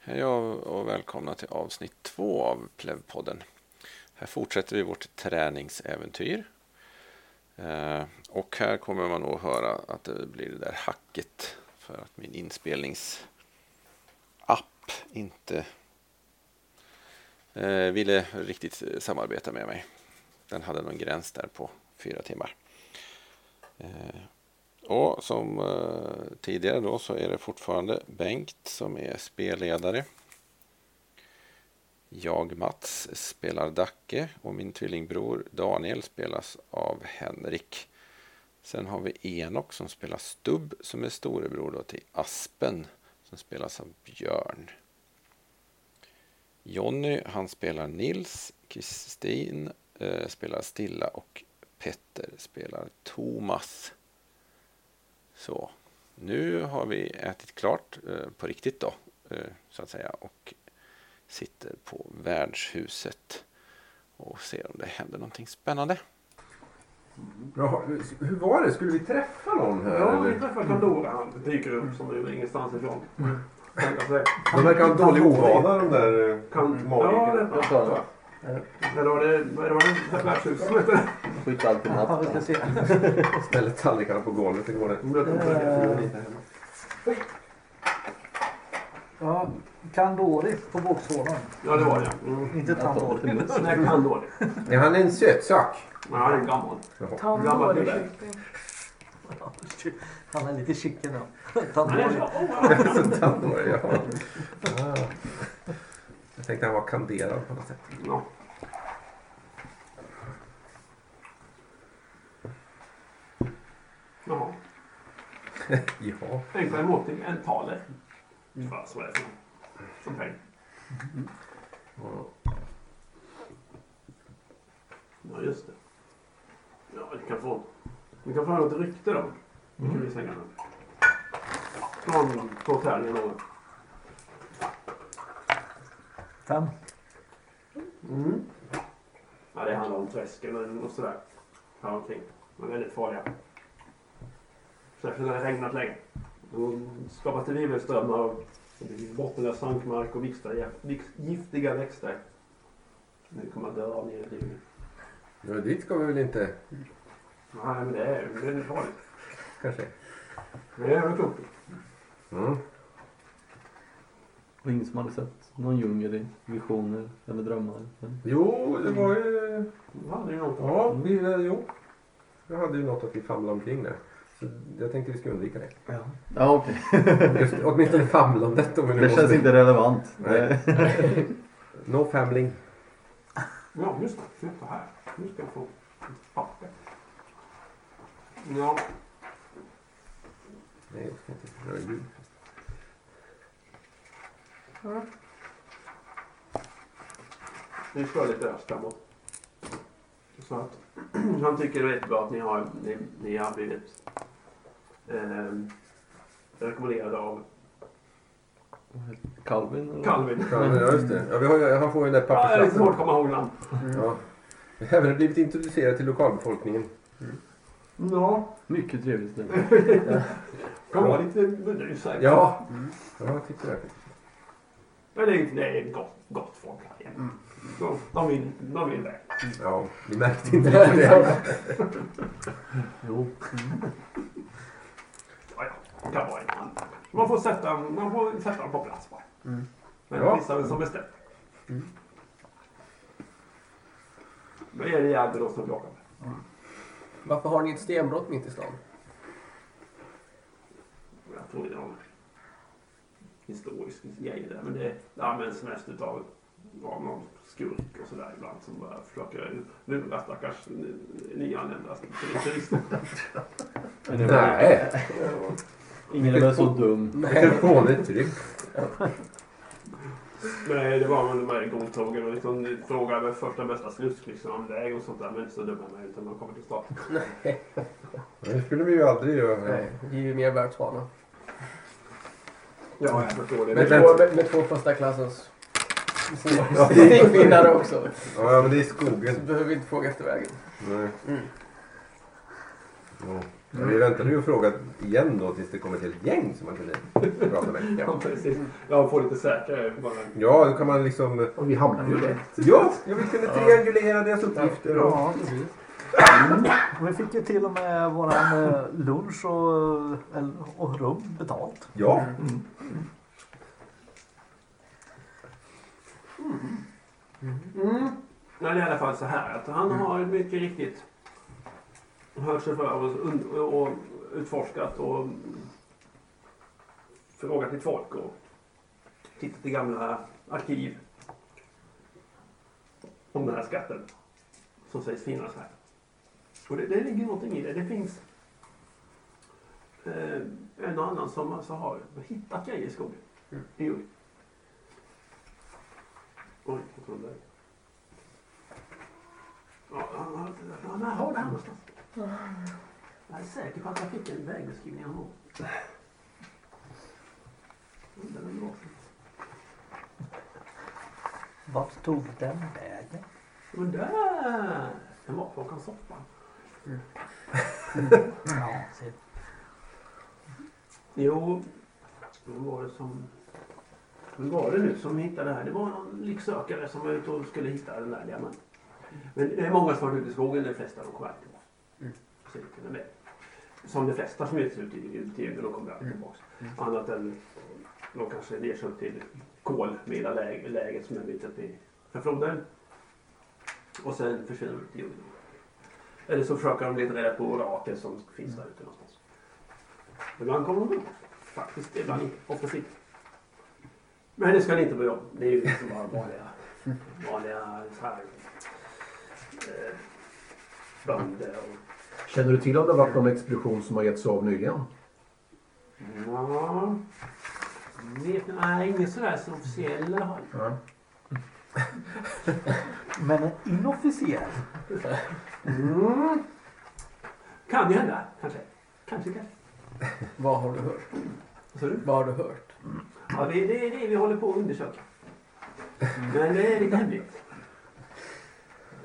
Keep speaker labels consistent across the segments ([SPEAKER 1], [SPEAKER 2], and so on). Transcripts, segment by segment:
[SPEAKER 1] Hej och och välkomna till avsnitt två av Plevpodden. Här fortsätter vi vårt träningsäventyr. Eh, Och här kommer man nog höra att det blir det där hacket för att min inspelningsapp inte eh, ville riktigt eh, samarbeta med mig. Den hade någon gräns där på fyra timmar. Eh, och som eh, tidigare då så är det fortfarande Bengt som är spelledare. Jag Mats spelar Dacke och min tvillingbror Daniel spelas av Henrik. Sen har vi Enok som spelar Stubb som är storebror då till Aspen som spelas av Björn. Jonny han spelar Nils, Kristin eh, spelar Stilla och Petter spelar Thomas. Så, nu har vi ätit klart eh, på riktigt då, eh, så att säga, och sitter på värdshuset och ser om det händer någonting spännande.
[SPEAKER 2] Bra. Hur var det? Skulle vi träffa någon här?
[SPEAKER 3] Ja, vi
[SPEAKER 2] eller?
[SPEAKER 3] träffar Pandora. Han Mm. dyker upp som ur ingenstans ifrån. Alltså,
[SPEAKER 2] De verkar ha en dålig ovana de där eh,
[SPEAKER 3] kan, ja, det
[SPEAKER 2] magikerna.
[SPEAKER 3] ja, tror jag. Eller var det, vad- det var det värdshuset som hette?
[SPEAKER 4] Skjuta allt i natt.
[SPEAKER 2] Ställer tallrikarna på golvet. Hur går det?
[SPEAKER 3] Om det var det.
[SPEAKER 5] Ja, Kandori på boxhålan.
[SPEAKER 3] Ja, det var det. ja. Mm.
[SPEAKER 5] Inte Tandori.
[SPEAKER 3] Nej, kan då det.
[SPEAKER 2] Är han en sötsak?
[SPEAKER 3] Men han är gammal. Gammal
[SPEAKER 6] Tandvård i
[SPEAKER 3] gubbe.
[SPEAKER 6] kyrkan.
[SPEAKER 5] Han är lite chicken då.
[SPEAKER 3] Han är så,
[SPEAKER 5] Tandori.
[SPEAKER 3] oh, ja.
[SPEAKER 2] Tandori, ja. Ah. Jag tänkte han var kanderad på något sätt.
[SPEAKER 3] Ja. Jaha.
[SPEAKER 2] Ja.
[SPEAKER 3] Enkla emoting, en taler. Vad så är det för något? Som peng. Ja, just det. Ja, vi kan få... Vi kan få höra något rykte då. Det kan vi slänga nu. Från portföljen då.
[SPEAKER 5] Fem.
[SPEAKER 3] Mm. Ja, det handlar om träsken och- och sådär. Ja, omkring. De är väldigt farliga. Särskilt när det har regnat länge. Då skapas det virvelströmmar och det blir bottenlös sankmark och viktiga, giftiga växter. Nu kommer man dö av nere i djungeln.
[SPEAKER 2] Ja, dit ska vi väl inte
[SPEAKER 3] Nej, men det är det är farligt.
[SPEAKER 2] kanske?
[SPEAKER 3] Men det är väl klokt.
[SPEAKER 2] Mm.
[SPEAKER 4] Och ingen som hade sett någon djungel i visioner eller drömmar. Men
[SPEAKER 2] Jo, det var ju...
[SPEAKER 3] Ja, det är ju något.
[SPEAKER 2] Ja, vi, jo. Jag hade ju något att vi famlade omkring där. Så jag tänkte vi skulle undvika det.
[SPEAKER 4] Ja okej.
[SPEAKER 2] Just, åtminstone famla om detta. om vi nu
[SPEAKER 4] Det
[SPEAKER 2] måste.
[SPEAKER 4] känns inte relevant.
[SPEAKER 2] Nej. No famling.
[SPEAKER 3] Ja, just det. Titta här. Nu ska jag få ett papper. Ja,
[SPEAKER 2] Nej, jag ska inte röra ljud.
[SPEAKER 3] vi kör lite öst framåt. Så att han tycker det är jättebra att ni har, ni, ni har blivit ehm, rekommenderade av
[SPEAKER 4] Calvin eller?
[SPEAKER 3] Calvin.
[SPEAKER 2] Ja, men ja, just det. Ja, vi har, ju- han får ju den där
[SPEAKER 3] Ja, det är lite svårt att
[SPEAKER 2] papperslappen.
[SPEAKER 3] komma ihåg namn.
[SPEAKER 2] Ja. Vi har även blivit introducerade till lokalbefolkningen.
[SPEAKER 3] Ja,
[SPEAKER 4] Mycket trevligt ställe.
[SPEAKER 3] kan vara lite burdus här.
[SPEAKER 2] Ja, ja jag tyckte det.
[SPEAKER 3] Men det är, inte- det är gott, gott folk här igen.
[SPEAKER 2] Mm.
[SPEAKER 3] De, de vill, de vill det.
[SPEAKER 2] Ja, vi märkte inte det.
[SPEAKER 4] Jo.
[SPEAKER 3] Ja, ja, kan vara en annan. Man får sätta, man får sätta dem på plats bara. Men
[SPEAKER 2] Mm. Ja. Mm.
[SPEAKER 3] vissa som bestämt. Vad är det Jäger då som plockar?
[SPEAKER 7] Varför har ni ett stenbrott mitt i stan?
[SPEAKER 3] Jag tror det är någon historisk grej där. Men det, det används mest utav av någon skurk och sådär ibland som bara försöker lura stackars n- nyanlända turister.
[SPEAKER 4] Men det var-
[SPEAKER 2] Nej,
[SPEAKER 4] Ingen är väl så dum.
[SPEAKER 2] telefonutryck.
[SPEAKER 3] Nej, det var väl de här gångtågen och liksom frågade första bästa slutskriften om väg och sånt där. Men inte så dumma man utan man kommer till stan.
[SPEAKER 2] Det skulle vi ju aldrig göra.
[SPEAKER 7] Nej, det är ju mer världsvana.
[SPEAKER 3] Ja, jag förstår det.
[SPEAKER 7] Med
[SPEAKER 2] Men-
[SPEAKER 7] två, med, med två första klassens
[SPEAKER 2] Ja.
[SPEAKER 7] stigvinnare också.
[SPEAKER 2] Ja, men det är
[SPEAKER 7] Så
[SPEAKER 2] skogen.
[SPEAKER 7] Mm. behöver vi inte fråga efter vägen.
[SPEAKER 2] Nej. Ja. Vi väntade ju och frågade igen då tills det kommer till ett gäng som man kunde prata med.
[SPEAKER 3] Ja, precis. Jag får lite säkrare. Bara.
[SPEAKER 2] Ja, då kan man liksom...
[SPEAKER 6] Och vi hamnade ju rätt.
[SPEAKER 2] Ja, ja vi kunde triangulera deras uppgifter. Och...
[SPEAKER 5] Ja, precis. Mm. Och Vi fick ju till och med våran eh, lunch och, eller- och rum betalt.
[SPEAKER 2] Ja,
[SPEAKER 3] Nej, det är i alla fall så här att han har mycket riktigt hört sig för och, und- och utforskat och frågat lite folk och tittat i gamla arkiv om den här skatten som sägs finnas här. Och det, det ligger någonting i det. Det finns eh, en och annan som alltså har hittat grejer i skogen. Jo. Oj, vad kom det? Ja, han har- han har det här någonstans. Jag är säker på att jag fick en vägbeskrivning av honom. Undrar vem det var.
[SPEAKER 5] Vart tog den vägen?
[SPEAKER 3] Det var där! Den var på Håkan Soppan.
[SPEAKER 5] Ja, se.
[SPEAKER 3] Jo, vem var det som... Vem var det nu som hittade det här? Det var någon lycksökare som var ute och skulle hitta den där diamanten. Men det är många som har varit ute i skogen, de flesta de kommer alltid tillbaka. Mm. Som de flesta som ger sig ut i ut i djungeln, de kommer alltid tillbaka. Annat än de kanske ger sig upp till kolmila läge- läget som är en bit upp i för floden. Och sen försvinner de ut i djungeln. Eller så försöker de leta reda på orakel som finns där ute någonstans. Ibland kommer de upp. Faktiskt, ibland inte. Oftast inte. Men det ska ni inte börja om. Det är ju liksom bara vanliga, vanliga så här, eh, bönder och...
[SPEAKER 6] Känner du till om det har varit någon expedition som har gett sig av nyligen?
[SPEAKER 3] Ja, vet ni, nej, ingen sådär som officiell i alla fall.
[SPEAKER 6] Ja.
[SPEAKER 5] Men en inofficiell.
[SPEAKER 3] Mm. Kan ju hända, kanske. Kanske, kanske.
[SPEAKER 7] Vad har du hört?
[SPEAKER 3] Vad sa du?
[SPEAKER 7] Vad har du hört?
[SPEAKER 3] Ja, det, det är det vi håller på att undersöka. Men det är lite hemligt.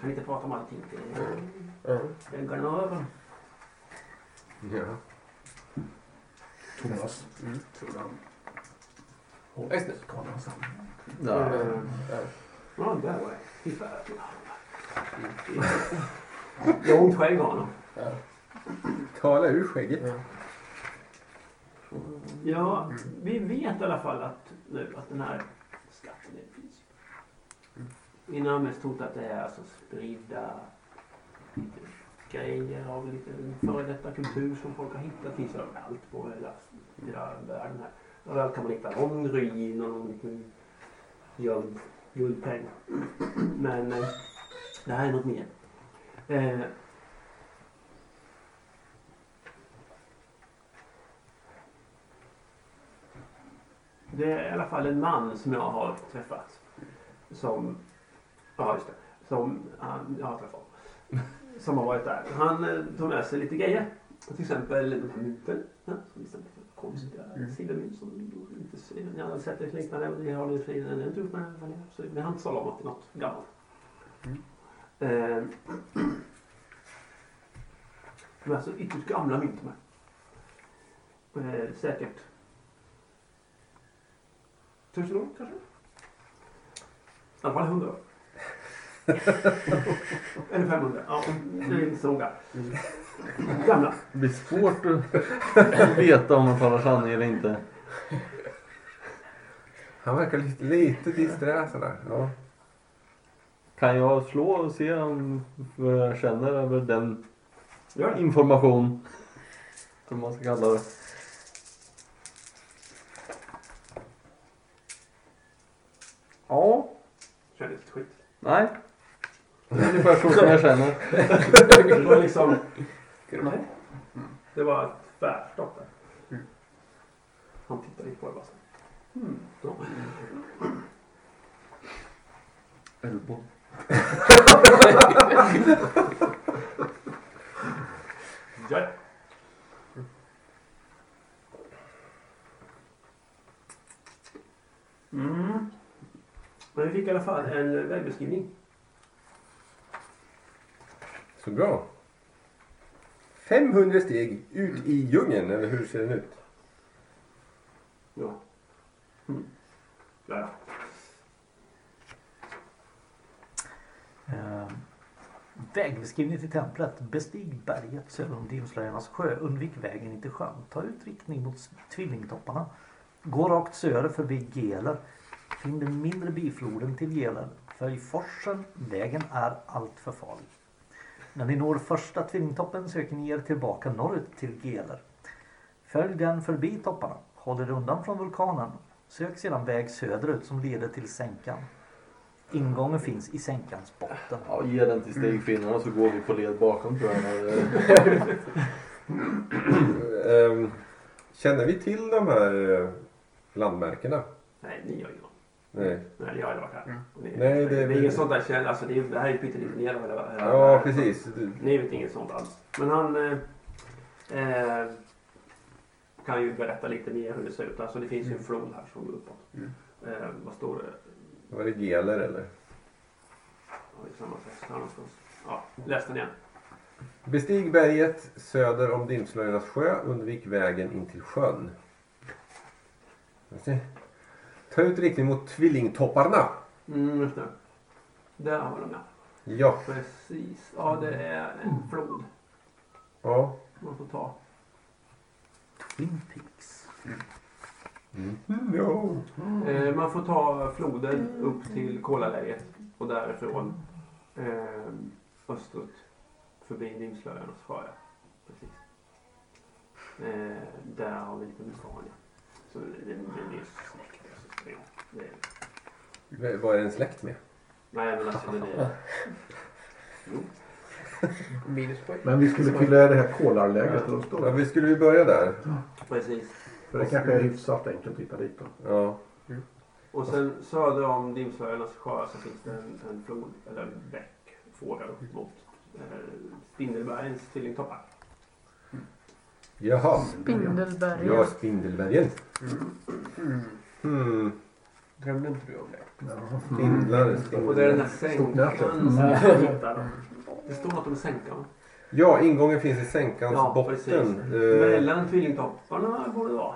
[SPEAKER 3] Kan inte prata om allting. Det-
[SPEAKER 7] Mm.
[SPEAKER 3] Den går över.
[SPEAKER 2] ja.
[SPEAKER 6] Thomas.
[SPEAKER 7] Mm. Ja, just det.
[SPEAKER 4] Nej.
[SPEAKER 3] Run uh, that way. Jag har ont skägg har honom.
[SPEAKER 2] Tala ur skägget.
[SPEAKER 3] Ja, vi vet i alla fall att nu att den här skatten är finns. Innan har mest trott att det är alltså spridda lite grejer av lite före detta kultur som folk har hittat. Det finns överallt på hela, hela världen här. Överallt kan man hitta någon ruin och någon liten gömd guldpeng. Men eh, det här är något mer. Eh, Det är i alla fall en man som jag har träffat. Som... Ja, just det. Som han, jag har träffat. Som har varit där. Han eh, tog med sig lite grejer. Till exempel den här mynten. ja, Som liksom konstiga silvermynt som inte ser- ni har sett ett liknande. Och det har ni för den inte gjort med. den, men absolut. Men han sålde om att det är något gammalt. Eh, De är alltså ytterst gamla mynt med. Eh, säkert Tusen år kanske? I alla fall hundra år. Eller 500. Ja, det är inte så noga. Gamla.
[SPEAKER 4] Det blir svårt att veta om man talar sanning eller inte.
[SPEAKER 2] Han verkar lite, lite disträ sådär. Ja.
[SPEAKER 4] Kan jag slå och se om vad jag känner över den
[SPEAKER 3] Gör det.
[SPEAKER 4] information som man ska kalla det? Ja.
[SPEAKER 3] Känner lite skit.
[SPEAKER 4] Nej. Det är ungefär så som jag känner.
[SPEAKER 3] Det var liksom... Nej. Det var ett tvärstopp där. Han tittade lite på det bara. så. Ja.
[SPEAKER 4] Elbow.
[SPEAKER 3] Ja, ja. Mm. Men vi fick i alla fall en vägbeskrivning.
[SPEAKER 2] Så bra. 500 steg ut i djungeln, eller hur ser den ut?
[SPEAKER 3] Ja. Mm. Ja, ja.
[SPEAKER 5] Eh,
[SPEAKER 7] Ehm.
[SPEAKER 5] vägbeskrivning till templet. Bestig berget söder om Dimslöjarnas sjö. Undvik vägen in till sjön. Ta ut riktning mot tvillingtopparna. Gå rakt söder förbi Geler. Finn den mindre bifloden till Geler. Följ forsen. Vägen är alltför farlig. När ni når första tvillingtoppen söker ni er tillbaka norrut till Geler. Följ den förbi topparna. Håll er undan från vulkanen. Sök sedan väg söderut som leder till sänkan. Ingången finns i sänkans botten.
[SPEAKER 4] Ja, ge den till stegfinnarna så går vi på led bakom tror jag. när det-
[SPEAKER 2] Ehm, Känner vi till de här eh, landmärkena?
[SPEAKER 3] Nej, ni har ju någon.
[SPEAKER 2] Nej.
[SPEAKER 3] Nej, jag har aldrig varit här. Ni-
[SPEAKER 2] Nej, det
[SPEAKER 3] Mm. det
[SPEAKER 2] är
[SPEAKER 3] är
[SPEAKER 2] vi-
[SPEAKER 3] inget sånt där käll. Alltså, det, är, det här är pyttelite ner. eller-
[SPEAKER 2] Ja, precis. Du-
[SPEAKER 3] Ni vet inget sånt alls. Men han eh, eh, kan ju berätta lite mer hur det ser ut. Alltså, det finns ju en flod här som går uppåt. Eh, vad står det?
[SPEAKER 2] Var det geler eller?
[SPEAKER 3] Har vi samma text här någonstans? Ja, läs den igen.
[SPEAKER 2] Bestig berget söder om Dimslöjornas sjö. Undvik vägen in till sjön. Ska vi se. Ta ut riktning mot tvillingtopparna.
[SPEAKER 3] Mm, just det. Där har de det.
[SPEAKER 2] Ja.
[SPEAKER 3] Precis. Ja, det är en flod
[SPEAKER 2] ja.
[SPEAKER 3] man får ta.
[SPEAKER 5] Twin Peaks.
[SPEAKER 6] Mm.
[SPEAKER 2] No.
[SPEAKER 3] Eh, man får ta floden upp till Kolaläget och därifrån eh, österut förbi Dimslöjan och Sjöja. Precis. Eh, där har vi lite vulkan. ja. Så det- det- den är ju släckt. alltså. Ja, det är-
[SPEAKER 2] V- Vad är den släkt med?
[SPEAKER 3] Nej, men alltså den är...
[SPEAKER 7] Minuspoäng.
[SPEAKER 6] Men vi skulle fylla i det här kolarläget. där de
[SPEAKER 2] Ja,
[SPEAKER 6] står.
[SPEAKER 2] vi skulle vi börja där?
[SPEAKER 3] Precis.
[SPEAKER 6] För det kanske är hyfsat enkelt att hitta dit. Då.
[SPEAKER 2] Ja.
[SPEAKER 3] Och sen söder om Dimslöjarnas sjö så finns det en, en flod, eller en bäck, fåra upp mot eh, Spindelbergens tvillingtoppar.
[SPEAKER 2] Jaha. Ja,
[SPEAKER 8] Spindelberget.
[SPEAKER 2] Spindelbergen. Hmm.
[SPEAKER 7] Drömde inte du om det? Mm.
[SPEAKER 2] Spindlar,
[SPEAKER 6] Mm.
[SPEAKER 3] Och det är den
[SPEAKER 2] spindlar.
[SPEAKER 3] här
[SPEAKER 6] Stort nät.
[SPEAKER 3] sänkan som jag hittar dem. Det står något om sänkan.
[SPEAKER 2] Ja, ingången finns i sänkans
[SPEAKER 3] Ja,
[SPEAKER 2] botten.
[SPEAKER 3] precis.
[SPEAKER 2] Eh,
[SPEAKER 3] Mellan tvillingtopparna borde det vara.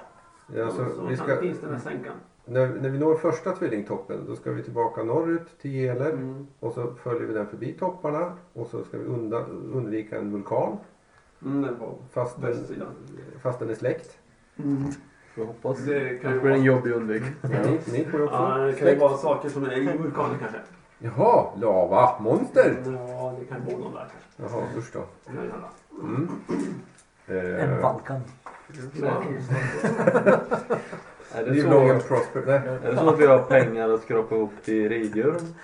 [SPEAKER 2] alltså,
[SPEAKER 3] så
[SPEAKER 2] vi
[SPEAKER 3] kan-
[SPEAKER 2] ska,
[SPEAKER 3] finns den här sänkan.
[SPEAKER 2] när, när vi når första tvillingtoppen då ska vi tillbaka norrut till Geler
[SPEAKER 3] Mm.
[SPEAKER 2] och så följer vi den förbi topparna och så ska vi unda, undvika en vulkan
[SPEAKER 3] Mm, den var
[SPEAKER 2] fast
[SPEAKER 3] på
[SPEAKER 2] den,
[SPEAKER 3] västsidan.
[SPEAKER 2] fast den är släkt.
[SPEAKER 7] Mm.
[SPEAKER 4] Jag hoppas.
[SPEAKER 3] Det kan ju
[SPEAKER 7] Kanske blir en
[SPEAKER 3] vara,
[SPEAKER 7] jobbig undvik.
[SPEAKER 2] Ni, ni får ju också
[SPEAKER 3] ja, det kan ju
[SPEAKER 2] släkt.
[SPEAKER 3] vara saker som är i vulkanen kanske.
[SPEAKER 2] Jaha, lava, monster!
[SPEAKER 3] Ja, det kan vara någon där kanske.
[SPEAKER 2] Jaha, usch då.
[SPEAKER 3] Det kan ju hända.
[SPEAKER 2] Mm.
[SPEAKER 5] En
[SPEAKER 2] Eh,
[SPEAKER 5] Valkan.
[SPEAKER 4] Är det,
[SPEAKER 2] live long
[SPEAKER 4] så,
[SPEAKER 2] and prosper. Nej,
[SPEAKER 4] är det så att vi har pengar att skrapa ihop till riddjuren?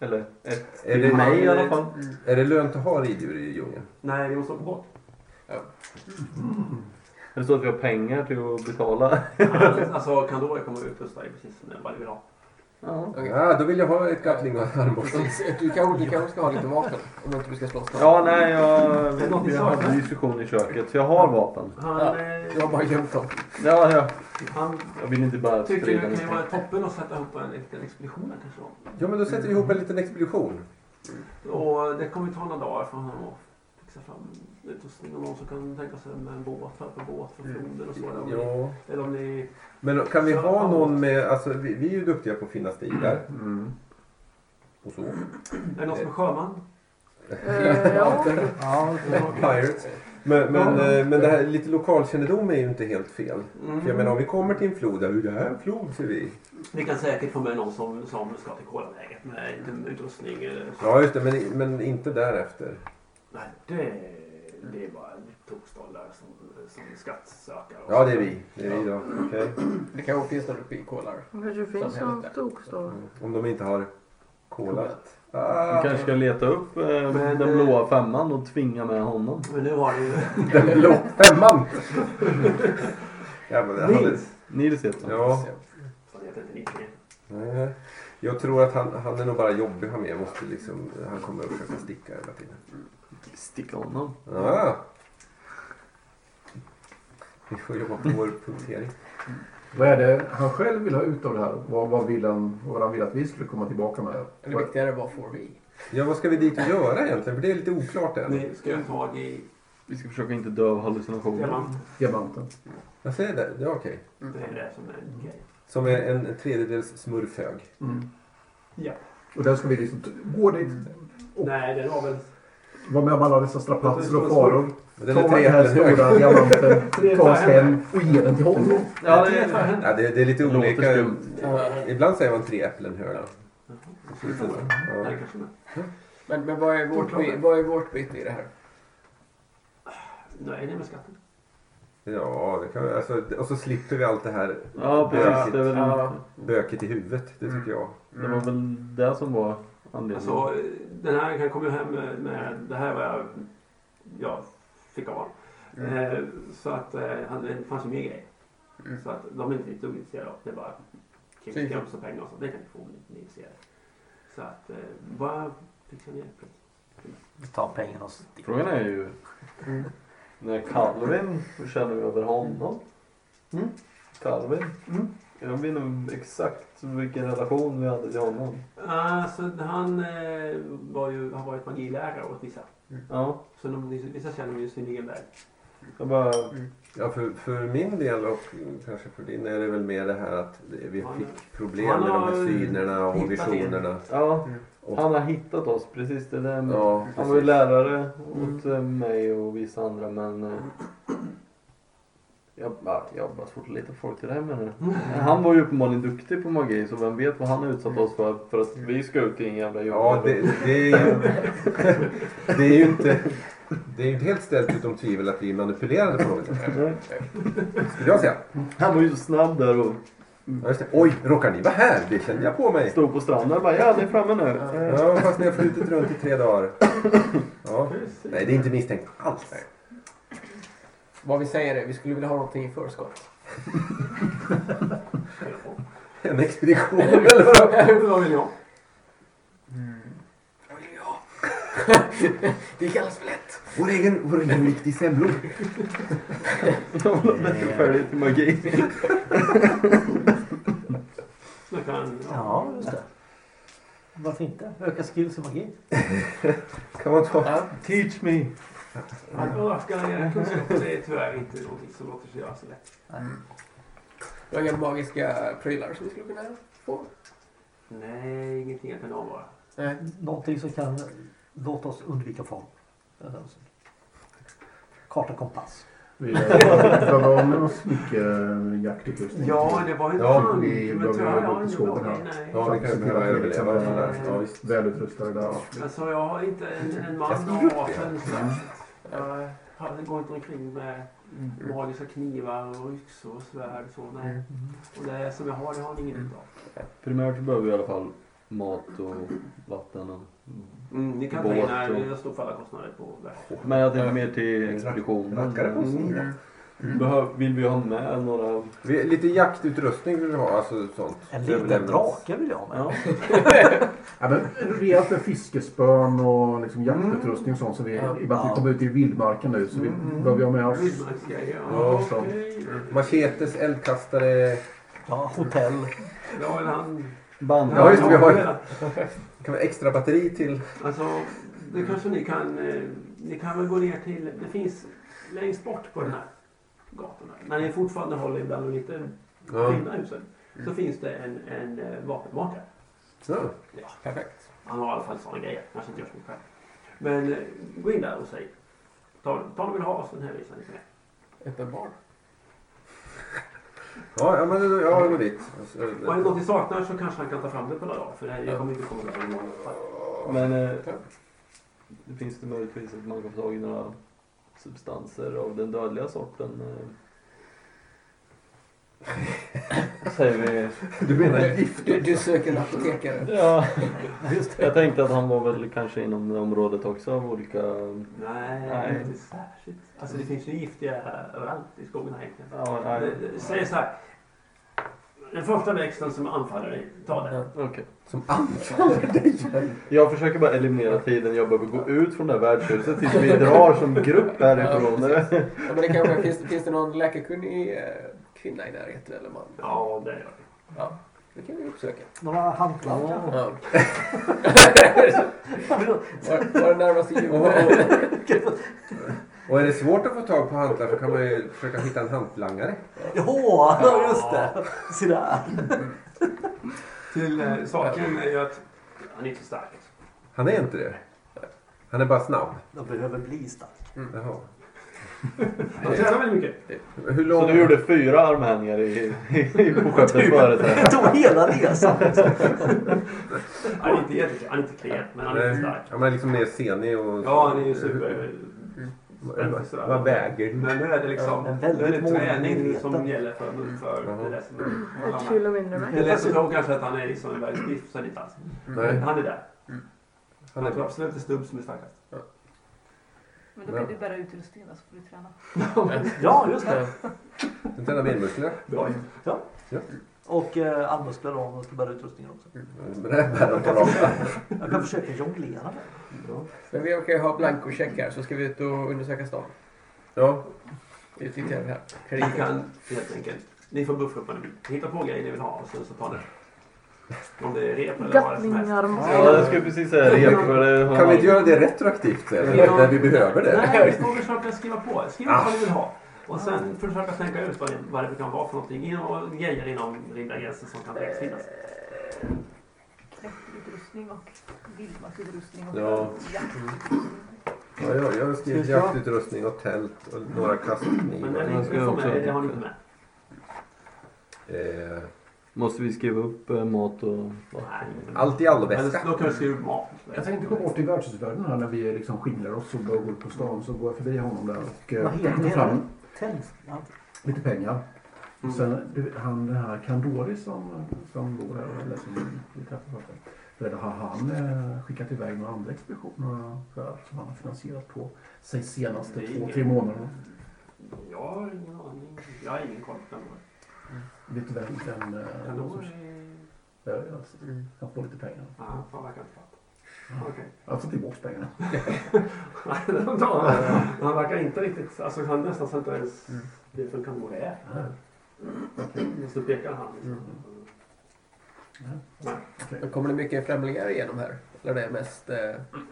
[SPEAKER 4] Eller ett
[SPEAKER 2] Är
[SPEAKER 4] till
[SPEAKER 2] det-
[SPEAKER 4] mig i alla fall.
[SPEAKER 2] är det lönt att ha riddjur i djungeln?
[SPEAKER 3] Nej, vi måste åka bort.
[SPEAKER 4] Är det så att vi har pengar till att betala?
[SPEAKER 3] Alltså, kan då komma ut och stå i precis som jag vill ha.
[SPEAKER 4] Ja,
[SPEAKER 7] Okej.
[SPEAKER 2] Ah, då vill jag ha ett Gatling och en armborste.
[SPEAKER 7] Precis. Du kanske du kanske ska ha lite vapen om inte du ska slåss.
[SPEAKER 4] ja nej jag,
[SPEAKER 3] det något vi
[SPEAKER 4] jag
[SPEAKER 3] saknar?
[SPEAKER 4] hade en diskussion i köket så jag har vapen.
[SPEAKER 3] Han,
[SPEAKER 7] Ja.
[SPEAKER 3] eh,
[SPEAKER 7] Du har bara gömt dem.
[SPEAKER 4] Ja, ja.
[SPEAKER 3] han
[SPEAKER 4] Jag vill inte bara
[SPEAKER 3] tycker det
[SPEAKER 4] sprida
[SPEAKER 3] kan ju
[SPEAKER 4] någonting.
[SPEAKER 3] vara toppen att sätta ihop en liten expedition där kanske. Då.
[SPEAKER 2] Ja, men då sätter vi ihop en liten expedition.
[SPEAKER 3] Och det kommer ta några dagar för honom att fixa fram utrustning och någon som kan tänka sig med en båt, för båt för floden och så. Eller om ni,
[SPEAKER 2] Mm. Ja.
[SPEAKER 3] eller om ni
[SPEAKER 2] Men kan vi ha någon med, alltså vi, vi är ju duktiga på att finna stigar. Och så.
[SPEAKER 3] är det någon som är sjöman?
[SPEAKER 8] Eh, ja.
[SPEAKER 5] Ja,
[SPEAKER 2] Mm. Pirates. Men, men, eh, men det här, lite lokalkännedom är ju inte helt fel. För jag menar om vi kommer till en flod, där, "Hur, det här är en flod ser vi.
[SPEAKER 3] Mm. Ni kan säkert få med någon som, som ska till Kolaläget med lite utrustning. eh, så.
[SPEAKER 2] Ja just det, men, men inte därefter.
[SPEAKER 3] Nej, det, det är bara en tokstolle som, som skattsökare. och
[SPEAKER 2] Ja det är
[SPEAKER 3] så.
[SPEAKER 2] vi, det är vi då. Okej.
[SPEAKER 7] Det kanske finns någon uppe i Kolar.
[SPEAKER 8] Det kanske finns någon tokstollar.
[SPEAKER 2] Om de inte har kolat. Ah,
[SPEAKER 4] Vi kanske ska leta upp eh,
[SPEAKER 3] Men,
[SPEAKER 4] den
[SPEAKER 3] eh,
[SPEAKER 4] blåa femman och tvinga med honom.
[SPEAKER 3] Men nu har ni ju...
[SPEAKER 2] den blå femman! Jävlar, det hade...
[SPEAKER 4] Nils heter han.
[SPEAKER 2] Ja.
[SPEAKER 3] Fan, jag heter inte Nicky.
[SPEAKER 2] Nej. Jag tror att han, han är nog bara jobbig han med. Måste liksom, han kommer att försöka sticka hela tiden.
[SPEAKER 4] Sticka honom.
[SPEAKER 2] Ah. Vi får jobba på vår punktering.
[SPEAKER 6] Vad är det han själv vill ha ut av det här? Vad, vad, vill han, vad han vill att vi skulle komma tillbaka med?
[SPEAKER 7] Eller viktigare, vad får vi?
[SPEAKER 2] Ja, vad ska vi dit och göra egentligen? För det är lite oklart än.
[SPEAKER 3] Ni ska ju ta tag i
[SPEAKER 4] Vi ska försöka inte dö av hallucinationer.
[SPEAKER 3] Diamant.
[SPEAKER 6] Diamanten.
[SPEAKER 2] Jag säger det, det är okej.
[SPEAKER 3] Det är det som är grejen.
[SPEAKER 2] Som är en tredjedels smurfhög.
[SPEAKER 3] Ja.
[SPEAKER 6] Och den ska vi liksom t- gå dit.
[SPEAKER 3] Nej, den var väl...
[SPEAKER 6] Vara med om alla dessa strapatser och faror.
[SPEAKER 2] Men Den
[SPEAKER 6] Ta
[SPEAKER 2] är
[SPEAKER 6] den här
[SPEAKER 2] trehög.
[SPEAKER 6] stora diamanten.
[SPEAKER 3] Tre
[SPEAKER 6] Ta oss
[SPEAKER 3] tar hem.
[SPEAKER 6] hem och ge den till honom.
[SPEAKER 4] Ja, det är...
[SPEAKER 2] Ja, det, det är lite
[SPEAKER 4] Det låter
[SPEAKER 2] olika.
[SPEAKER 4] skumt.
[SPEAKER 2] Ibland säger man tre äpplen hög.
[SPEAKER 3] Nej,
[SPEAKER 2] Ja.
[SPEAKER 3] kanske inte.
[SPEAKER 7] Men, men vad, är vårt, bi- vad är vårt bit i det här?
[SPEAKER 3] Nej, det är med skatten.
[SPEAKER 2] Ja, det kan, alltså, och så slipper vi allt det här
[SPEAKER 4] Ja, precis. Det, är väl,
[SPEAKER 7] Ja.
[SPEAKER 2] böket i huvudet. Det
[SPEAKER 3] Mm.
[SPEAKER 2] tycker jag.
[SPEAKER 4] det var väl det som var anledningen.
[SPEAKER 3] Alltså, den här kan komma hem med, med det här var jag, jag fick av honom. Eh, så att eh, han- det fanns ju mer grejer.
[SPEAKER 7] Mm.
[SPEAKER 3] Så att de är inte ett dugg intresserade av. Det är bara
[SPEAKER 7] Precis.
[SPEAKER 3] krimskrams och pengar och sånt. Det kan ni få om ni inte är intresserade. Så att eh, bara fixa ner det.
[SPEAKER 5] Vi tar pengarna och sticker.
[SPEAKER 4] Frågan är ju... När Calvin, hur känner vi över honom?
[SPEAKER 7] Mm.
[SPEAKER 4] Calvin?
[SPEAKER 7] Mm.
[SPEAKER 4] Jag minns exakt vilken relation vi hade till honom.
[SPEAKER 3] Alltså, han eh, var ju, har varit magilärare åt vissa.
[SPEAKER 4] Ja,
[SPEAKER 3] Så de, vissa känner ju sin egen värld.
[SPEAKER 4] jag bara...
[SPEAKER 2] Ja, för, för min del och kanske för din är det väl mer det här att vi
[SPEAKER 3] Han-
[SPEAKER 2] fick problem
[SPEAKER 3] han
[SPEAKER 2] med de här
[SPEAKER 3] har
[SPEAKER 2] synerna och
[SPEAKER 3] hittat Mm.
[SPEAKER 2] visionerna.
[SPEAKER 4] Ja,
[SPEAKER 2] Och-
[SPEAKER 4] han har hittat oss. Precis det där med...
[SPEAKER 2] Mm. Ja,
[SPEAKER 4] Han var ju
[SPEAKER 2] precis. Mm.
[SPEAKER 4] lärare åt eh, mig och vissa andra men... eh, Jag bara, jag har bara svårt att leta folk till det här menar du?
[SPEAKER 2] Mm.
[SPEAKER 4] Han var ju uppenbarligen duktig på magi så vem vet vad han har utsatt oss för för att vi ska ut i en jävla djungel.
[SPEAKER 2] Mm. Ja, det, det, är ju, det är ju inte... Det är ju inte helt ställt utom tvivel att vi är manipulerade på något sätt.
[SPEAKER 3] Mm.
[SPEAKER 4] Nej.
[SPEAKER 2] Skulle jag säga.
[SPEAKER 4] Han var ju så snabb där och
[SPEAKER 2] Ja, just det. Oj, råkar ni vara här? Det kände jag på mig.
[SPEAKER 4] stod på stranden och bara ja, ni är framme nu. Eh,
[SPEAKER 2] Ja, fast ni har flutit runt i tre dagar. Ja. Nej, det är inte misstänkt alls.
[SPEAKER 7] Vad vi säger är vi skulle vilja ha någonting i förskott.
[SPEAKER 2] En expedition eller vad?
[SPEAKER 3] Vad vill ni ha?
[SPEAKER 5] Mm.
[SPEAKER 7] Det kallas för lätt.
[SPEAKER 2] Vår egen, vår egen vikt i semlor.
[SPEAKER 4] Jag vill ha bättre färdighet till magi.
[SPEAKER 3] Jag kan, ja.
[SPEAKER 5] Ja, just det. Varför inte? Öka skills i magi.
[SPEAKER 2] Kan man ta?
[SPEAKER 4] Teach me.
[SPEAKER 3] Att öka era kunskaper det är tyvärr inte någonting som låter sig göra så lätt.
[SPEAKER 7] Vi har inga magiska prylar som vi skulle kunna få.
[SPEAKER 3] Nej, ingenting jag kan avvara.
[SPEAKER 7] Nej.
[SPEAKER 5] Eh, Någonting som kan låta oss undvika form. Karta kompass.
[SPEAKER 6] Vi behöver ha oss
[SPEAKER 2] Mm.
[SPEAKER 6] mycket jaktutrustning.
[SPEAKER 3] Ja, det var ju
[SPEAKER 2] Ja,
[SPEAKER 3] fan,
[SPEAKER 6] vi
[SPEAKER 3] men
[SPEAKER 6] behöver
[SPEAKER 3] tyvärr,
[SPEAKER 6] gå
[SPEAKER 3] jag har
[SPEAKER 6] till
[SPEAKER 3] ingen
[SPEAKER 6] skogen här.
[SPEAKER 3] aning, nej.
[SPEAKER 2] Ja, vi kan behöva överleva och sådär. Ja, visst.
[SPEAKER 6] Välutrustade. där.
[SPEAKER 3] Alltså jag har inte en, en man
[SPEAKER 2] Jag
[SPEAKER 3] av
[SPEAKER 2] skriver upp
[SPEAKER 3] vapen sådär. Jag hade- går inte omkring med
[SPEAKER 2] Mm.
[SPEAKER 3] magiska knivar och yxor och svärd och så. Nej. Och det som jag har, det har ni ingen utav.
[SPEAKER 4] Primärt behöver vi i alla fall mat och vatten. Och...
[SPEAKER 3] Mm, ni kan ta in
[SPEAKER 4] Båt
[SPEAKER 3] här,
[SPEAKER 4] och-
[SPEAKER 3] jag står för alla kostnader på världen.
[SPEAKER 4] Men jag tänkte mer till
[SPEAKER 2] Rackare på Mm.
[SPEAKER 4] expeditionen.
[SPEAKER 2] sidan.
[SPEAKER 4] Behöv, vill vi ha med några?
[SPEAKER 2] Vi, lite jaktutrustning vill vi ha, alltså sånt.
[SPEAKER 5] En liten
[SPEAKER 2] Överlämnings-
[SPEAKER 5] drake vill jag ha med.
[SPEAKER 4] Ja.
[SPEAKER 6] Ja, men rejält med fiskespön och liksom jaktutrustning och sånt. Så vi, I och
[SPEAKER 7] Mm.
[SPEAKER 6] med att vi kommer ut i vildmarken nu så vi
[SPEAKER 2] Mm.
[SPEAKER 6] behöver vi ha med oss.
[SPEAKER 3] Vildmarksgrejer,
[SPEAKER 2] Ja,
[SPEAKER 3] Mm. ja. Mm.
[SPEAKER 6] så.
[SPEAKER 3] okej.
[SPEAKER 2] Machetes, eldkastare.
[SPEAKER 5] Ja, hotell.
[SPEAKER 3] Ja, men han...
[SPEAKER 4] Band.
[SPEAKER 2] Ja, just det, vi har kan vi ha extra batteri till.
[SPEAKER 3] Alltså,
[SPEAKER 2] Mm.
[SPEAKER 3] det kanske ni kan... eh, Ni kan väl gå ner till... Det finns längst bort på den här gatan. här. När ni fortfarande håller ibland och lite
[SPEAKER 2] Ja.
[SPEAKER 3] finna husen. Så finns det en, en eh, vapenmakare.
[SPEAKER 2] Ja.
[SPEAKER 3] Ja,
[SPEAKER 7] Perfekt.
[SPEAKER 3] han har i alla fall sådana grejer. Kanske inte gör så mycket själv. Men eh, gå in där och säg. Ta, ta vad du vill ha och sen hänvisar ni till det.
[SPEAKER 7] Ett barn.
[SPEAKER 2] Ja, ja, men då- ja, jag går dit. Alltså,
[SPEAKER 3] Och är det något ni saknar så kanske han kan ta fram det på några dagar. För det här, jag kommer inte komma ihåg hur många.
[SPEAKER 4] Men eh, det finns det möjligtvis att man kan få tag i några substanser av den dödliga sorten? eh. Säger vi.
[SPEAKER 2] Du menar
[SPEAKER 7] Du, du söker en apotekare.
[SPEAKER 4] Ja, jag tänkte att han var väl kanske inom det området också av olika...
[SPEAKER 3] Nej,
[SPEAKER 4] Nej.
[SPEAKER 3] inte särskilt. Alltså det finns ju giftiga överallt i skogen här egentligen.
[SPEAKER 4] Ja, nej.
[SPEAKER 3] Eh, Säg så här. Den första växten som anfaller dig, ta den.
[SPEAKER 4] Okej.
[SPEAKER 2] som anfaller dig?
[SPEAKER 4] Jag försöker bara eliminera tiden jag behöver gå ut från det här värdshuset tills vi drar som grupp härifrån.
[SPEAKER 7] Ja, men det kanske, finns, finns det någon läkarkunnig eh, kvinna i närheten eller man?
[SPEAKER 3] Ja, det gör det.
[SPEAKER 7] Ja. Det kan vi uppsöka.
[SPEAKER 5] Några hantlar kanske.
[SPEAKER 7] Ja. var, var det närmaste
[SPEAKER 2] Och, och,
[SPEAKER 7] djuret?
[SPEAKER 2] Och är det svårt att få tag på hantlar så kan man ju försöka hitta en hantlangare.
[SPEAKER 5] Jo, just det. Se där.
[SPEAKER 3] Till eh, saken är ju att han är inte så stark.
[SPEAKER 2] Han är inte det. Han är bara snabb.
[SPEAKER 5] De behöver bli stark.
[SPEAKER 7] Mm.
[SPEAKER 2] Jaha.
[SPEAKER 3] Han tränar väldigt mycket.
[SPEAKER 2] Hur lång...
[SPEAKER 4] Så du gjorde fyra armhävningar i, i, i Boskeppets
[SPEAKER 3] Typ.
[SPEAKER 4] företräde?
[SPEAKER 5] Det tog hela resan.
[SPEAKER 3] Han är inte jätte- han är inte klet, men han är inte stark.
[SPEAKER 2] Ja, men liksom mer senig och...
[SPEAKER 3] Ja, han är ju super...
[SPEAKER 2] Vad- Vad väger
[SPEAKER 7] Mm.
[SPEAKER 2] du?
[SPEAKER 3] Men nu är det liksom
[SPEAKER 5] Ja, en
[SPEAKER 3] nu är
[SPEAKER 5] väldigt
[SPEAKER 3] det träning
[SPEAKER 5] målmedveten.
[SPEAKER 3] som gäller för, för
[SPEAKER 2] Jaha.
[SPEAKER 3] det där som
[SPEAKER 8] Ett kilo mindre
[SPEAKER 3] Jag
[SPEAKER 8] med.
[SPEAKER 3] läser tror kanske att han är liksom en väldigt stiff, så är det inte alls.
[SPEAKER 2] Nej,
[SPEAKER 3] Han är där.
[SPEAKER 2] han
[SPEAKER 3] Jag tror
[SPEAKER 2] är...
[SPEAKER 3] absolut det är Stubb som är starkast.
[SPEAKER 9] Men då blir det bara utrustning då, så får du träna.
[SPEAKER 5] Ja, just det.
[SPEAKER 2] Den tränar benmuskler.
[SPEAKER 3] Bra ju.
[SPEAKER 5] Och eh, armmuskler då om de ska bära utrustningen också.
[SPEAKER 2] Men det är bättre att tala om.
[SPEAKER 5] Jag kan försöka jonglera det.
[SPEAKER 7] Men vi kan ju ha blankocheck här så ska vi ut och undersöka stan.
[SPEAKER 2] Ja,
[SPEAKER 7] Vi tittar över här.
[SPEAKER 3] Ni kan helt enkelt, ni får buffgruppen hitta på grejer ni vill ha och sen så tar ni det. Om det är rep eller vad det är som helst.
[SPEAKER 8] Gattningar.
[SPEAKER 4] Ja, jag skulle precis säga det. För det har
[SPEAKER 2] kan vi
[SPEAKER 4] man-
[SPEAKER 2] inte göra det retroaktivt sen? När vi behöver det.
[SPEAKER 3] Nej, ni får försöka skriva på. Skriv upp vad ni vill ha. Och sen försöka tänka ut vad det, vad det kan vara för någonting. Inom- Och grejer inom rimliga gränser som kan tänkas finnas.
[SPEAKER 9] Klätterutrustning och vildmarksutrustning och
[SPEAKER 2] Ja.
[SPEAKER 9] jakt.
[SPEAKER 2] Ja, jag, jag har skrivit
[SPEAKER 5] Ska vi ta-
[SPEAKER 2] jaktutrustning och tält och några
[SPEAKER 3] Men det,
[SPEAKER 2] kastknivar.
[SPEAKER 3] är
[SPEAKER 4] jag
[SPEAKER 3] inte-
[SPEAKER 4] ska
[SPEAKER 3] det, får
[SPEAKER 4] också-
[SPEAKER 3] med, det har ni inte med.
[SPEAKER 2] Eh,
[SPEAKER 4] Måste vi skriva upp eh, mat och...
[SPEAKER 3] Nej.
[SPEAKER 2] allt i allo-väska.
[SPEAKER 3] Eller, då kan du skriva upp mat.
[SPEAKER 6] Jag tänkte gå bort till värdshusvärden här när vi liksom skingrar oss och börjar gå ut på stan. Så går jag förbi honom där och
[SPEAKER 5] Vad
[SPEAKER 6] eh,
[SPEAKER 5] heter
[SPEAKER 6] tar fram
[SPEAKER 5] det? Tält? Ja.
[SPEAKER 6] lite pengar. Och Sen du, vet, han den här Kandori som, som bor här, eller som vi träffade förut. Där har han eh, skickat iväg några andra expeditioner för, som han har finansierat på sig senaste typ, två, tre månaderna.
[SPEAKER 3] Jag har ingen aning. Jag har ingen koll på den.
[SPEAKER 6] Vet du vem den... eh,
[SPEAKER 3] Kan
[SPEAKER 6] som- Ja, jag-
[SPEAKER 5] Mm.
[SPEAKER 6] Han får lite pengar. Alltså,
[SPEAKER 3] Ja, fan verkar inte fatta.
[SPEAKER 6] Ah.
[SPEAKER 3] Okej.
[SPEAKER 6] Han får tillbaka pengarna.
[SPEAKER 3] Nej, den dagen- Han verkar inte riktigt... Alltså han nästan så inte ens vet vem Kandor är.
[SPEAKER 7] Mm.
[SPEAKER 3] Och så pekar han. Liksom.
[SPEAKER 7] Men kommer det mycket främlingar igenom här? Eller det är mest eh,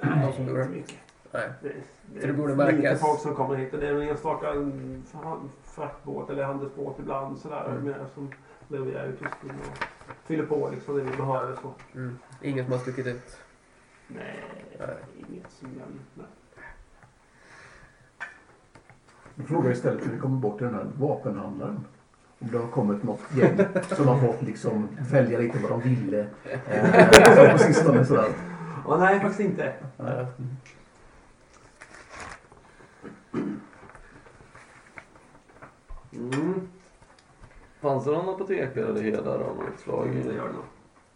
[SPEAKER 7] de som bor
[SPEAKER 3] Inte
[SPEAKER 7] här?
[SPEAKER 3] mycket.
[SPEAKER 7] Nej.
[SPEAKER 3] Det, är-
[SPEAKER 7] Så det borde
[SPEAKER 3] lite
[SPEAKER 7] märkas.
[SPEAKER 3] folk som kommer hit. Det är en enstaka mm, fra- fraktbåt eller handelsbåt ibland sådär.
[SPEAKER 7] Mm.
[SPEAKER 3] Med, som levererar utrustning och fyller på liksom det vi behöver. Så.
[SPEAKER 7] Mm. Ingen som har stuckit ut?
[SPEAKER 3] Nej, inget som jag... Nej.
[SPEAKER 6] Då frågar jag istället hur vi kommer bort till den här vapenhandlaren. Om det har kommit något gäng som har fått liksom välja lite vad de ville. Eh, så på sistone sådär.
[SPEAKER 3] Åh, nej, faktiskt inte. Mm.
[SPEAKER 4] Fanns det någon apotekare eller herdare av något slag?
[SPEAKER 3] Det gör det nog.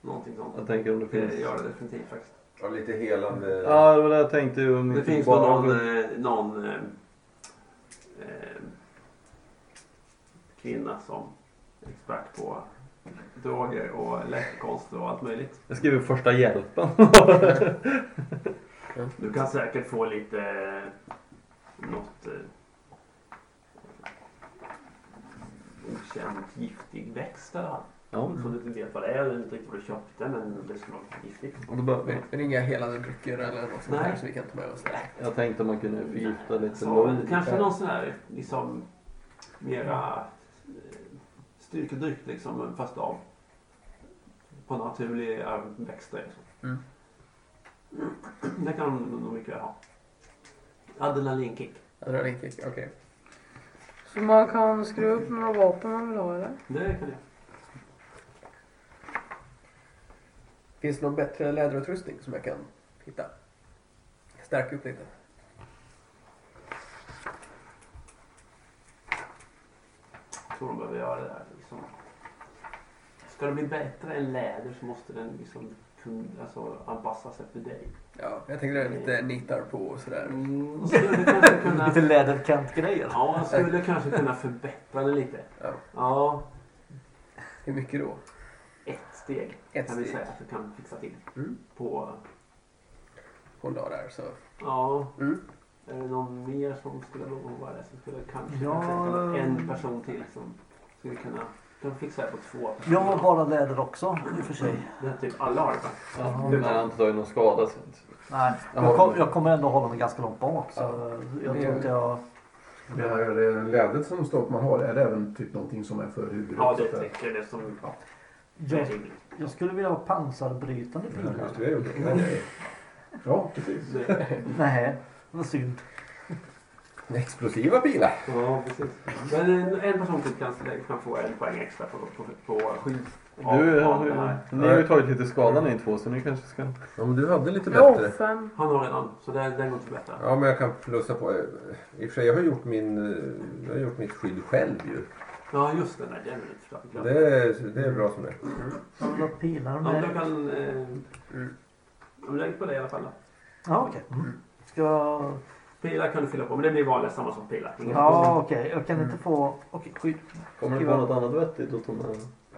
[SPEAKER 3] Någonting sånt.
[SPEAKER 4] Jag tänker om det
[SPEAKER 3] Det
[SPEAKER 4] finns...
[SPEAKER 3] gör det definitivt faktiskt.
[SPEAKER 2] Ja, lite helande.
[SPEAKER 4] Ja, det var det jag tänkte ju. om
[SPEAKER 3] Det
[SPEAKER 4] inte
[SPEAKER 3] finns
[SPEAKER 4] bara-
[SPEAKER 3] någon, eh, någon eh, eh, kvinna som är expert på droger och läkekonst och allt möjligt.
[SPEAKER 4] Jag skriver första hjälpen.
[SPEAKER 3] Du kan säkert få lite eh, något eh, okänt giftig växt eller allt.
[SPEAKER 4] Ja,
[SPEAKER 3] Som du inte vet vad det är eller inte riktigt vad du köpte men det skulle vara giftigt.
[SPEAKER 4] och då bör,
[SPEAKER 7] Men inga helande drycker eller något sånt här
[SPEAKER 3] Nej.
[SPEAKER 7] som vi kan ta med oss?
[SPEAKER 4] jag tänkte man kunde förgifta lite
[SPEAKER 7] Liksom,
[SPEAKER 3] Så,
[SPEAKER 4] blod.
[SPEAKER 3] kanske någon sån här liksom mera eh, styrkedryck liksom fast av på naturliga växter. liksom.
[SPEAKER 7] Mm.
[SPEAKER 3] Det kan de nog mycket väl ha. Adrenalinkick.
[SPEAKER 7] Adrenalinkick, okej.
[SPEAKER 8] Så man kan skruva upp några vapen man vill ha eller?
[SPEAKER 3] Det kan jag.
[SPEAKER 7] Finns det någon bättre läderutrustning som jag kan hitta? Stärka upp lite.
[SPEAKER 3] Jag tror de behöver göra det där. Liksom. Ska det bli bättre än läder så måste den liksom kun- alltså, anpassas efter dig.
[SPEAKER 7] Ja, jag tänkte det är lite nitar på och sådär.
[SPEAKER 3] Mm, skulle kanske kunna,
[SPEAKER 5] Lite läderkantgrejer.
[SPEAKER 3] ja, jag skulle kanske kunna förbättra den lite.
[SPEAKER 7] Ja.
[SPEAKER 3] Ja,
[SPEAKER 7] Hur mycket då?
[SPEAKER 3] ett steg
[SPEAKER 7] Ett
[SPEAKER 3] kan vi
[SPEAKER 7] steg.
[SPEAKER 3] säga att du kan fixa till.
[SPEAKER 7] Mm.
[SPEAKER 3] På,
[SPEAKER 7] På en dag där så.
[SPEAKER 3] ja,
[SPEAKER 7] Mm.
[SPEAKER 3] är det någon mer som skulle behöva det så skulle jag kanske
[SPEAKER 5] Ja.
[SPEAKER 3] tänka mig en person till som skulle kunna Den fixar jag på två.
[SPEAKER 5] Jag har bara läder också i och för sig.
[SPEAKER 3] Den är typ alla har det.
[SPEAKER 4] Ja, men han har inte tagit någon skada. så inte-
[SPEAKER 5] Nej, jag, kom, jag kommer ändå hålla mig ganska långt bak. Så jag tror inte jag...
[SPEAKER 6] Det här eh, lädret som står på man har, är det även typ någonting som är för huvudet?
[SPEAKER 3] Ja, det
[SPEAKER 6] För-
[SPEAKER 3] täcker det som... Ja. Det är typ-
[SPEAKER 5] Jag,
[SPEAKER 3] rimligt.
[SPEAKER 5] jag skulle vilja ha pansarbrytande prylar.
[SPEAKER 2] Just det, vi har gjort
[SPEAKER 7] Mm.
[SPEAKER 2] det.
[SPEAKER 6] Ja, precis.
[SPEAKER 5] Nej, vad synd.
[SPEAKER 2] Explosiva bilar.
[SPEAKER 3] Ja, precis. Men en, en person till kan, kan få en poäng extra på, på, på skydd.
[SPEAKER 4] Du,
[SPEAKER 3] av, av den här.
[SPEAKER 4] ni har ju tagit lite skada ni två så ni kanske ska...
[SPEAKER 2] Ja, men du hade lite
[SPEAKER 8] Jo,
[SPEAKER 2] bättre.
[SPEAKER 8] fem.
[SPEAKER 3] Han har redan, så den, den går inte att förbättra.
[SPEAKER 2] Ja, men jag kan plussa på. eh, I och för sig, jag har gjort, min, eh, jag har gjort mitt skydd själv ju.
[SPEAKER 3] Ja, just den där. Den är lite förstörd.
[SPEAKER 2] Det är, det är bra som det är.
[SPEAKER 5] Jag vill ha pilar
[SPEAKER 3] Ja, men jag
[SPEAKER 5] med.
[SPEAKER 3] kan... Eh, om lägg på det i alla fall. då.
[SPEAKER 5] Ja, okej. Mm. Ska jag...
[SPEAKER 3] Pilar kan du fylla på, men det blir vanliga samma som pilar. Inga
[SPEAKER 5] Ja, okej. Jag kan inte få... Okej, skydd.
[SPEAKER 4] Kommer det vara något annat vettigt att ta med?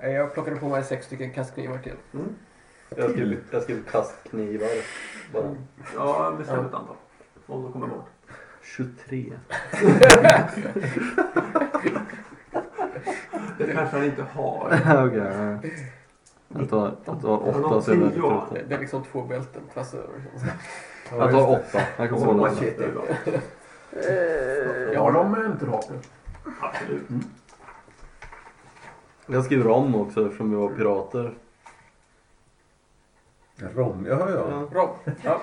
[SPEAKER 7] Nej, Jag plockade på mig sex stycken kastknivar till.
[SPEAKER 4] Jag skrev, jag skrev kastknivar. Bara.
[SPEAKER 3] konstigheter. Ja, bestäm ett antal. Om de kommer bort.
[SPEAKER 4] 23.
[SPEAKER 3] Det kanske han inte har.
[SPEAKER 4] Okej. Okay. Jag tar, jag tar åtta så är det
[SPEAKER 3] Ja.
[SPEAKER 7] Det, det är liksom två bälten liksom tvärs över.
[SPEAKER 4] Jag tar åtta. Jag kan få hålla den.
[SPEAKER 3] Det är bra.
[SPEAKER 6] Jag har de eh, inte vapen.
[SPEAKER 3] Absolut.
[SPEAKER 4] Jag skriver om också eftersom vi var pirater.
[SPEAKER 2] Rom, ja, ja.
[SPEAKER 7] Rob,
[SPEAKER 3] Ja,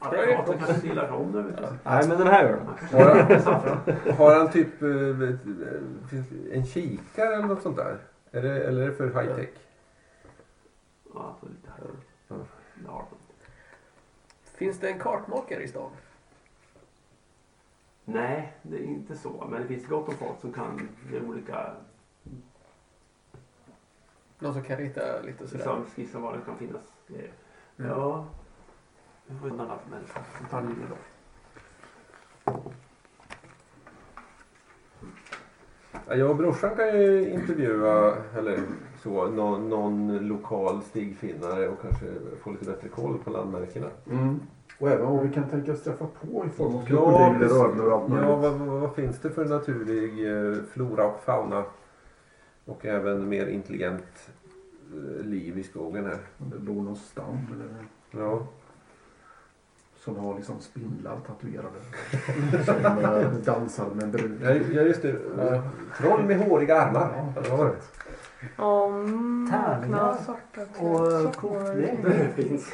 [SPEAKER 3] apparaten kanske inte gillar rom nu.
[SPEAKER 4] Nej men den här gör den.
[SPEAKER 2] Har han, har han typ eh, vet- eh, finns det en kikare eller något sånt där? Är det, eller är det för high tech?
[SPEAKER 3] Ja, så lite här. Ja.
[SPEAKER 7] finns det en kartmakare i stan?
[SPEAKER 3] Nej, det är inte så. Men det finns gott om folk som kan det olika,
[SPEAKER 7] Någon som kan rita lite sådär?
[SPEAKER 3] som liksom, skissar var det kan finnas grejer.
[SPEAKER 4] Mm.
[SPEAKER 3] Ja, det var en annan människa som tar linjer då.
[SPEAKER 2] Ja, Jag och brorsan kan ju intervjua eller så, någon, någon lokal stigfinnare och kanske få lite bättre koll på landmärkena.
[SPEAKER 6] Mm. Och även vad vi kan tänka oss träffa på i form av
[SPEAKER 2] Ja,
[SPEAKER 6] krokodiler,
[SPEAKER 2] precis.
[SPEAKER 6] ödlor och allt
[SPEAKER 2] Ja,
[SPEAKER 6] möjligt.
[SPEAKER 2] vad, vad, vad finns det för naturlig eh, flora och fauna? Och även mer intelligent eh, liv i skogen här.
[SPEAKER 6] Om det bor någon stam eller
[SPEAKER 2] Ja.
[SPEAKER 6] som har liksom spindlar tatuerade. som eh, dansar med en brud.
[SPEAKER 2] Ja, ju- ja, just det. Eh, Troll med håriga armar. Ja, det var det.
[SPEAKER 8] Ja, mm,
[SPEAKER 5] Tärningar.
[SPEAKER 8] nakna, svarta
[SPEAKER 5] Och, eh,
[SPEAKER 8] svartmålade
[SPEAKER 5] kortlek.
[SPEAKER 8] kvinnor.
[SPEAKER 3] Det finns.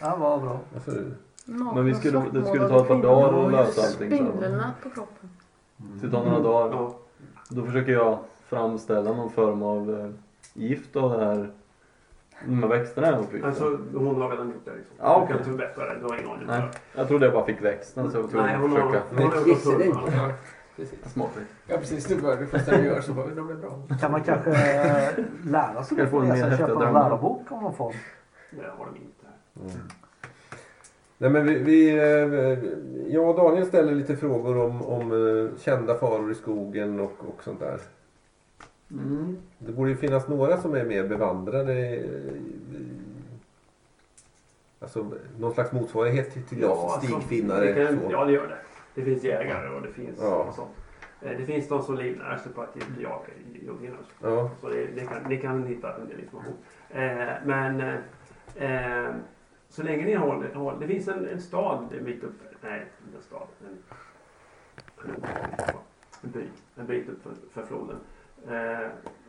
[SPEAKER 5] Ja, vad bra.
[SPEAKER 2] Alltså,
[SPEAKER 8] Nakna,
[SPEAKER 4] Men vi skulle- det skulle
[SPEAKER 8] svartmålade
[SPEAKER 4] ta ett par
[SPEAKER 8] kvinnor.
[SPEAKER 4] dagar att lösa allting, så.
[SPEAKER 8] Spindelnät på kroppen.
[SPEAKER 4] Det tar några dagar.
[SPEAKER 3] Ja,
[SPEAKER 4] Då försöker jag framställa någon form av eh, gift av det här. De här växterna jag fick.
[SPEAKER 3] alltså hon har redan gjort det liksom.
[SPEAKER 4] Ja,
[SPEAKER 3] Du kan
[SPEAKER 4] okej.
[SPEAKER 3] förbättra det, du har ingen aning.
[SPEAKER 4] Nej, jag trodde jag bara fick växten så jag var
[SPEAKER 3] Nej,
[SPEAKER 4] tvungen
[SPEAKER 3] hon
[SPEAKER 4] att
[SPEAKER 3] har...
[SPEAKER 4] försöka.
[SPEAKER 3] Hon har
[SPEAKER 7] Men
[SPEAKER 3] gjort
[SPEAKER 7] kissa dig.
[SPEAKER 3] fullt.
[SPEAKER 7] Ja, precis.
[SPEAKER 4] Smart.
[SPEAKER 7] Ja, precis. Du började första du gör så bara, de blir bra.
[SPEAKER 5] Kan man kanske eh, lära sig
[SPEAKER 4] Ska jag få en
[SPEAKER 5] läsa-
[SPEAKER 4] mer häftiga
[SPEAKER 5] köpa en
[SPEAKER 4] drömmar?
[SPEAKER 5] lärobok om någon form?
[SPEAKER 3] Det har de inte.
[SPEAKER 2] Mm. nej men vi, vi, eh, jag och Daniel ställer lite frågor om, om eh, kända faror i skogen och, och sånt där. Det borde ju finnas några som är mer bevandrade. eh, i- Alltså någon slags motsvarighet till- till oss
[SPEAKER 3] alltså,
[SPEAKER 2] stigfinnare.
[SPEAKER 3] det kan-
[SPEAKER 2] så.
[SPEAKER 3] Ja, det gör det. Det finns jägare och det finns
[SPEAKER 2] Ja.
[SPEAKER 3] sånt. Eh, Det finns de som livnär sig på att jaga jogging.
[SPEAKER 2] Ja.
[SPEAKER 3] Så det, det kan, ni kan hitta en del information. Eh, men eh, eh, så länge ni håller... håller det finns en, en stad mitt uppe. Nej, inte en stad. En, en by. En bit upp för, för floden. Eh,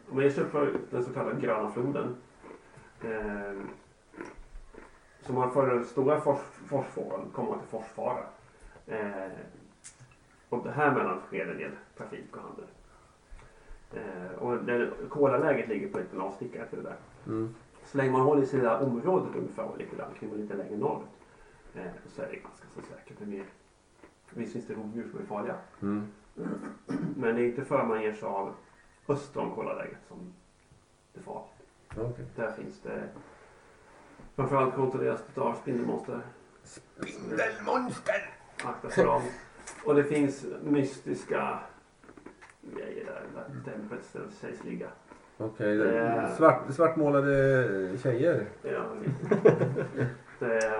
[SPEAKER 3] om man ger sig upp för den så kallade gröna floden. Eh, som har för den stora fors, forsfåran kommer man till forsfara. Eh, och det här mellan sker en del trafik och handel. Eh, och det kolarläget ligger på en liten avstickare till det där.
[SPEAKER 2] Mm.
[SPEAKER 3] Så länge man håller sig i det här området ungefär och lite grann och lite längre norrut. Eh, så är det ganska så säkert. Det blir, visst finns det rovdjur som är farliga.
[SPEAKER 2] Mm.
[SPEAKER 3] Men det är inte förrän man ger sig av öster om kolarläget som det är farligt.
[SPEAKER 2] Okej.
[SPEAKER 3] Där finns det framförallt kontrolleras det av spindelmonster.
[SPEAKER 2] Spindelmonster!
[SPEAKER 3] Akta för dem. Och det finns mystiska grejer där. där Templet där det sägs ligga.
[SPEAKER 2] Okej,
[SPEAKER 3] Eh.
[SPEAKER 2] svart, svartmålade tjejer.
[SPEAKER 3] Ja, visst. det,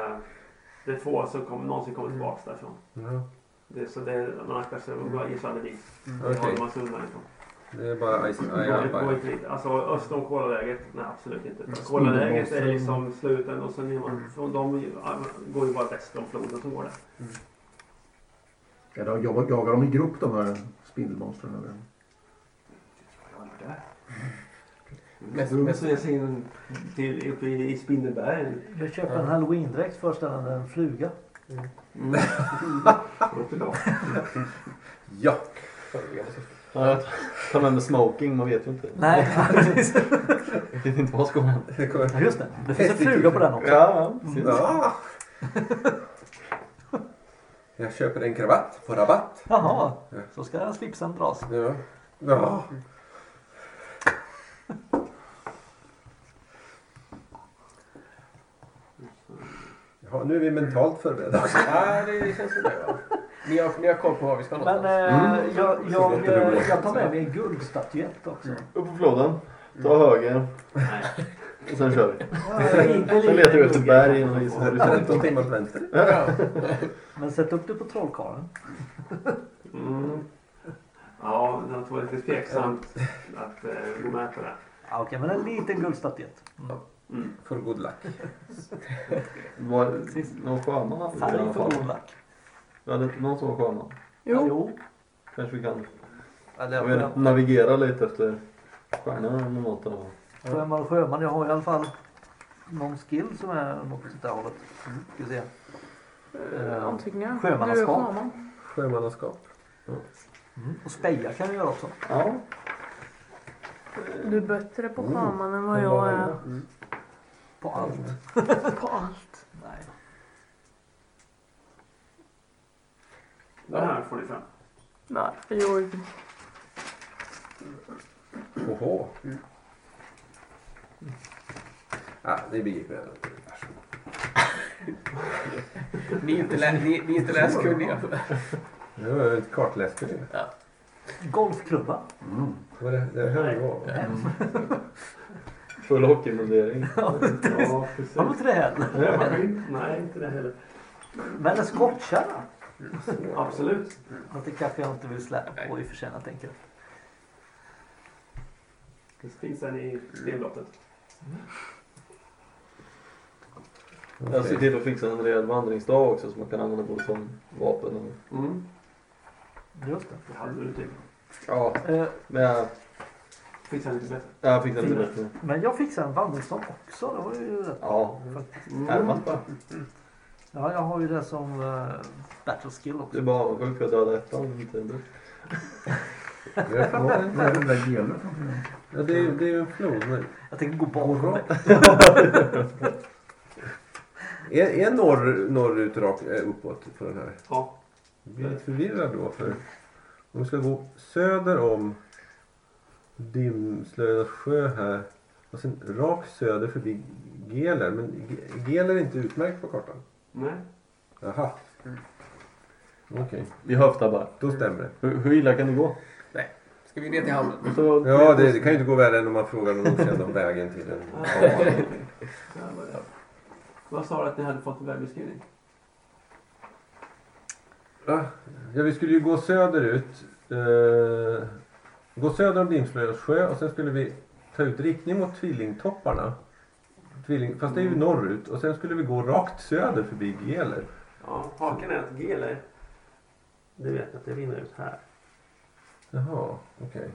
[SPEAKER 3] det är få som kommer, någonsin kommer tillbaka därifrån.
[SPEAKER 2] Ja.
[SPEAKER 3] Det, så det, man aktar sig och bara ger sig aldrig dit. Det
[SPEAKER 2] Okej.
[SPEAKER 3] håller man sig undan ifrån.
[SPEAKER 2] Det är bara Ice
[SPEAKER 3] Det går
[SPEAKER 2] Eye.
[SPEAKER 3] inte riktigt. Alltså öst om kolaläget? Nej, absolut inte. Kolaläget är liksom sluten och sen är man, från de går ju bara väster om floden som går där.
[SPEAKER 6] Ja, då jag- jagar de i grupp de här spindelmonstren? Eller?
[SPEAKER 3] Jag har varit där.
[SPEAKER 7] Mest-
[SPEAKER 3] Jag
[SPEAKER 7] mest-
[SPEAKER 3] måste jag sig in till, uppe i, i Spindelberg.
[SPEAKER 5] Jag köper en halloween-dräkt först innan en fluga.
[SPEAKER 2] Ja,
[SPEAKER 4] Ja, jag tar med mig smoking, man vet ju inte.
[SPEAKER 5] Nej, precis.
[SPEAKER 4] Jag vet inte vad ska man hämta.
[SPEAKER 2] det kommer.
[SPEAKER 5] Ja, just det. Det finns en fluga på den också.
[SPEAKER 4] Ja, precis.
[SPEAKER 2] Ja. Jag köper en kravatt på rabatt.
[SPEAKER 5] Jaha, så ska slipsen dras.
[SPEAKER 2] Ja. Ja. Jaha, nu är vi mentalt förberedda.
[SPEAKER 7] Ja, det känns som det. Va? Ni, har, ni har koll på var vi ska
[SPEAKER 5] Men
[SPEAKER 7] någonstans.
[SPEAKER 5] eh,
[SPEAKER 4] Mm.
[SPEAKER 5] jag, jag, eh, jag tar med mig en guldstatyett också.
[SPEAKER 4] Upp på floden, ta höger och sen kör vi. Sen
[SPEAKER 5] Sen
[SPEAKER 4] letar vi efter berg och is.
[SPEAKER 2] Femton timmar åt vänster.
[SPEAKER 5] Men sätt upp det på trollkarlen.
[SPEAKER 3] Mm. Ja, det var lite tveksamt att eh, gå med på det.
[SPEAKER 5] Ja, Okej, men en liten guldstatyett.
[SPEAKER 2] For good luck.
[SPEAKER 4] Var någon sjöman hade vi
[SPEAKER 5] Färg
[SPEAKER 4] i alla
[SPEAKER 5] för
[SPEAKER 4] fall.
[SPEAKER 5] god lack.
[SPEAKER 4] Vi hade inte någon som var sjöman.
[SPEAKER 5] Ja,
[SPEAKER 8] Jo.
[SPEAKER 5] Jo.
[SPEAKER 4] Kanske vi kan jag vet,
[SPEAKER 5] Eller
[SPEAKER 4] inte, navigera lite efter stjärnorna eller något. eller vad.
[SPEAKER 5] sjöman och sjöman. Jag har i alla fall någon skill som är något åt det här hållet. Ska vi se. Mm. Eh,
[SPEAKER 8] Antingen.
[SPEAKER 5] Sjömannaskap.
[SPEAKER 8] Du är sjöman.
[SPEAKER 2] Sjömannaskap.
[SPEAKER 5] Och speja kan vi göra också.
[SPEAKER 4] Ja,
[SPEAKER 8] Du är bättre
[SPEAKER 6] Oh.
[SPEAKER 8] på sjöman än vad jag är
[SPEAKER 5] På allt.
[SPEAKER 8] på allt.
[SPEAKER 5] Nej.
[SPEAKER 3] Det här får ni fram.
[SPEAKER 8] Nej, jo.
[SPEAKER 2] Oho. Ah, det begriper jag.
[SPEAKER 7] Ni är inte, lä, ni, ni är inte läskunniga.
[SPEAKER 2] Nu har jag inte kartläst det.
[SPEAKER 5] Golfklubba.
[SPEAKER 2] Vad det, det här var.
[SPEAKER 4] Mm. full hockeymundering.
[SPEAKER 3] Ja,
[SPEAKER 5] Har du
[SPEAKER 3] precis.
[SPEAKER 5] inte det heller?
[SPEAKER 3] Nej, inte det heller.
[SPEAKER 5] Men en skottkärra.
[SPEAKER 3] Absolut.
[SPEAKER 5] Fast det kanske jag inte vill släppa på i och för sig när jag tänker efter.
[SPEAKER 3] Det finns en i stenbrottet.
[SPEAKER 4] Jag ser till att fixa en rejäl vandringsdag också som man kan använda både som vapen och...
[SPEAKER 3] Mm.
[SPEAKER 5] Just det.
[SPEAKER 3] Det hade du typ.
[SPEAKER 4] Ja,
[SPEAKER 5] Eh,
[SPEAKER 4] men jag,
[SPEAKER 3] Finns en lite bättre.
[SPEAKER 4] jag fixar inte bättre.
[SPEAKER 5] Men jag fixar en vandringsstav också. Det var ju rätt.
[SPEAKER 4] Ja,
[SPEAKER 5] Mm.
[SPEAKER 4] ärmat bara.
[SPEAKER 5] Ja, jag har ju det som uh, battle skill
[SPEAKER 4] Du är
[SPEAKER 5] också.
[SPEAKER 4] bara avundsjuk för att jag hade ettan men inte en dutt.
[SPEAKER 6] Vad är den där gelen?
[SPEAKER 2] Ja, det, är- det är ju en flod nu.
[SPEAKER 5] Jag tänker gå bakom dig.
[SPEAKER 2] Är, är norr, norrut rak, eh, uppåt på den här?
[SPEAKER 3] Ja.
[SPEAKER 2] Jag blir lite förvirrad då. För om vi ska gå söder om Dimslöjornas sjö här. Och sen rakt söder förbi Geler. Men Ge- Geler är inte utmärkt på kartan.
[SPEAKER 3] Nej.
[SPEAKER 2] Jaha. Okej,
[SPEAKER 4] Vi höftar bara.
[SPEAKER 2] då stämmer det.
[SPEAKER 4] Hur, hur illa kan det gå?
[SPEAKER 7] Ska vi ner till hamnen?
[SPEAKER 4] Så,
[SPEAKER 2] Ja, det, det kan ju inte gå värre än om man frågar någon okänd om vägen till en
[SPEAKER 3] Ja, vad det- Vad sa du att ni hade fått en vägbeskrivning?
[SPEAKER 2] Ja, vi skulle ju gå söderut. Eh, gå söder om Dimslöjans sjö och sen skulle vi ta ut riktning mot Tvillingtopparna. Tvilling, fast det
[SPEAKER 4] Mm.
[SPEAKER 2] är ju norrut. Och sen skulle vi gå rakt söder förbi Geler.
[SPEAKER 3] Ja, haken är att Geler, du vet att det rinner ut här.
[SPEAKER 2] Jaha, okej.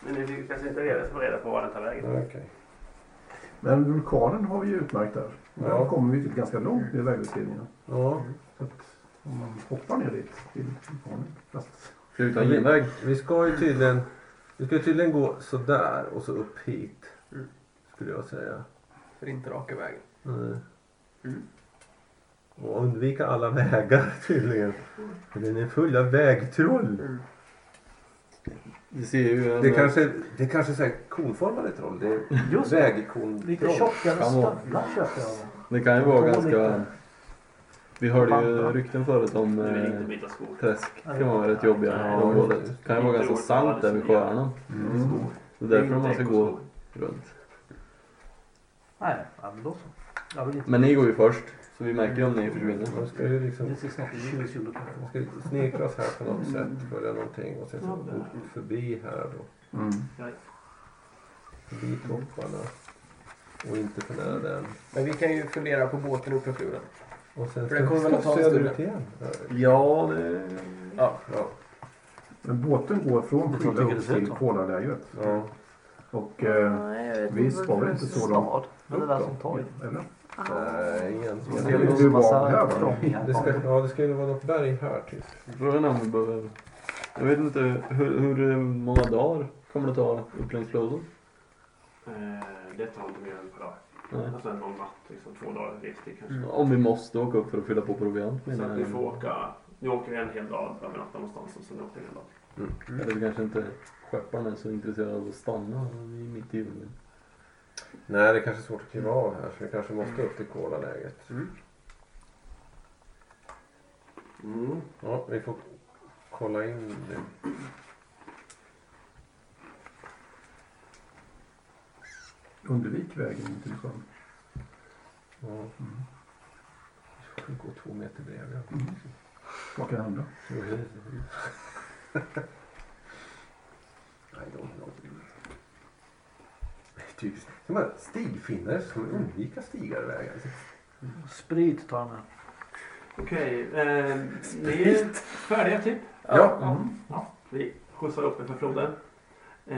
[SPEAKER 3] Men ni lyckas inte reda, få reda på var den tar vägen.
[SPEAKER 2] Ja, okej.
[SPEAKER 6] Men vulkanen har vi ju utmärkt där. Där
[SPEAKER 2] Ja.
[SPEAKER 6] kommer vi till ganska långt i vägbeskrivningen.
[SPEAKER 2] Ja,
[SPEAKER 6] Så att om man hoppar ner dit till vulkanen. Fast
[SPEAKER 4] utan genväg.
[SPEAKER 2] vi ska ju tydligen, vi ska ju tydligen gå sådär och så upp hit.
[SPEAKER 7] Mm.
[SPEAKER 2] Skulle jag säga.
[SPEAKER 7] För inte raka vägen.
[SPEAKER 2] Mm. Och undvika alla vägar tydligen. För den är full av vägtroll.
[SPEAKER 4] Vi ser ju en...
[SPEAKER 2] Det
[SPEAKER 7] eh,
[SPEAKER 2] kanske, det kanske är så här konformade troll. Det är
[SPEAKER 5] Just det.
[SPEAKER 2] vägkon
[SPEAKER 5] Lite
[SPEAKER 2] troll.
[SPEAKER 5] tjockare
[SPEAKER 4] Kan vara.
[SPEAKER 5] stövlar köper jag. av.
[SPEAKER 4] det kan ju vara
[SPEAKER 5] Tål
[SPEAKER 4] ganska...
[SPEAKER 5] inte.
[SPEAKER 4] Vi hörde ju
[SPEAKER 5] Vandra.
[SPEAKER 4] rykten förut om
[SPEAKER 3] Du vill inte
[SPEAKER 4] eh,
[SPEAKER 3] byta skor.
[SPEAKER 4] träsk. kan vara rätt jobbiga i området. Det kan ju vara ganska sant där vid sjöarna.
[SPEAKER 3] Skor.
[SPEAKER 4] Det är Mm. därför man ska
[SPEAKER 3] Inte
[SPEAKER 4] gå
[SPEAKER 3] ekoskor.
[SPEAKER 4] runt.
[SPEAKER 5] Nej, ja, men då så. Jag vill inte.
[SPEAKER 4] Men ni går ju först. Så vi märker ju om ni försvinner.
[SPEAKER 2] Man ska ju liksom
[SPEAKER 5] Det ser snart ljus ut.
[SPEAKER 2] man ska ju snirkla oss här på något
[SPEAKER 7] Mm.
[SPEAKER 2] sätt. Följa någonting och sen så gå förbi här då.
[SPEAKER 4] Mm.
[SPEAKER 2] Förbi topparna. Och inte för nära den.
[SPEAKER 7] Men vi kan ju fundera på båten uppe i floden.
[SPEAKER 2] Och sen
[SPEAKER 7] För den kommer
[SPEAKER 2] så-
[SPEAKER 7] väl att ta en
[SPEAKER 2] så ser
[SPEAKER 7] stund.
[SPEAKER 2] det ut igen.
[SPEAKER 4] Ja, det...
[SPEAKER 7] Ja.
[SPEAKER 2] Ja.
[SPEAKER 6] Men båten går från
[SPEAKER 5] Jag tror inte det
[SPEAKER 6] Skyllehov
[SPEAKER 5] ser ut
[SPEAKER 6] till
[SPEAKER 5] så.
[SPEAKER 6] Kolalägret.
[SPEAKER 2] Ja.
[SPEAKER 6] Och eh,
[SPEAKER 8] Nej, jag vet
[SPEAKER 6] vi
[SPEAKER 8] inte
[SPEAKER 6] sparar
[SPEAKER 8] varför
[SPEAKER 6] inte
[SPEAKER 8] det
[SPEAKER 6] så
[SPEAKER 8] är
[SPEAKER 6] långt.
[SPEAKER 5] Stad. Men det där som torg.
[SPEAKER 6] Eller?
[SPEAKER 2] Nej, ingen
[SPEAKER 5] Det
[SPEAKER 6] Det är
[SPEAKER 5] är
[SPEAKER 6] lite
[SPEAKER 5] en
[SPEAKER 6] obehagligt här, va?
[SPEAKER 5] massa trånga
[SPEAKER 2] Det ska, ja, det ska ju vara något berg här typ.
[SPEAKER 4] Frågan är om vi behöver... Jag vet inte, hur, hur många dagar kommer det ta upp längs floden?
[SPEAKER 3] Eh, det tar inte mer än ett par dagar.
[SPEAKER 4] Nej.
[SPEAKER 3] Alltså en lång natt, liksom två dagar restid kanske.
[SPEAKER 4] Om vi måste åka upp för att fylla på proviant
[SPEAKER 3] Mm. Så att
[SPEAKER 4] menar
[SPEAKER 3] ni får
[SPEAKER 4] jag.
[SPEAKER 3] åka, ni åker en hel dag, övernattar någonstans och sen åker ni en dag.
[SPEAKER 4] Eller vi kanske inte skepparen är så intresserad av att stanna i mitt i djungeln.
[SPEAKER 2] Nej, det är kanske är svårt att kliva av här så vi kanske måste upp till Kolalägret.
[SPEAKER 3] Mm.
[SPEAKER 2] Ja, vi får kolla in det.
[SPEAKER 6] Undervik vägen in till sjön.
[SPEAKER 2] Ja. Vi ska gå två meter bredvid.
[SPEAKER 6] Vad kan hända?
[SPEAKER 4] Mm.
[SPEAKER 2] I don't know. Typiskt. Som bara stigfinnare som undviker stigar och vägar.
[SPEAKER 5] Sprit tar jag med.
[SPEAKER 3] Okej, eh, ni är färdiga typ?
[SPEAKER 2] Ja.
[SPEAKER 6] Mm.
[SPEAKER 3] Ja, vi skjutsar upp er för floden. Eh,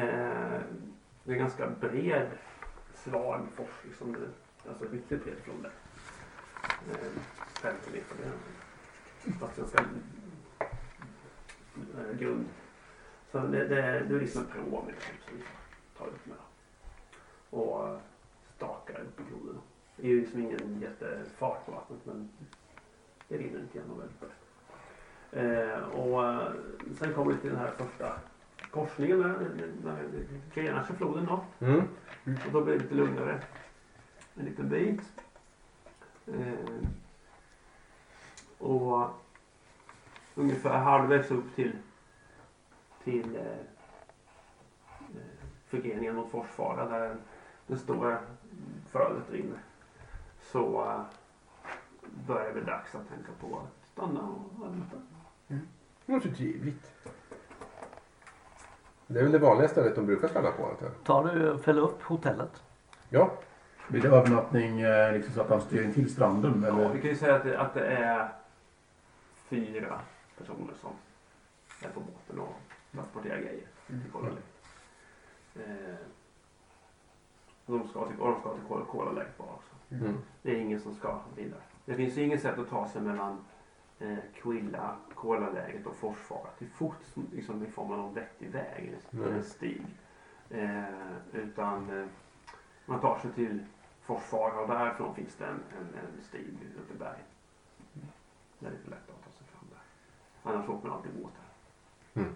[SPEAKER 3] det är en ganska bred slag fors, liksom, det- alltså riktigt bred flod där. Eh, 50 meter ner. Fast ganska eh, grund. Så det, det, det är liksom en pråm liksom, som vi tar upp med. Och eh, stakar upp i floden. Det är ju liksom ingen jättefart på vattnet men det rinner inte igenom väldigt bra. Eh, och eh, sen kommer vi till den här första korsningen där, där det grenar sig floden då.
[SPEAKER 2] Mm.
[SPEAKER 3] Och då blir det lite lugnare. En liten bit. Eh, och eh, ungefär halvvägs upp till, till eh, eh, förgreningen mot Forsfara där den- det stora flödet rinner. Så eh, börjar det bli dags att tänka på att stanna och vänta.
[SPEAKER 2] Det var så trevligt. Det är väl det vanliga stället de brukar stanna på antar jag.
[SPEAKER 5] Tar du, fäll upp hotellet.
[SPEAKER 2] Ja.
[SPEAKER 6] Blir det övernattning eh, liksom så att han styr in till stranden?
[SPEAKER 3] Ja, vi
[SPEAKER 6] Eller?
[SPEAKER 3] kan ju säga att det, att det är fyra personer som är på båten och transporterar grejer till Kolari. Eh, de ska till, och de ska till Kol- Kola Lake bara också.
[SPEAKER 2] Mm.
[SPEAKER 3] Det är ingen som ska vidare. Det finns ju inget sätt att ta sig mellan eh, Quilla, Kolaläget och Forsfara till fots liksom, i form av någon vettig väg eller
[SPEAKER 2] Nej.
[SPEAKER 3] en stig. Eh, utan eh, man tar sig till Forsfara och därifrån finns det en, en, en stig uppe i bergen. Där det är lite lättare att ta sig fram där. Annars åker man alltid båt här.
[SPEAKER 2] Mm.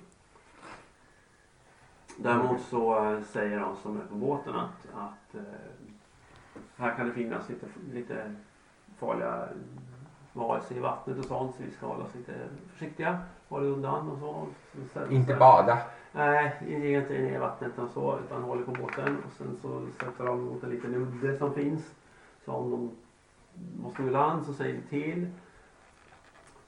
[SPEAKER 3] Däremot så eh, säger de som är på båten att, att eh, här kan det finnas lite, lite farliga varelser i vattnet och sånt så vi ska hålla oss lite försiktiga. Håll er undan och så. så, så
[SPEAKER 2] Inte bada.
[SPEAKER 3] Nej, ge inte ner i vattnet och så utan håller på båten och sen så sätter de mot en liten udde som finns. Så om de måste gå i land så säger vi till.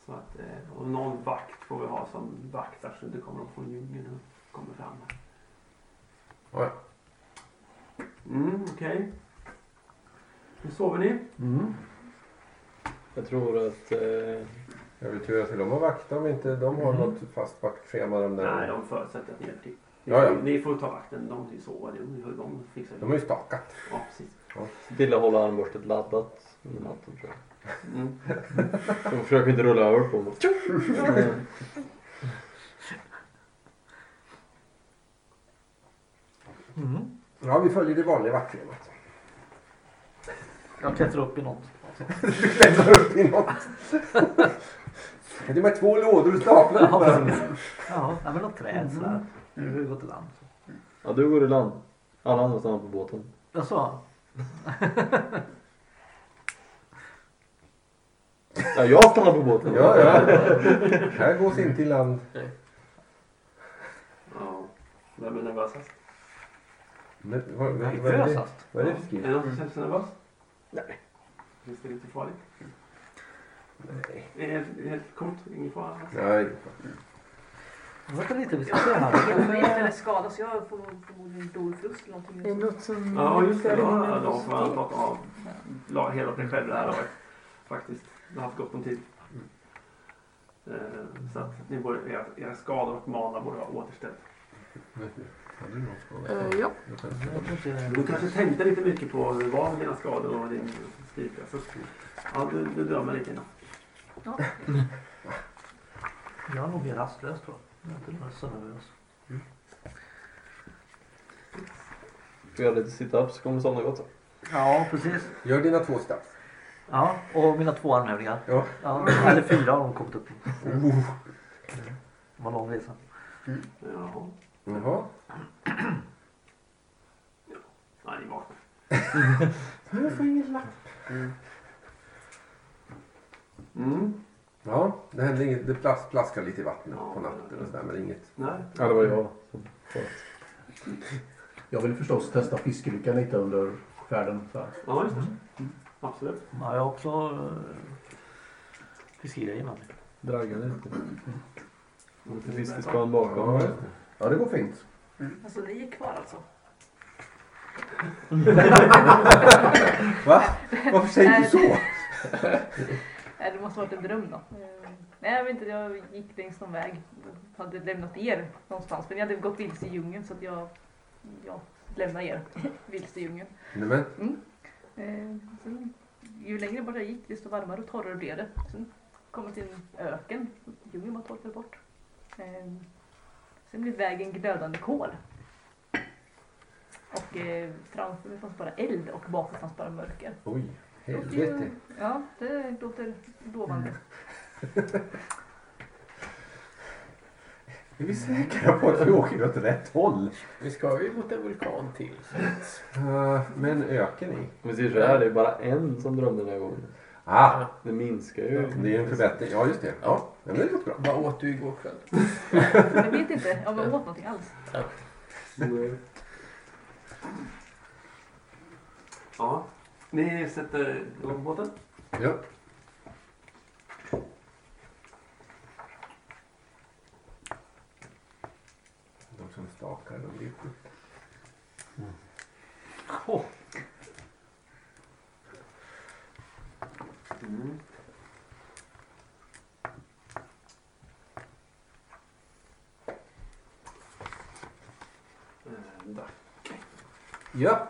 [SPEAKER 3] Så att, eh, och någon vakt får vi ha som vaktar så det kommer de från djungeln och kommer fram.
[SPEAKER 2] Oj.
[SPEAKER 3] Mm, okej. Hur sover ni?
[SPEAKER 6] Mm.
[SPEAKER 4] Jag tror att... Eh,
[SPEAKER 2] Jag vill tur att de har vakta om inte de har något fast vaktschema. De,
[SPEAKER 3] Nej,
[SPEAKER 2] där.
[SPEAKER 3] de förutsätter att ni hjälper till. Ni,
[SPEAKER 2] Ja, ja.
[SPEAKER 3] får- ni får ta vakten, de sover, de, de, de fixar
[SPEAKER 2] de har ju stakat.
[SPEAKER 3] Ja, precis.
[SPEAKER 4] se till att hålla armborstet laddat under natten tror jag.
[SPEAKER 3] Mm.
[SPEAKER 4] De försöker inte rulla över på mig. Men,
[SPEAKER 2] Ja, vi följer det vanliga vaktschemat.
[SPEAKER 5] Jag klättrar upp i något.
[SPEAKER 2] Klättrar upp i något. Det är bara två lådor staplade på varandra.
[SPEAKER 5] Ja, nej, men något
[SPEAKER 6] Mm.
[SPEAKER 5] träd sådär. Nu har vi gått i land.
[SPEAKER 4] Ja, du går i land. Alla andra stannar på båten.
[SPEAKER 5] Jaså?
[SPEAKER 4] Ja, jag stannar på båten.
[SPEAKER 2] Ja, ja. Här går inte till land.
[SPEAKER 3] Ja. Vem är nervösast?
[SPEAKER 2] Men, vad, vad,
[SPEAKER 5] Nej,
[SPEAKER 2] vad, är det,
[SPEAKER 5] Nervösast.
[SPEAKER 2] vad är det för skrift?
[SPEAKER 3] Är det någon som känner sig nervös? Nej. Känns det lite farligt? Eh, Helt coolt, ingen fara.
[SPEAKER 5] Mm.
[SPEAKER 2] Nej.
[SPEAKER 5] Vänta lite, vi ska se här.
[SPEAKER 9] Jag kommer inte skadas. Jag får förmodligen dolförlust eller någonting.
[SPEAKER 8] Det är något som...
[SPEAKER 3] Ja, just
[SPEAKER 5] Mm.
[SPEAKER 3] det.
[SPEAKER 8] Ja,
[SPEAKER 3] Ja, de får han prata av. La hela sig själv det här året. Faktiskt. Jag har haft gott om tid. Eh, Så att ni borde, era, era skador och mana borde vara återställt.
[SPEAKER 2] Hade du någon skada?
[SPEAKER 8] Eh, ja.
[SPEAKER 2] Jag kan inte.
[SPEAKER 5] Jag tror inte det är-
[SPEAKER 3] Du kanske tänkte lite mycket på hur var dina skador och din styrka. Så, ja, du, du drömmer lite. grann.
[SPEAKER 5] Jag är nog mer rastlös tror jag. Jag är inte alls så nervös.
[SPEAKER 4] Får göra lite sit-ups så kommer du somna gott. sen.
[SPEAKER 5] Ja, precis.
[SPEAKER 2] Gör dina två staff.
[SPEAKER 5] Ja, och mina två armhävningar.
[SPEAKER 2] Ja.
[SPEAKER 5] Ja, eller fyra har de kommit upp i.
[SPEAKER 2] Oh.
[SPEAKER 5] Det var en lång resa.
[SPEAKER 3] Jaha.
[SPEAKER 2] Jaha.
[SPEAKER 3] Nej, ni vaknar. Mm.
[SPEAKER 2] Ja, det hände inget. Det plas, plaskar lite i vattnet
[SPEAKER 3] Ja.
[SPEAKER 2] på natten och sådär, men inget.
[SPEAKER 3] Nej.
[SPEAKER 4] Ja, det var jag.
[SPEAKER 6] Jag vill förstås testa fiskelyckan lite under färden. Så här.
[SPEAKER 3] Ja, just det. Absolut.
[SPEAKER 5] Ja, jag har också eh, fiskegrejer med mig.
[SPEAKER 4] Dragga lite. Och lite fiskespön bakom.
[SPEAKER 2] Ja, ja det går fint.
[SPEAKER 9] Alltså ni är kvar alltså.
[SPEAKER 2] Va? Varför säger du så?
[SPEAKER 9] Nej, det måste ha varit en dröm då. Eh, Nej, jag vet inte. Jag gick längs någon väg. Jag hade lämnat er någonstans. Men jag hade gått vilse i djungeln så att jag, jag lämnade er vilse i djungeln.
[SPEAKER 2] Nej, men,
[SPEAKER 9] Eh, sen, ju längre bort jag gick desto varmare och torrare blev det. Sen kom jag till en öken. Djungeln bara torkade bort. Eh, sen blev vägen glödande kol. Och eh, framför mig fanns bara eld och bakom fanns bara mörker.
[SPEAKER 2] oj.
[SPEAKER 9] Och det-
[SPEAKER 2] Helvete.
[SPEAKER 9] Ja, det låter lovande.
[SPEAKER 2] Är vi säkra på att vi åker åt rätt håll?
[SPEAKER 7] Vi ska ju mot en vulkan till. Så att,
[SPEAKER 2] Uh, men öken i.
[SPEAKER 4] Om vi säger så här, det är bara en som drömde den här gången.
[SPEAKER 2] Ah,
[SPEAKER 4] Det minskar ju.
[SPEAKER 2] det är en förbättring. Ja, just det. Ja, men det låter bra.
[SPEAKER 7] vad åt du igår kväll?
[SPEAKER 9] Jag vet inte om jag åt någonting alls.
[SPEAKER 3] Mm. eh. Ja. Ni sätter igång båten?
[SPEAKER 2] Ja. De som stakar, de blir sjuka.
[SPEAKER 3] Mm. Eh, Där.
[SPEAKER 2] Ja,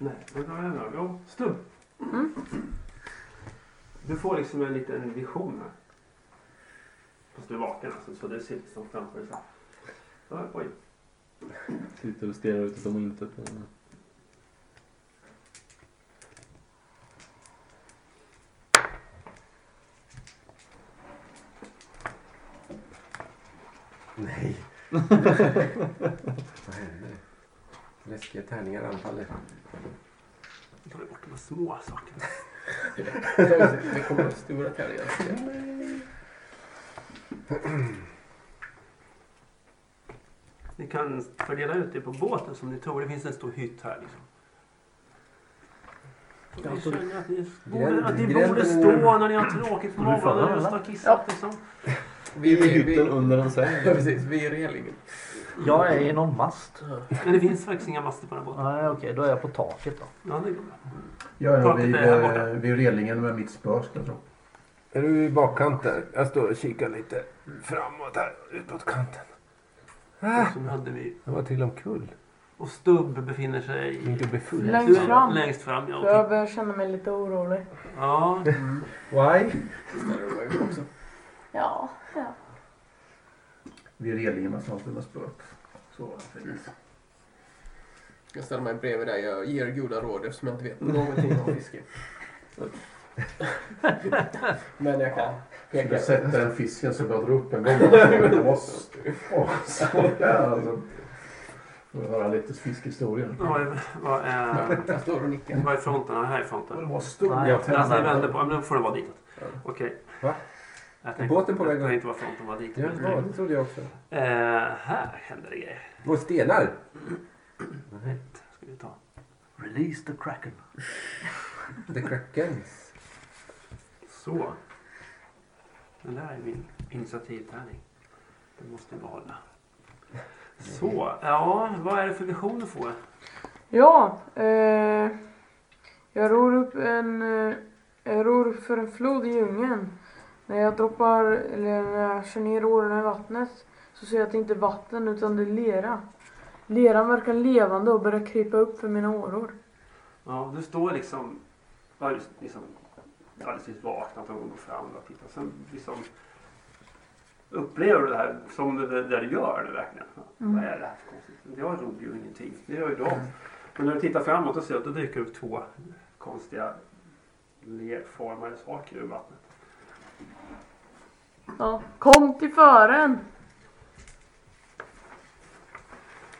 [SPEAKER 3] Nej, men då har jag en ögon. Stubb. Du får liksom en liten vision här. Fast du är vaken alltså, så du ser liksom framför dig så här. Ja, Oj,
[SPEAKER 4] Sitter och stirrar ut utom intet.
[SPEAKER 2] Nej. Vad händer? Läskiga tärningar anfaller.
[SPEAKER 6] Eh,
[SPEAKER 3] nu tar du bort de här små sakerna.
[SPEAKER 7] Det kommer att stora tävlingar.
[SPEAKER 3] Ni kan fördela ut det på båten som ni tror. Det finns en stor hytt här liksom.
[SPEAKER 5] Ja,
[SPEAKER 3] Ni
[SPEAKER 5] så-
[SPEAKER 3] känner att ni
[SPEAKER 2] Gränd-
[SPEAKER 3] borde, att ni
[SPEAKER 2] gränd-
[SPEAKER 3] borde stå när ni har tråkigt på
[SPEAKER 5] Borde du falla,
[SPEAKER 3] morgonen och just
[SPEAKER 5] eller?
[SPEAKER 3] har kissat liksom.
[SPEAKER 7] Vi,
[SPEAKER 4] I
[SPEAKER 7] vi, vi,
[SPEAKER 4] hytten
[SPEAKER 7] ja,
[SPEAKER 4] under en säng.
[SPEAKER 7] precis, vi är i relingen.
[SPEAKER 5] Jag är i någon mast.
[SPEAKER 3] Men det finns faktiskt inga master på den här båten.
[SPEAKER 5] Nej, okej. Då är jag på taket då.
[SPEAKER 3] Ja, det går bra.
[SPEAKER 6] Jag är
[SPEAKER 3] Taket
[SPEAKER 6] vid,
[SPEAKER 3] är här borta.
[SPEAKER 6] eh, vid relingen med mitt spö skulle jag tro.
[SPEAKER 2] Är du i bakkant där? Jag står och kikar lite framåt här, utåt kanten.
[SPEAKER 3] Och så hade vi.
[SPEAKER 2] Jag var till omkull.
[SPEAKER 3] Och Stubb befinner sig
[SPEAKER 2] Inte bli full.
[SPEAKER 8] Längst fram.
[SPEAKER 3] längst fram. Ja, och
[SPEAKER 8] Jag börjar känna mig lite orolig.
[SPEAKER 3] Ja,
[SPEAKER 2] Why?
[SPEAKER 8] Ja, ja.
[SPEAKER 6] Vid relingen med sånt med spöet. Så fint.
[SPEAKER 7] Jag ställer mig bredvid dig. Jag ger goda råd eftersom jag inte vet
[SPEAKER 2] Mm.
[SPEAKER 7] någonting om fiske. Men jag kan
[SPEAKER 6] Skulle
[SPEAKER 7] peka.
[SPEAKER 6] du sätta en fisken så bara dra upp en gång. Det var så- åh, sådär alltså. Får jag höra lite fiskhistorier.
[SPEAKER 3] vad är, vad är,
[SPEAKER 7] Jag står och nickar.
[SPEAKER 3] vad är fronten? Ja, Här är
[SPEAKER 6] Och det
[SPEAKER 3] fronten.
[SPEAKER 6] var stora
[SPEAKER 5] Nej, jag
[SPEAKER 6] tänder.
[SPEAKER 3] Alltså, jag vänder på, ja, men då får det vara ditåt. Okej.
[SPEAKER 2] Va?
[SPEAKER 3] Jag
[SPEAKER 2] båten på väg
[SPEAKER 3] Jag
[SPEAKER 2] upp?
[SPEAKER 3] tänkte vad fronten var ditåt.
[SPEAKER 2] Ja, ja, det trodde jag också.
[SPEAKER 3] Eh, här händer det grejer.
[SPEAKER 2] Var stenar?
[SPEAKER 3] Mm-hmm. Ska vi ta.
[SPEAKER 5] Release the kraken.
[SPEAKER 2] The Krakens.
[SPEAKER 3] Så. Den där är min initiativtärning. Den måste vi behålla. Så, ja, vad är det för vision du får?
[SPEAKER 8] Ja, eh, jag ror upp en eh, jag ror upp för en flod i djungen. När jag droppar, eller när jag kör ner årorna i vattnet så ser jag att det inte är vatten utan det är lera. Leran verkar levande och börjar krypa upp för mina åror.
[SPEAKER 3] Ja, du står liksom... Du har just liksom alldeles nyss vaknat och går fram och tittar. Sen liksom upplever du det här som det, det där du gör nu verkligen. Vad är det här för konstigt? Jag rog ju ingenting. Det gör ju de. Men när du tittar framåt och ser att det dyker upp två konstiga lerformade saker ur vattnet.
[SPEAKER 8] Ja, kom till fören!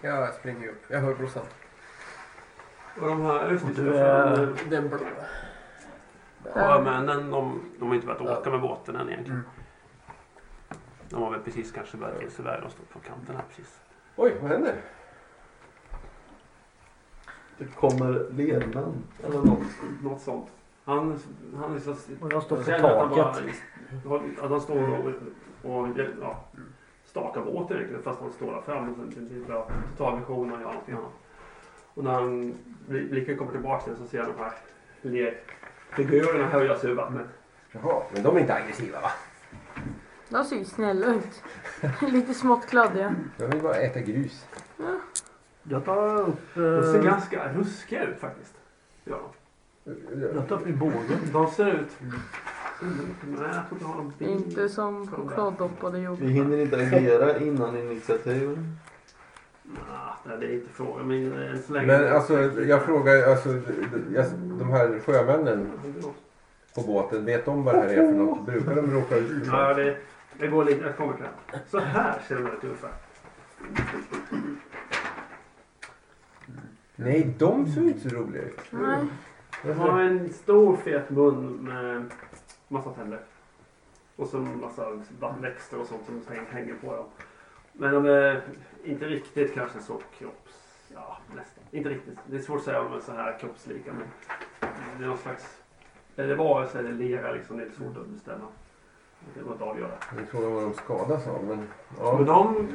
[SPEAKER 7] Jag springer upp. Jag hör brorsan.
[SPEAKER 3] Och de här, just det,
[SPEAKER 5] Du
[SPEAKER 3] de
[SPEAKER 5] är-
[SPEAKER 3] här
[SPEAKER 7] Den blå.
[SPEAKER 3] sjömännen de, de har inte börjat åka med båten än egentligen.
[SPEAKER 7] Mm.
[SPEAKER 3] De har väl precis kanske börjat ge sig iväg. De står på kanten här precis.
[SPEAKER 2] Oj, vad händer?
[SPEAKER 4] Det kommer lerman.
[SPEAKER 3] Eller något, något sånt. Han, han är så...
[SPEAKER 5] Och jag står på
[SPEAKER 3] känner att han
[SPEAKER 5] taket.
[SPEAKER 3] bara- Att han står och, och ja, stakar båten egentligen fast han står där fram. Och sen typ av totalvision och gör någonting annat. Och när han bli- blicken kommer tillbaka sen så ser han de här lerfigurerna höja sig ur vattnet.
[SPEAKER 2] Jaha, men de är inte aggressiva va?
[SPEAKER 8] De ser ju snälla ut. Lite smått kladdiga.
[SPEAKER 2] De vill bara äta grus.
[SPEAKER 5] Jag tar upp...
[SPEAKER 3] De ser
[SPEAKER 5] Eh,
[SPEAKER 3] ganska ruskiga ut faktiskt. Ja.
[SPEAKER 5] jag tar upp min båge.
[SPEAKER 3] De ser ut... Nej, jag tror inte jag har någon
[SPEAKER 8] Det
[SPEAKER 3] bild.
[SPEAKER 8] är inte som chokladdoppade
[SPEAKER 4] Vi
[SPEAKER 8] jordgubbar.
[SPEAKER 4] hinner inte agera innan initiativet.
[SPEAKER 3] Nej, det är inte frågan. Men än så länge...
[SPEAKER 2] Men alltså, jag frågar, alltså, jag- de här sjömännen på båten, vet de vad det här är för något? Brukar de råka ut för
[SPEAKER 3] Ja,
[SPEAKER 2] sånt?
[SPEAKER 3] det, det går lite. Jag kommer till det. Så här ser de ut ungefär.
[SPEAKER 2] Nej, de ser ju inte så roliga ut.
[SPEAKER 8] Nej.
[SPEAKER 3] De har en stor fet mun med massa tänder. Och så en massa växter och sånt som häng- hänger på dem. Men de är inte riktigt kanske så kropps... Ja, nästan. Inte riktigt. Det är svårt att säga om de är så här kroppslika. Men det är någon slags... Eller varelse eller lera liksom. Det är svårt att bestämma. Det går inte att avgöra.
[SPEAKER 2] Det är frågan vad de skadas av. Men,
[SPEAKER 3] Men
[SPEAKER 2] ja.
[SPEAKER 3] de,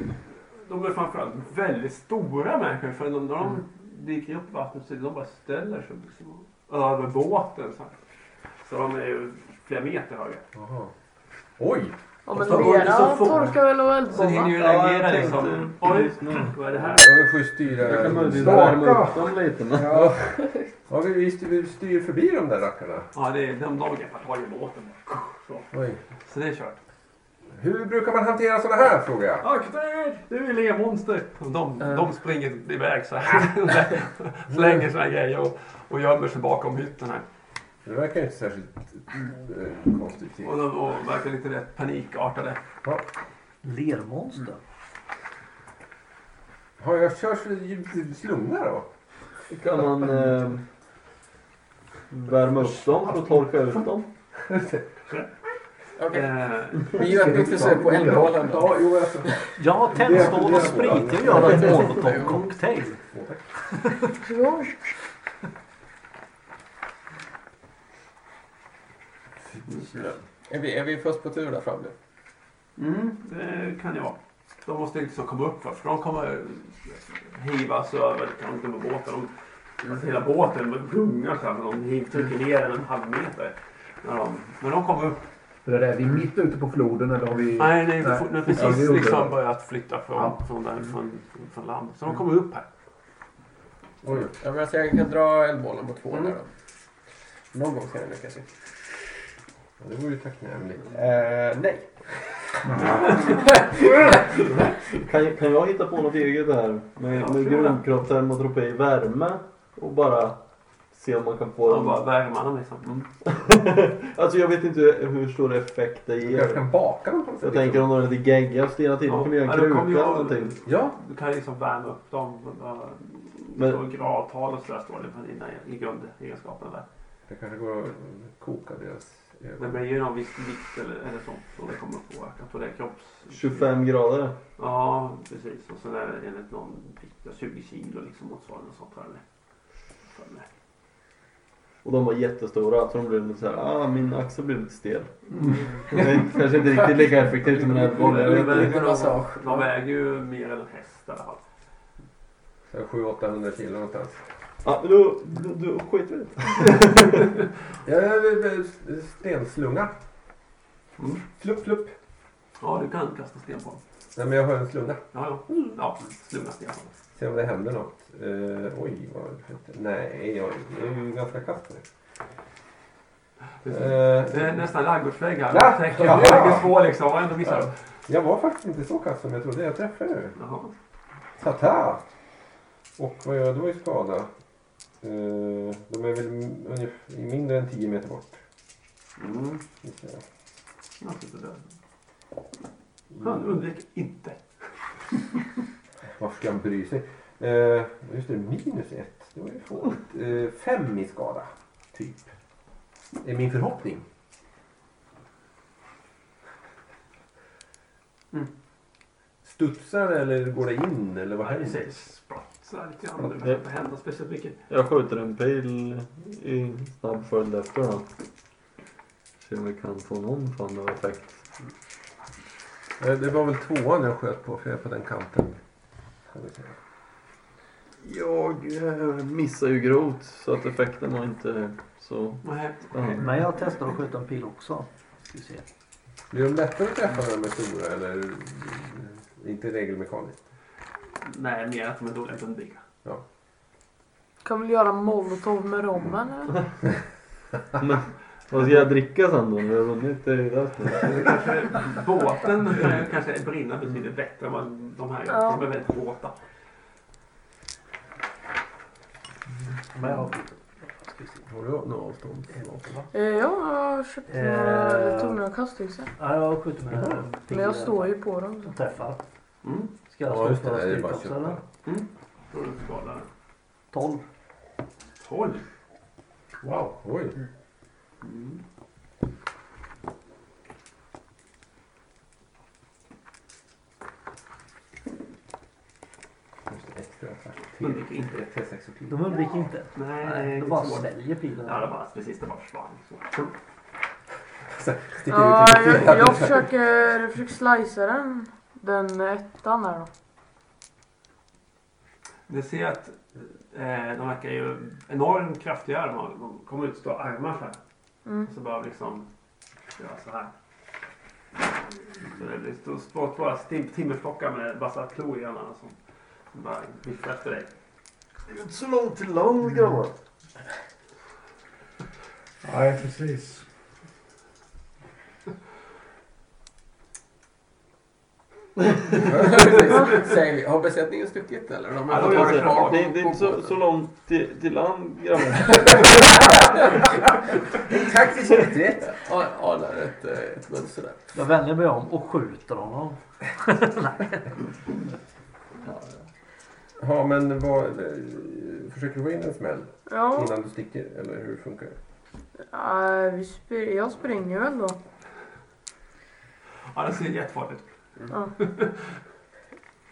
[SPEAKER 3] de är framförallt väldigt stora människor. För de, när de dyker upp i vattnet så de bara ställer sig liksom, över båten. Så, här. så de är ju flera meter höga.
[SPEAKER 2] Jaha. Oj!
[SPEAKER 8] Ja
[SPEAKER 3] Och så
[SPEAKER 8] men
[SPEAKER 3] går det så
[SPEAKER 8] lera
[SPEAKER 3] fort.
[SPEAKER 8] torkar väl och
[SPEAKER 3] Så hinner
[SPEAKER 8] eldbomba.
[SPEAKER 3] ju
[SPEAKER 4] Ja,
[SPEAKER 3] reagera
[SPEAKER 4] jag tänkte
[SPEAKER 3] liksom. Oj,
[SPEAKER 4] precis
[SPEAKER 3] vad är det här?
[SPEAKER 2] Jag vill ju
[SPEAKER 4] Jag kan
[SPEAKER 2] styra...
[SPEAKER 4] möjligen värma
[SPEAKER 2] Staka!
[SPEAKER 4] upp dem lite. Men...
[SPEAKER 2] Ja, ja vi, vi, styr, vi styr förbi de där rackarna.
[SPEAKER 3] Ja, det är, de, de greppar tag i båten. Så,
[SPEAKER 2] Oj.
[SPEAKER 3] så det är kört.
[SPEAKER 2] Hur brukar man hantera sådana här frågar jag?
[SPEAKER 3] Akta er! Du är lermonster! Och De, de springer iväg så här. Slänger sina grejer och, och gömmer sig bakom hytten här.
[SPEAKER 2] Det verkar ju inte särskilt eh, konstruktivt.
[SPEAKER 3] Och de och verkar lite rätt panikartade.
[SPEAKER 2] Ja.
[SPEAKER 5] Lermonster.
[SPEAKER 2] Har jag kört i slunga då?
[SPEAKER 4] Kan man eh, värma upp dem för att torka ut dem?
[SPEAKER 7] Okej.
[SPEAKER 3] Eh,
[SPEAKER 7] Vi gör ett nytt försök på eldbollen då.
[SPEAKER 2] Ja, jo, alltså.
[SPEAKER 5] Jag har tändstål och sprit. Jag gör en molotov-cocktail.
[SPEAKER 8] Ja.
[SPEAKER 7] Är vi, är vi först på tur där fram nu?
[SPEAKER 3] Mm, det kan det vara. De måste inte så komma upp va? för de kommer hivas över kanten på båten. De, alltså, hela båten gungar så här för de hiv- trycker ner den en halv meter. När de, men de kommer upp.
[SPEAKER 6] Eller är vi mitt ute på floden eller har vi...
[SPEAKER 3] Nej, nej,
[SPEAKER 6] Nej.
[SPEAKER 3] de har
[SPEAKER 6] Ja,
[SPEAKER 3] precis
[SPEAKER 6] det gjorde
[SPEAKER 3] liksom
[SPEAKER 6] de.
[SPEAKER 3] börjat flytta från,
[SPEAKER 6] Ja.
[SPEAKER 3] från, där, från, från land. Så de kommer upp här.
[SPEAKER 2] Oj.
[SPEAKER 7] Ja, men alltså jag kan dra eldbollen på två
[SPEAKER 3] Mm.
[SPEAKER 7] där då. Någon gång ska jag lyckas. ju.
[SPEAKER 2] Ja, Det vore ju tacknämligt.
[SPEAKER 7] Eh, nej.
[SPEAKER 4] Kan, kan jag hitta på något eget här? Med, med grundkropp, termotropi, värme och bara se om man kan få
[SPEAKER 3] De
[SPEAKER 4] dem.
[SPEAKER 3] bara värmer dem liksom.
[SPEAKER 4] Alltså jag vet inte hur stor effekt det
[SPEAKER 2] Jag
[SPEAKER 4] ger.
[SPEAKER 2] kan baka dem på något
[SPEAKER 4] Jag
[SPEAKER 2] sätt.
[SPEAKER 4] tänker om de är lite geggiga och stela till. Man kunde göra
[SPEAKER 3] Ja,
[SPEAKER 4] en
[SPEAKER 3] då
[SPEAKER 4] kruka
[SPEAKER 3] kommer
[SPEAKER 4] eller
[SPEAKER 3] jag-
[SPEAKER 4] någonting.
[SPEAKER 2] Ja,
[SPEAKER 3] Du kan ju liksom värma upp dem. eh,
[SPEAKER 4] Men-
[SPEAKER 3] Och gradtal och sådär står det på dina i grundegenskaperna där.
[SPEAKER 2] det kanske går att koka deras
[SPEAKER 3] Det
[SPEAKER 2] ögon.
[SPEAKER 3] blir ju någon viss vikt eller, eller sånt som det kommer att påverka på det kropps...
[SPEAKER 4] 25 grader.
[SPEAKER 3] Ja, precis. Och sen är det enligt någon vikt, 20 kilo liksom motsvarande sånt här. eller? För mig.
[SPEAKER 4] Och de var jättestora så de blev lite så här, ah min axel blev lite stel.
[SPEAKER 3] Mm.
[SPEAKER 4] Det är kanske inte riktigt lika effektivt som en eldboll. jag vet inte.
[SPEAKER 7] Lite massage.
[SPEAKER 3] De väger ju mer än en häst i alla fall.
[SPEAKER 2] Så 700-800 kilo någonstans.
[SPEAKER 4] Ja, men då, då, då skiter vi i det.
[SPEAKER 2] Ja, ja, ja, ja, stenslunga.
[SPEAKER 3] Mm.
[SPEAKER 2] Flupp, flupp.
[SPEAKER 3] Ja, du kan kasta sten på dem.
[SPEAKER 2] Nej, men jag har en slunga.
[SPEAKER 3] Ja, ja. Ja, slunga sten på dem.
[SPEAKER 2] Se om det händer något. Eh, oj, vad Nej, jag är ju ganska kass nu.
[SPEAKER 3] Precis.
[SPEAKER 2] Eh,
[SPEAKER 3] Det är nästan ladugårdsvägg här.
[SPEAKER 2] Ja.
[SPEAKER 3] Jag tänker,
[SPEAKER 2] Ja.
[SPEAKER 3] jag lägger två liksom och ändå missar
[SPEAKER 2] Ja.
[SPEAKER 3] de.
[SPEAKER 2] jag var faktiskt inte så kass som jag trodde. Jag träffade nu.
[SPEAKER 3] Jaha.
[SPEAKER 2] Tata! Och vad gör jag då i skada? Eh, de är väl m- ungefär mindre än 10 meter bort.
[SPEAKER 3] Mm.
[SPEAKER 2] gissar jag.
[SPEAKER 3] Jag har inte död. Han undvek inte.
[SPEAKER 2] Varför ska han bry sig? Eh, just det, minus ett. Det var ju fånigt. Eh, fem i skada, typ. Är min förhoppning.
[SPEAKER 3] Mm.
[SPEAKER 2] Studsar eller går det in eller vad
[SPEAKER 3] Ja, Det
[SPEAKER 2] händer?
[SPEAKER 3] säger splatt sådär lite grann. Det behöver inte hända speciellt mycket.
[SPEAKER 4] Jag skjuter en pil i snabb följd efter då. Se om vi kan få någon form av effekt.
[SPEAKER 2] Eh, Det var väl tvåan jag sköt på för jag är på den kanten. Kan vi säga.
[SPEAKER 4] Jag eh, missar ju grovt så att effekten var inte så
[SPEAKER 3] Nej.
[SPEAKER 4] spännande.
[SPEAKER 5] Men jag testar att skjuta en pil också. Ska vi se.
[SPEAKER 2] Blir de lättare att träffa när de är stora eller mm, inte regelmekaniskt?
[SPEAKER 3] Nej, mer att de är dåliga på att undvika.
[SPEAKER 8] Kan väl göra molotov med rommen eller?
[SPEAKER 4] Men vad ska jag dricka sen då när vi har vunnit? Det är ju det som är-
[SPEAKER 3] Kanske båten eh, kanske brinna betydligt bättre än vad de här gör. De är väldigt våta.
[SPEAKER 5] Men jag,
[SPEAKER 2] Har du något avstånd?
[SPEAKER 8] Eh, Ja, jag köpte några, jag tog några kastyxor.
[SPEAKER 5] ja, jag skjuter med en pil.
[SPEAKER 8] Men jag står ju på dem. Så.
[SPEAKER 5] Och träffar.
[SPEAKER 3] Mm.
[SPEAKER 5] Ska jag
[SPEAKER 2] Ja,
[SPEAKER 5] slå
[SPEAKER 2] just det,
[SPEAKER 5] för
[SPEAKER 2] det är
[SPEAKER 5] styrka
[SPEAKER 2] bara
[SPEAKER 5] också,
[SPEAKER 2] köpa.
[SPEAKER 5] eller?
[SPEAKER 3] Då är det skala
[SPEAKER 5] 12.
[SPEAKER 3] 12.
[SPEAKER 2] Wow, oj. Just det, extra attack.
[SPEAKER 3] Undvik inte.
[SPEAKER 2] Ett T6 och pil.
[SPEAKER 5] De undviker inte.
[SPEAKER 3] Nej,
[SPEAKER 5] Nej,
[SPEAKER 3] det
[SPEAKER 5] de
[SPEAKER 3] är
[SPEAKER 5] bara
[SPEAKER 3] svårt.
[SPEAKER 5] sväljer pilen.
[SPEAKER 3] Ja, det var precis. Det bara försvann. Så.
[SPEAKER 2] Sticker
[SPEAKER 8] Ja,
[SPEAKER 2] ut lite
[SPEAKER 8] jag,
[SPEAKER 2] fingrar.
[SPEAKER 8] jag försöker, jag försöker slicea den, den ettan där då.
[SPEAKER 3] Ni ser att eh, de verkar ju enormt kraftiga armar. De kommer ut stå armar så här.
[SPEAKER 8] Mm.
[SPEAKER 3] Och så bara liksom göra så här. Så det blir stå- stå bara stim- timmerstockar med vassa klor i armarna som, som bara viftar efter dig.
[SPEAKER 4] Det är inte så långt till land grabbar.
[SPEAKER 6] Nej, precis.
[SPEAKER 7] Säg, har besättningen stuckit eller? De
[SPEAKER 3] Ja,
[SPEAKER 7] har
[SPEAKER 3] de har
[SPEAKER 7] varit kvar
[SPEAKER 4] Alltså, Det är det är
[SPEAKER 7] på
[SPEAKER 4] inte så,
[SPEAKER 7] båten.
[SPEAKER 4] så långt till, till land grabbar.
[SPEAKER 7] Taktiskt reträtt. Ja, anar ett, eh, ett mönster där.
[SPEAKER 5] Jag vänder mig om och skjuter honom.
[SPEAKER 2] Ja, men vad, eh, försöker du få in en smäll
[SPEAKER 8] Ja,
[SPEAKER 2] innan du sticker? Eller hur funkar det?
[SPEAKER 8] eh, vi spr- jag springer väl då.
[SPEAKER 3] Ja, det ser jättefarligt ut.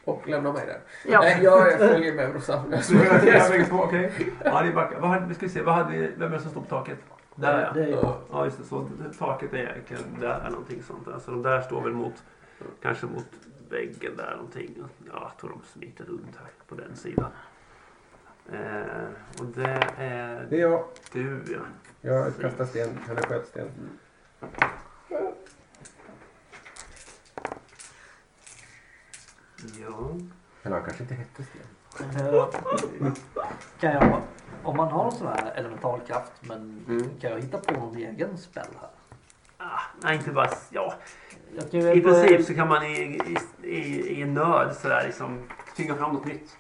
[SPEAKER 7] Och lämna mig där.
[SPEAKER 8] Ja,
[SPEAKER 7] Nej, jag följer med brorsan. Jag
[SPEAKER 3] Så jag
[SPEAKER 7] skojar.
[SPEAKER 3] jag bägge två, Okej. Ja, ni backar. Vad hade, vi ska se, vad hade, vem är det som står på taket? Där ja.
[SPEAKER 5] Det är ju
[SPEAKER 7] Ja,
[SPEAKER 3] Ja, just det. Så taket är egentligen där eller någonting sånt där. Så de där står väl mot, kanske mot väggen där någonting. Ja, jag tror de smiter runt här på den sidan. Eh, och det är
[SPEAKER 2] Det är jag.
[SPEAKER 3] du ja.
[SPEAKER 2] Jag kastar sten. Eller sköt sten.
[SPEAKER 3] Ja.
[SPEAKER 2] Eller han kanske inte hette sten.
[SPEAKER 5] Eh, Kan jag, om man har en sån här elementalkraft, men kan jag hitta på någon egen spell här?
[SPEAKER 3] Ah, nej, inte bara... Ja,
[SPEAKER 5] Jag kan
[SPEAKER 3] i
[SPEAKER 2] Ehm,
[SPEAKER 5] ju
[SPEAKER 3] princip så kan man i, i, i, i en nöd sådär liksom tvinga fram något nytt.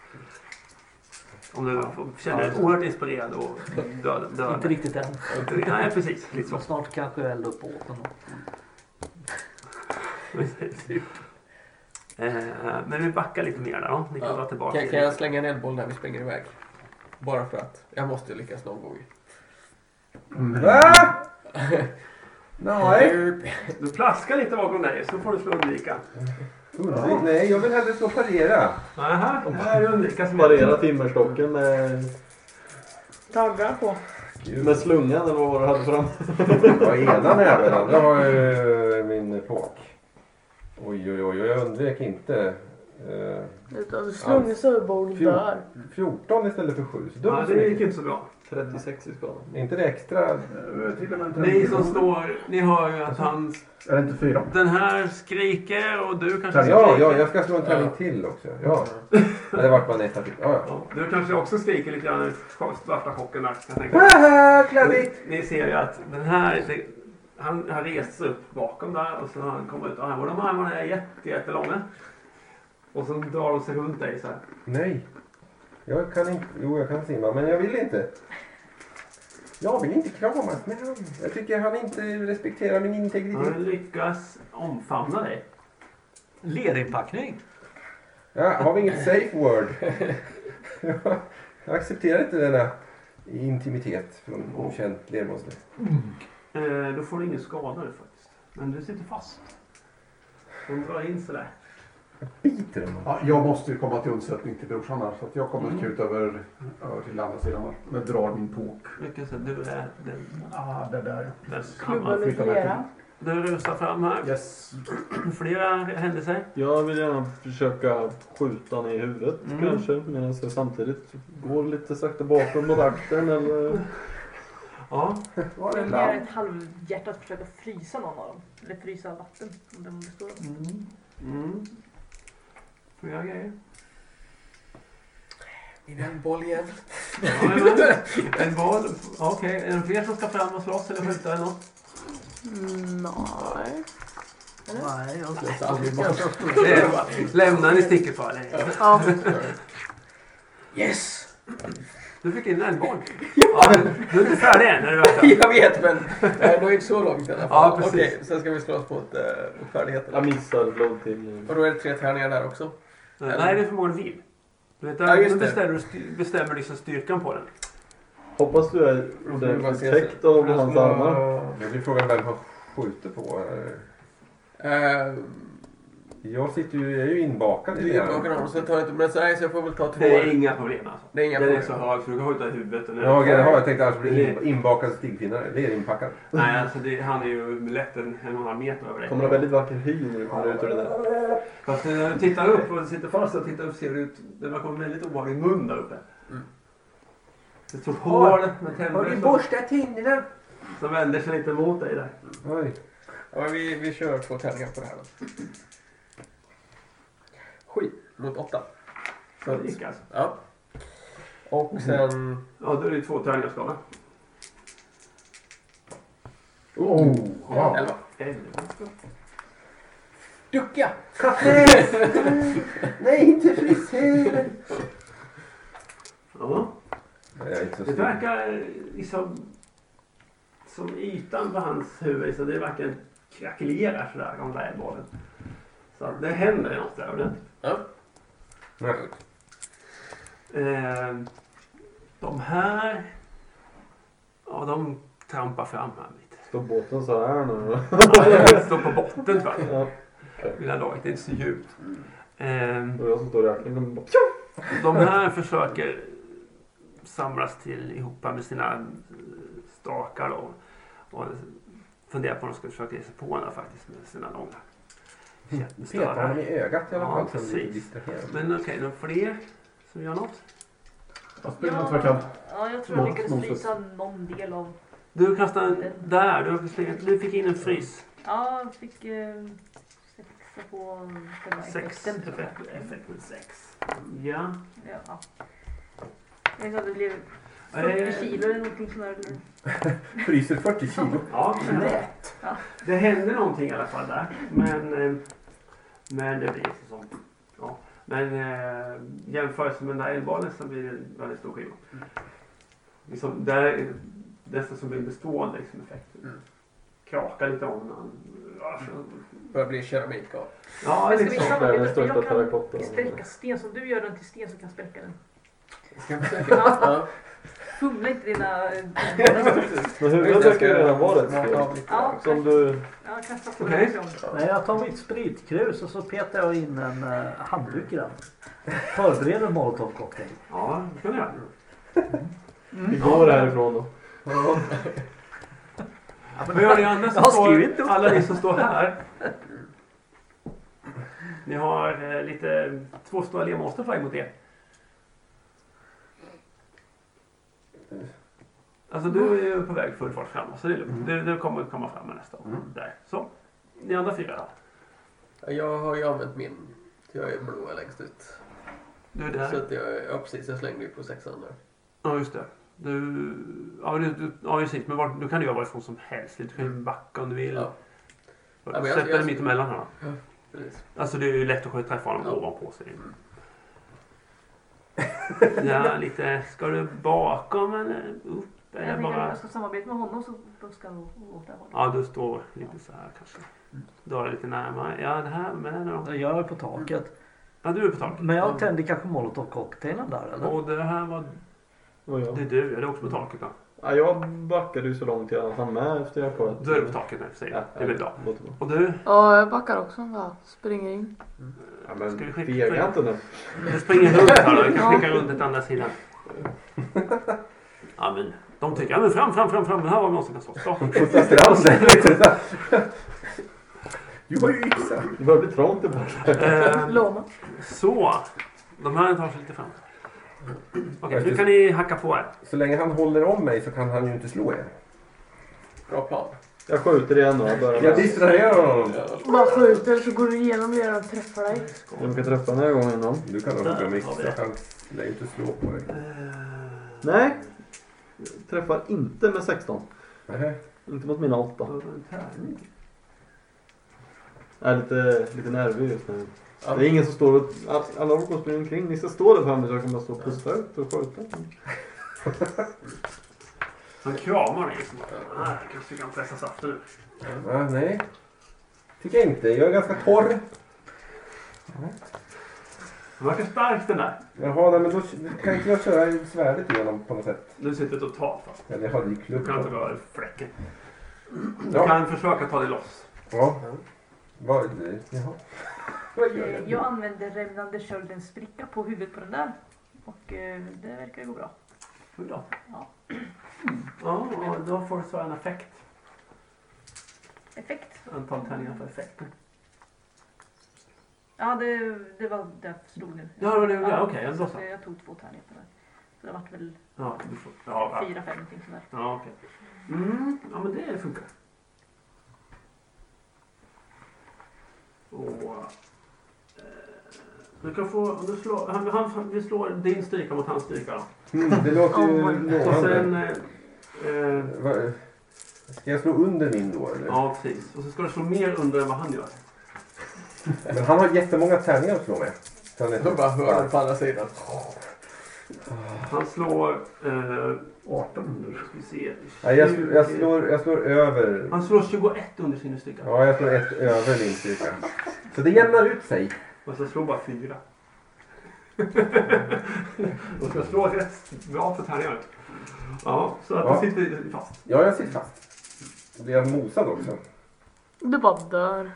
[SPEAKER 3] Om du känner dig oerhört inspirerad och död, död.
[SPEAKER 5] Inte riktigt än.
[SPEAKER 3] Nej, precis. Lite så.
[SPEAKER 5] Men snart kanske jag eldar upp båten.
[SPEAKER 3] Typ. Eh, Men vi backar lite mer där då. Ni kan
[SPEAKER 7] Ja.
[SPEAKER 3] dra tillbaka.
[SPEAKER 7] Kan, kan jag slänga en eldboll när vi springer iväg? Bara för att. Jag måste lyckas någon gång.
[SPEAKER 6] Mm.
[SPEAKER 2] Va? Nej.
[SPEAKER 3] Du plaskar lite bakom dig så får du slå undvika.
[SPEAKER 2] Undvik- Nej, jag vill hellre slå parera.
[SPEAKER 3] Aha, det här är undvika som
[SPEAKER 4] Parera timmerstocken med...
[SPEAKER 8] taggar på.
[SPEAKER 2] Gud.
[SPEAKER 4] Med slungan eller vad var det du hade fram?
[SPEAKER 2] Ja, ena näven, andra har ju min plåk. Oj, oj, oj, och jag undvek inte. Eh,
[SPEAKER 8] Utan du slungar så över bordet
[SPEAKER 2] Fjol.
[SPEAKER 8] där.
[SPEAKER 2] 14 istället för 7. Så
[SPEAKER 3] Ja,
[SPEAKER 2] dumt så
[SPEAKER 3] det gick
[SPEAKER 2] mycket.
[SPEAKER 3] inte så bra.
[SPEAKER 4] 36 i skala.
[SPEAKER 2] Är inte det extra?
[SPEAKER 6] Eh, Till och med
[SPEAKER 3] Ni som står, ni hör ju att han...
[SPEAKER 6] Är det inte fyra?
[SPEAKER 3] Den här skriker och du kanske
[SPEAKER 2] Ja, ja,
[SPEAKER 3] skriker.
[SPEAKER 2] jag ska slå en tärning till också. Ja. Ja, det vart bara en etta till. Ja, ja.
[SPEAKER 3] Ja, Du kanske också skriker lite grann ut svarta chocken där. Jag tänker.
[SPEAKER 2] Haha, kladdigt!
[SPEAKER 3] Ni ser ju att den här, det, han har rest sig upp bakom där och sen har han kommit ut. Och här, de här armarna är jätte, jättelånga. Och så drar de sig runt dig så här.
[SPEAKER 2] Nej. Jag kan inte. Jo, jag kan simma, men jag vill inte. Jag vill inte kramas med han. Jag tycker han inte respekterar min integritet.
[SPEAKER 3] Han lyckas omfamna dig.
[SPEAKER 5] Lerinpackning.
[SPEAKER 2] Ja, har vi inget safe word? Jag- Jag accepterar inte denna intimitet från okänt lermonster.
[SPEAKER 3] Eh, då får du ingen skada nu faktiskt. Men du sitter fast. De drar in sådär.
[SPEAKER 2] Biter den?
[SPEAKER 6] Ja, jag måste ju komma till undsättning till brorsan här. Så att jag kommer mm. över, över till andra sidan här. Men drar min påk.
[SPEAKER 3] Lyckas att du är den.
[SPEAKER 6] Ah, det där
[SPEAKER 3] den
[SPEAKER 8] Klubban med
[SPEAKER 6] flyttar mig
[SPEAKER 8] flera.
[SPEAKER 3] du rusar fram här.
[SPEAKER 6] ja. Yes.
[SPEAKER 3] Flera händelser.
[SPEAKER 4] Jag vill gärna försöka skjuta ner i huvudet
[SPEAKER 3] Mm.
[SPEAKER 4] kanske. Medan jag samtidigt går lite sakta bakom mot akten eh, eller...
[SPEAKER 3] Ja.
[SPEAKER 2] Var det
[SPEAKER 9] Jag gör
[SPEAKER 2] lamm?
[SPEAKER 9] ett halvhjärtat försök att frysa någon av dem. Eller frysa vatten om de består av.
[SPEAKER 3] Mm. Mm. Flera grejer.
[SPEAKER 7] I den boll igen.
[SPEAKER 3] Ja, jajamän. en boll. Ja, Okej, är det fler som ska fram och slåss eller skjuta eller något?
[SPEAKER 8] Mm, Nej.
[SPEAKER 5] Nej, jag
[SPEAKER 3] Det är bara- Lämna ni sticker för dig.
[SPEAKER 8] Ja.
[SPEAKER 7] Yes!
[SPEAKER 3] Du fick in en boll. Ja, du, du är inte färdig än. Är du verkligen?
[SPEAKER 7] Jag vet men eh, det var inte så långt i alla fall.
[SPEAKER 3] Ja, precis.
[SPEAKER 7] Okej, sen ska vi slåss mot uh, färdigheterna.
[SPEAKER 4] Jag missar blod till...
[SPEAKER 7] Och då är det tre tärningar där också.
[SPEAKER 3] Nej, det är förmodligen vill. Du vet,
[SPEAKER 7] Ja, just
[SPEAKER 3] nu
[SPEAKER 7] det.
[SPEAKER 3] bestämmer, du styr- bestämmer liksom styrkan på den.
[SPEAKER 4] Hoppas du är ordentligt täckt av hans armar.
[SPEAKER 2] Nu blir frågan vem han skjuter på. här.
[SPEAKER 7] Eh,
[SPEAKER 2] Jag sitter ju, jag är ju inbakad i
[SPEAKER 7] Du
[SPEAKER 2] det
[SPEAKER 7] är bakom
[SPEAKER 2] här.
[SPEAKER 7] honom så jag tar inte men så, nej, så jag får väl ta två.
[SPEAKER 3] Det är inga problem alltså.
[SPEAKER 7] Det är inga
[SPEAKER 3] Den är
[SPEAKER 7] problem.
[SPEAKER 3] så hög så du kan skjuta i huvudet. Och den är-
[SPEAKER 2] Ja, okej, jaha, jag tänkte annars blir det in- inbakad stigpinnar. Lerinpackad.
[SPEAKER 3] Nej, alltså det, han är ju lätt en, en och en halv meter över dig.
[SPEAKER 4] Kommer det väldigt vacker hy när du kommer ut ur det där.
[SPEAKER 3] Fast när du tittar eh, upp och sitter fast och tittar upp ser det ut... Det verkar vara en väldigt obehaglig mun där uppe.
[SPEAKER 2] Mm.
[SPEAKER 3] Det är ett stort hål med tänder som,
[SPEAKER 7] borstat tänderna?
[SPEAKER 3] som vänder sig lite mot dig där.
[SPEAKER 2] Oj.
[SPEAKER 7] Ja, men vi, vi kör två tärningar på det här då. Sju mot åtta. Så,
[SPEAKER 3] Så det gick alltså.
[SPEAKER 7] ja. Och sen...
[SPEAKER 3] Ja, då är det ju två tärningar skada.
[SPEAKER 2] Oh. Ja.
[SPEAKER 7] Elva.
[SPEAKER 3] Helvete.
[SPEAKER 7] Ducka!
[SPEAKER 2] Nej, inte frisyren!
[SPEAKER 3] Ja.
[SPEAKER 2] Jag är inte så
[SPEAKER 3] Det
[SPEAKER 2] snygg.
[SPEAKER 3] verkar liksom... Som ytan på hans huvud, så det verkar krackelera sådär, om där bollen. Så att det händer något där ordentligt.
[SPEAKER 2] Nej.
[SPEAKER 3] Eh, de här... Ja, de trampar fram här lite.
[SPEAKER 4] Står båten så här nu?
[SPEAKER 3] Ja, jag står på botten faktiskt.
[SPEAKER 4] Ja.
[SPEAKER 3] Mina laget, det är inte så djupt. Eh,
[SPEAKER 4] Och jag som står i akten kommer bara...
[SPEAKER 3] de här försöker samlas till ihop med sina eh, stakar då. Och funderar på om de ska försöka ge sig på den här faktiskt med sina långa
[SPEAKER 2] Peta honom
[SPEAKER 3] kättestavar.
[SPEAKER 2] i ögat i alla
[SPEAKER 3] Ja,
[SPEAKER 2] fall så han blir
[SPEAKER 3] precis.
[SPEAKER 2] distraherad.
[SPEAKER 3] Men okej, några fler som gör något?
[SPEAKER 6] Jag spelar inte vad jag kan.
[SPEAKER 9] ja, jag tror jag
[SPEAKER 6] Mot-
[SPEAKER 9] lyckades
[SPEAKER 6] mot-
[SPEAKER 9] frysa någon del av...
[SPEAKER 3] Du kastade en där, du, har slängt- du fick in en frys.
[SPEAKER 9] Ja, jag fick eh, sexa på själva
[SPEAKER 3] Sex.
[SPEAKER 9] effekten, tror jag.
[SPEAKER 3] Effekt effekt med sex. Ja.
[SPEAKER 9] Ja. Jag vet inte, det blev
[SPEAKER 3] Eh,
[SPEAKER 9] 40 kilo eller någonting sånt där.
[SPEAKER 2] Fryser 40 kilo.
[SPEAKER 3] Ja, men-
[SPEAKER 9] Ja.
[SPEAKER 3] Det hände någonting i alla fall där. Men, eh, men det blir så som... Ja. Men eh, jämfört med den där älvbalen så blir det en väldigt stor skiva.
[SPEAKER 9] Mm.
[SPEAKER 3] Liksom, där är det nästan som en bestående liksom, effekt.
[SPEAKER 7] Mm.
[SPEAKER 3] Krakar lite om den.
[SPEAKER 7] Börjar bli keramik av.
[SPEAKER 3] Ja,
[SPEAKER 9] Mm.
[SPEAKER 3] liksom.
[SPEAKER 9] Men
[SPEAKER 3] det
[SPEAKER 9] ska
[SPEAKER 3] är
[SPEAKER 9] vi samarbeta?
[SPEAKER 3] så.
[SPEAKER 4] Det
[SPEAKER 9] För
[SPEAKER 4] är den största
[SPEAKER 9] jag kan
[SPEAKER 4] terrakottan.
[SPEAKER 9] Spräcka sten, som du gör den till sten så kan jag spräcka den.
[SPEAKER 7] Ska jag försöka? Ja.
[SPEAKER 9] Fumla inte dina...
[SPEAKER 4] Men huvudet verkar ju redan vara rätt
[SPEAKER 7] Smaka
[SPEAKER 4] stort.
[SPEAKER 7] av lite.
[SPEAKER 9] Ja,
[SPEAKER 4] Som du...
[SPEAKER 9] ja kasta på
[SPEAKER 3] Okej.
[SPEAKER 9] den.
[SPEAKER 5] Nej, jag tar mitt spritkrus och så petar jag in en eh, handduk i den. Förbereder molotovcocktail.
[SPEAKER 3] Ja, det kan du göra.
[SPEAKER 4] Vi går härifrån då.
[SPEAKER 3] Vad gör ni andra som
[SPEAKER 5] Jag har skrivit
[SPEAKER 3] står,
[SPEAKER 5] upp
[SPEAKER 3] alla ni som står här? Ni har eh, lite, två stora lermonster på väg mot er. Alltså du är ju på väg full fart framåt så det är lugnt. Du, du kommer komma fram med nästa. Där, så. Ni andra fyra då?
[SPEAKER 7] Ja, Jag har ju använt min. Jag är blå längst ut.
[SPEAKER 3] Du är där.
[SPEAKER 7] Så att jag, ja precis, jag slängde ju på sexan där.
[SPEAKER 3] Ja, just det. Du, ja, du, du, ja, precis. Men vart, du kan du göra varifrån som helst. Du kan ju backa om du vill.
[SPEAKER 7] Ja. Ja, men jag-
[SPEAKER 3] Sätt
[SPEAKER 7] jag-
[SPEAKER 3] dig mitt emellan här.
[SPEAKER 7] Precis.
[SPEAKER 3] Alltså det är ju lätt att skjuta träffa honom
[SPEAKER 7] Ja.
[SPEAKER 3] ovanpå sig. Ja, lite. Ska du bakom eller upp?
[SPEAKER 9] Jag
[SPEAKER 3] Eller
[SPEAKER 9] tänker att
[SPEAKER 3] bara...
[SPEAKER 9] jag ska samarbeta med honom så buskar han åt det här hållet.
[SPEAKER 3] Ja, du står lite så här kanske. Dra dig lite närmare. Ja, det här med den här.
[SPEAKER 5] Jag är på taket.
[SPEAKER 3] Ja, du är på taket.
[SPEAKER 5] Men jag tänder kanske molotovcocktailen där eller?
[SPEAKER 3] Och det här var...
[SPEAKER 4] Och jag.
[SPEAKER 3] Det är du. Ja, det är också på taket då.
[SPEAKER 4] Ja, jag backade ju så långt jag hann med efter jag sköt.
[SPEAKER 3] Du är på taket nu för sig.
[SPEAKER 4] Ja,
[SPEAKER 3] Det är väl bra.
[SPEAKER 4] låter bra.
[SPEAKER 3] Och du?
[SPEAKER 8] Ja, jag backar också bara. Springer in.
[SPEAKER 4] Ja,
[SPEAKER 3] Ska vi skicka-
[SPEAKER 4] men fega inte nu.
[SPEAKER 3] Jag springer runt här då. Jag kan skicka runt ett andra sidan. Ja, men de tycker ja, men fram, fram, fram, fram. Det här var någon som kan slåss. Så.
[SPEAKER 2] Puttar stranden lite såhär. Du har ju yxa.
[SPEAKER 4] Det börjar bli trångt ibland.
[SPEAKER 3] Eh,
[SPEAKER 8] Låna.
[SPEAKER 3] så. De här tar sig lite fram. Okej, nu
[SPEAKER 2] Eftersom-
[SPEAKER 3] kan ni hacka på här.
[SPEAKER 2] Så länge han håller om mig så kan han ju inte slå er.
[SPEAKER 7] Bra plan.
[SPEAKER 4] Jag skjuter igen och jag börjar
[SPEAKER 2] Jag
[SPEAKER 4] med.
[SPEAKER 2] distraherar honom.
[SPEAKER 8] Bara skjuter så går du igenom leran och träffar dig.
[SPEAKER 4] Jag brukar träffa den här gången innan.
[SPEAKER 2] Du kan nog hugga mig extra
[SPEAKER 3] det.
[SPEAKER 2] chans. Lär ju inte slå på dig.
[SPEAKER 4] Nej! Jag träffar inte med 16.
[SPEAKER 2] Nähä.
[SPEAKER 4] Inte mot mina 8. Jag är lite, lite nervig just nu.
[SPEAKER 7] Ja.
[SPEAKER 4] Det är ingen som står och... Alla orkar springer omkring. Ni ska stå där framme så jag kan bara stå och pusta ut och skjuta.
[SPEAKER 3] Han kramar dig. Liksom. Här, kanske vi kan pressa saften nu.
[SPEAKER 2] Ah, nej. Tycker jag inte. Jag är ganska torr.
[SPEAKER 3] Han verkar stark den där.
[SPEAKER 2] Jaha, nej, men då kan inte jag köra svärdet igenom på något sätt.
[SPEAKER 3] Du sitter totalt fast.
[SPEAKER 2] Eller jag hade ju
[SPEAKER 3] Du kan inte
[SPEAKER 2] klubb.
[SPEAKER 3] röra dig för fläcken. Du
[SPEAKER 2] Ja.
[SPEAKER 3] kan försöka ta dig loss.
[SPEAKER 2] Ja. Vad? Jaha. Vad gör
[SPEAKER 9] Eh, Jag använde rämnande köldens spricka på huvudet på den där. Och eh, det verkar ju gå bra.
[SPEAKER 3] Hur då?
[SPEAKER 9] Ja.
[SPEAKER 3] Ja, och då får du så en effekt.
[SPEAKER 9] Effekt.
[SPEAKER 3] Antal tärningar för effekten.
[SPEAKER 9] Ja, det, det var det jag förstod nu.
[SPEAKER 3] Ja, det var det- ja, okej,
[SPEAKER 9] så
[SPEAKER 3] då
[SPEAKER 9] att,
[SPEAKER 3] så.
[SPEAKER 9] eh, Jag tog två tärningar på det. Så det vart väl
[SPEAKER 3] Ja, du får, ja, ja.
[SPEAKER 9] fyra, fem någonting sådär.
[SPEAKER 3] Ja, okej. Mm, ja, men det funkar. Och, eh, du kan få, om du slår, han, han, vi slår din styrka mot hans styrka då.
[SPEAKER 2] Mm, det låter ju
[SPEAKER 8] Oh my
[SPEAKER 3] Och
[SPEAKER 2] lovande.
[SPEAKER 3] sen, eh, eh,
[SPEAKER 2] Va- Ska jag slå under min då eller?
[SPEAKER 3] ja precis. Och så ska du slå mer under än vad han gör.
[SPEAKER 2] Men han har jättemånga tärningar att slå med. Så han är-
[SPEAKER 7] Jag bara hör den på andra sidan.
[SPEAKER 3] Han slår, eh,
[SPEAKER 6] 18.
[SPEAKER 3] ska vi se,
[SPEAKER 2] Nej, jag, sl- jag,
[SPEAKER 3] 20.
[SPEAKER 2] slår, jag slår över.
[SPEAKER 3] Han slår 21 under sin styrka.
[SPEAKER 2] Ja, jag slår ett över din styrka. Så det jämnar ut sig.
[SPEAKER 3] Och så slår bara fyra. Och ska slå rätt bra för tärningarna. Ja, så att du
[SPEAKER 2] Ja.
[SPEAKER 3] sitter fast.
[SPEAKER 2] Ja, jag sitter fast. Och Blir jag mosad också?
[SPEAKER 8] Du bara dör.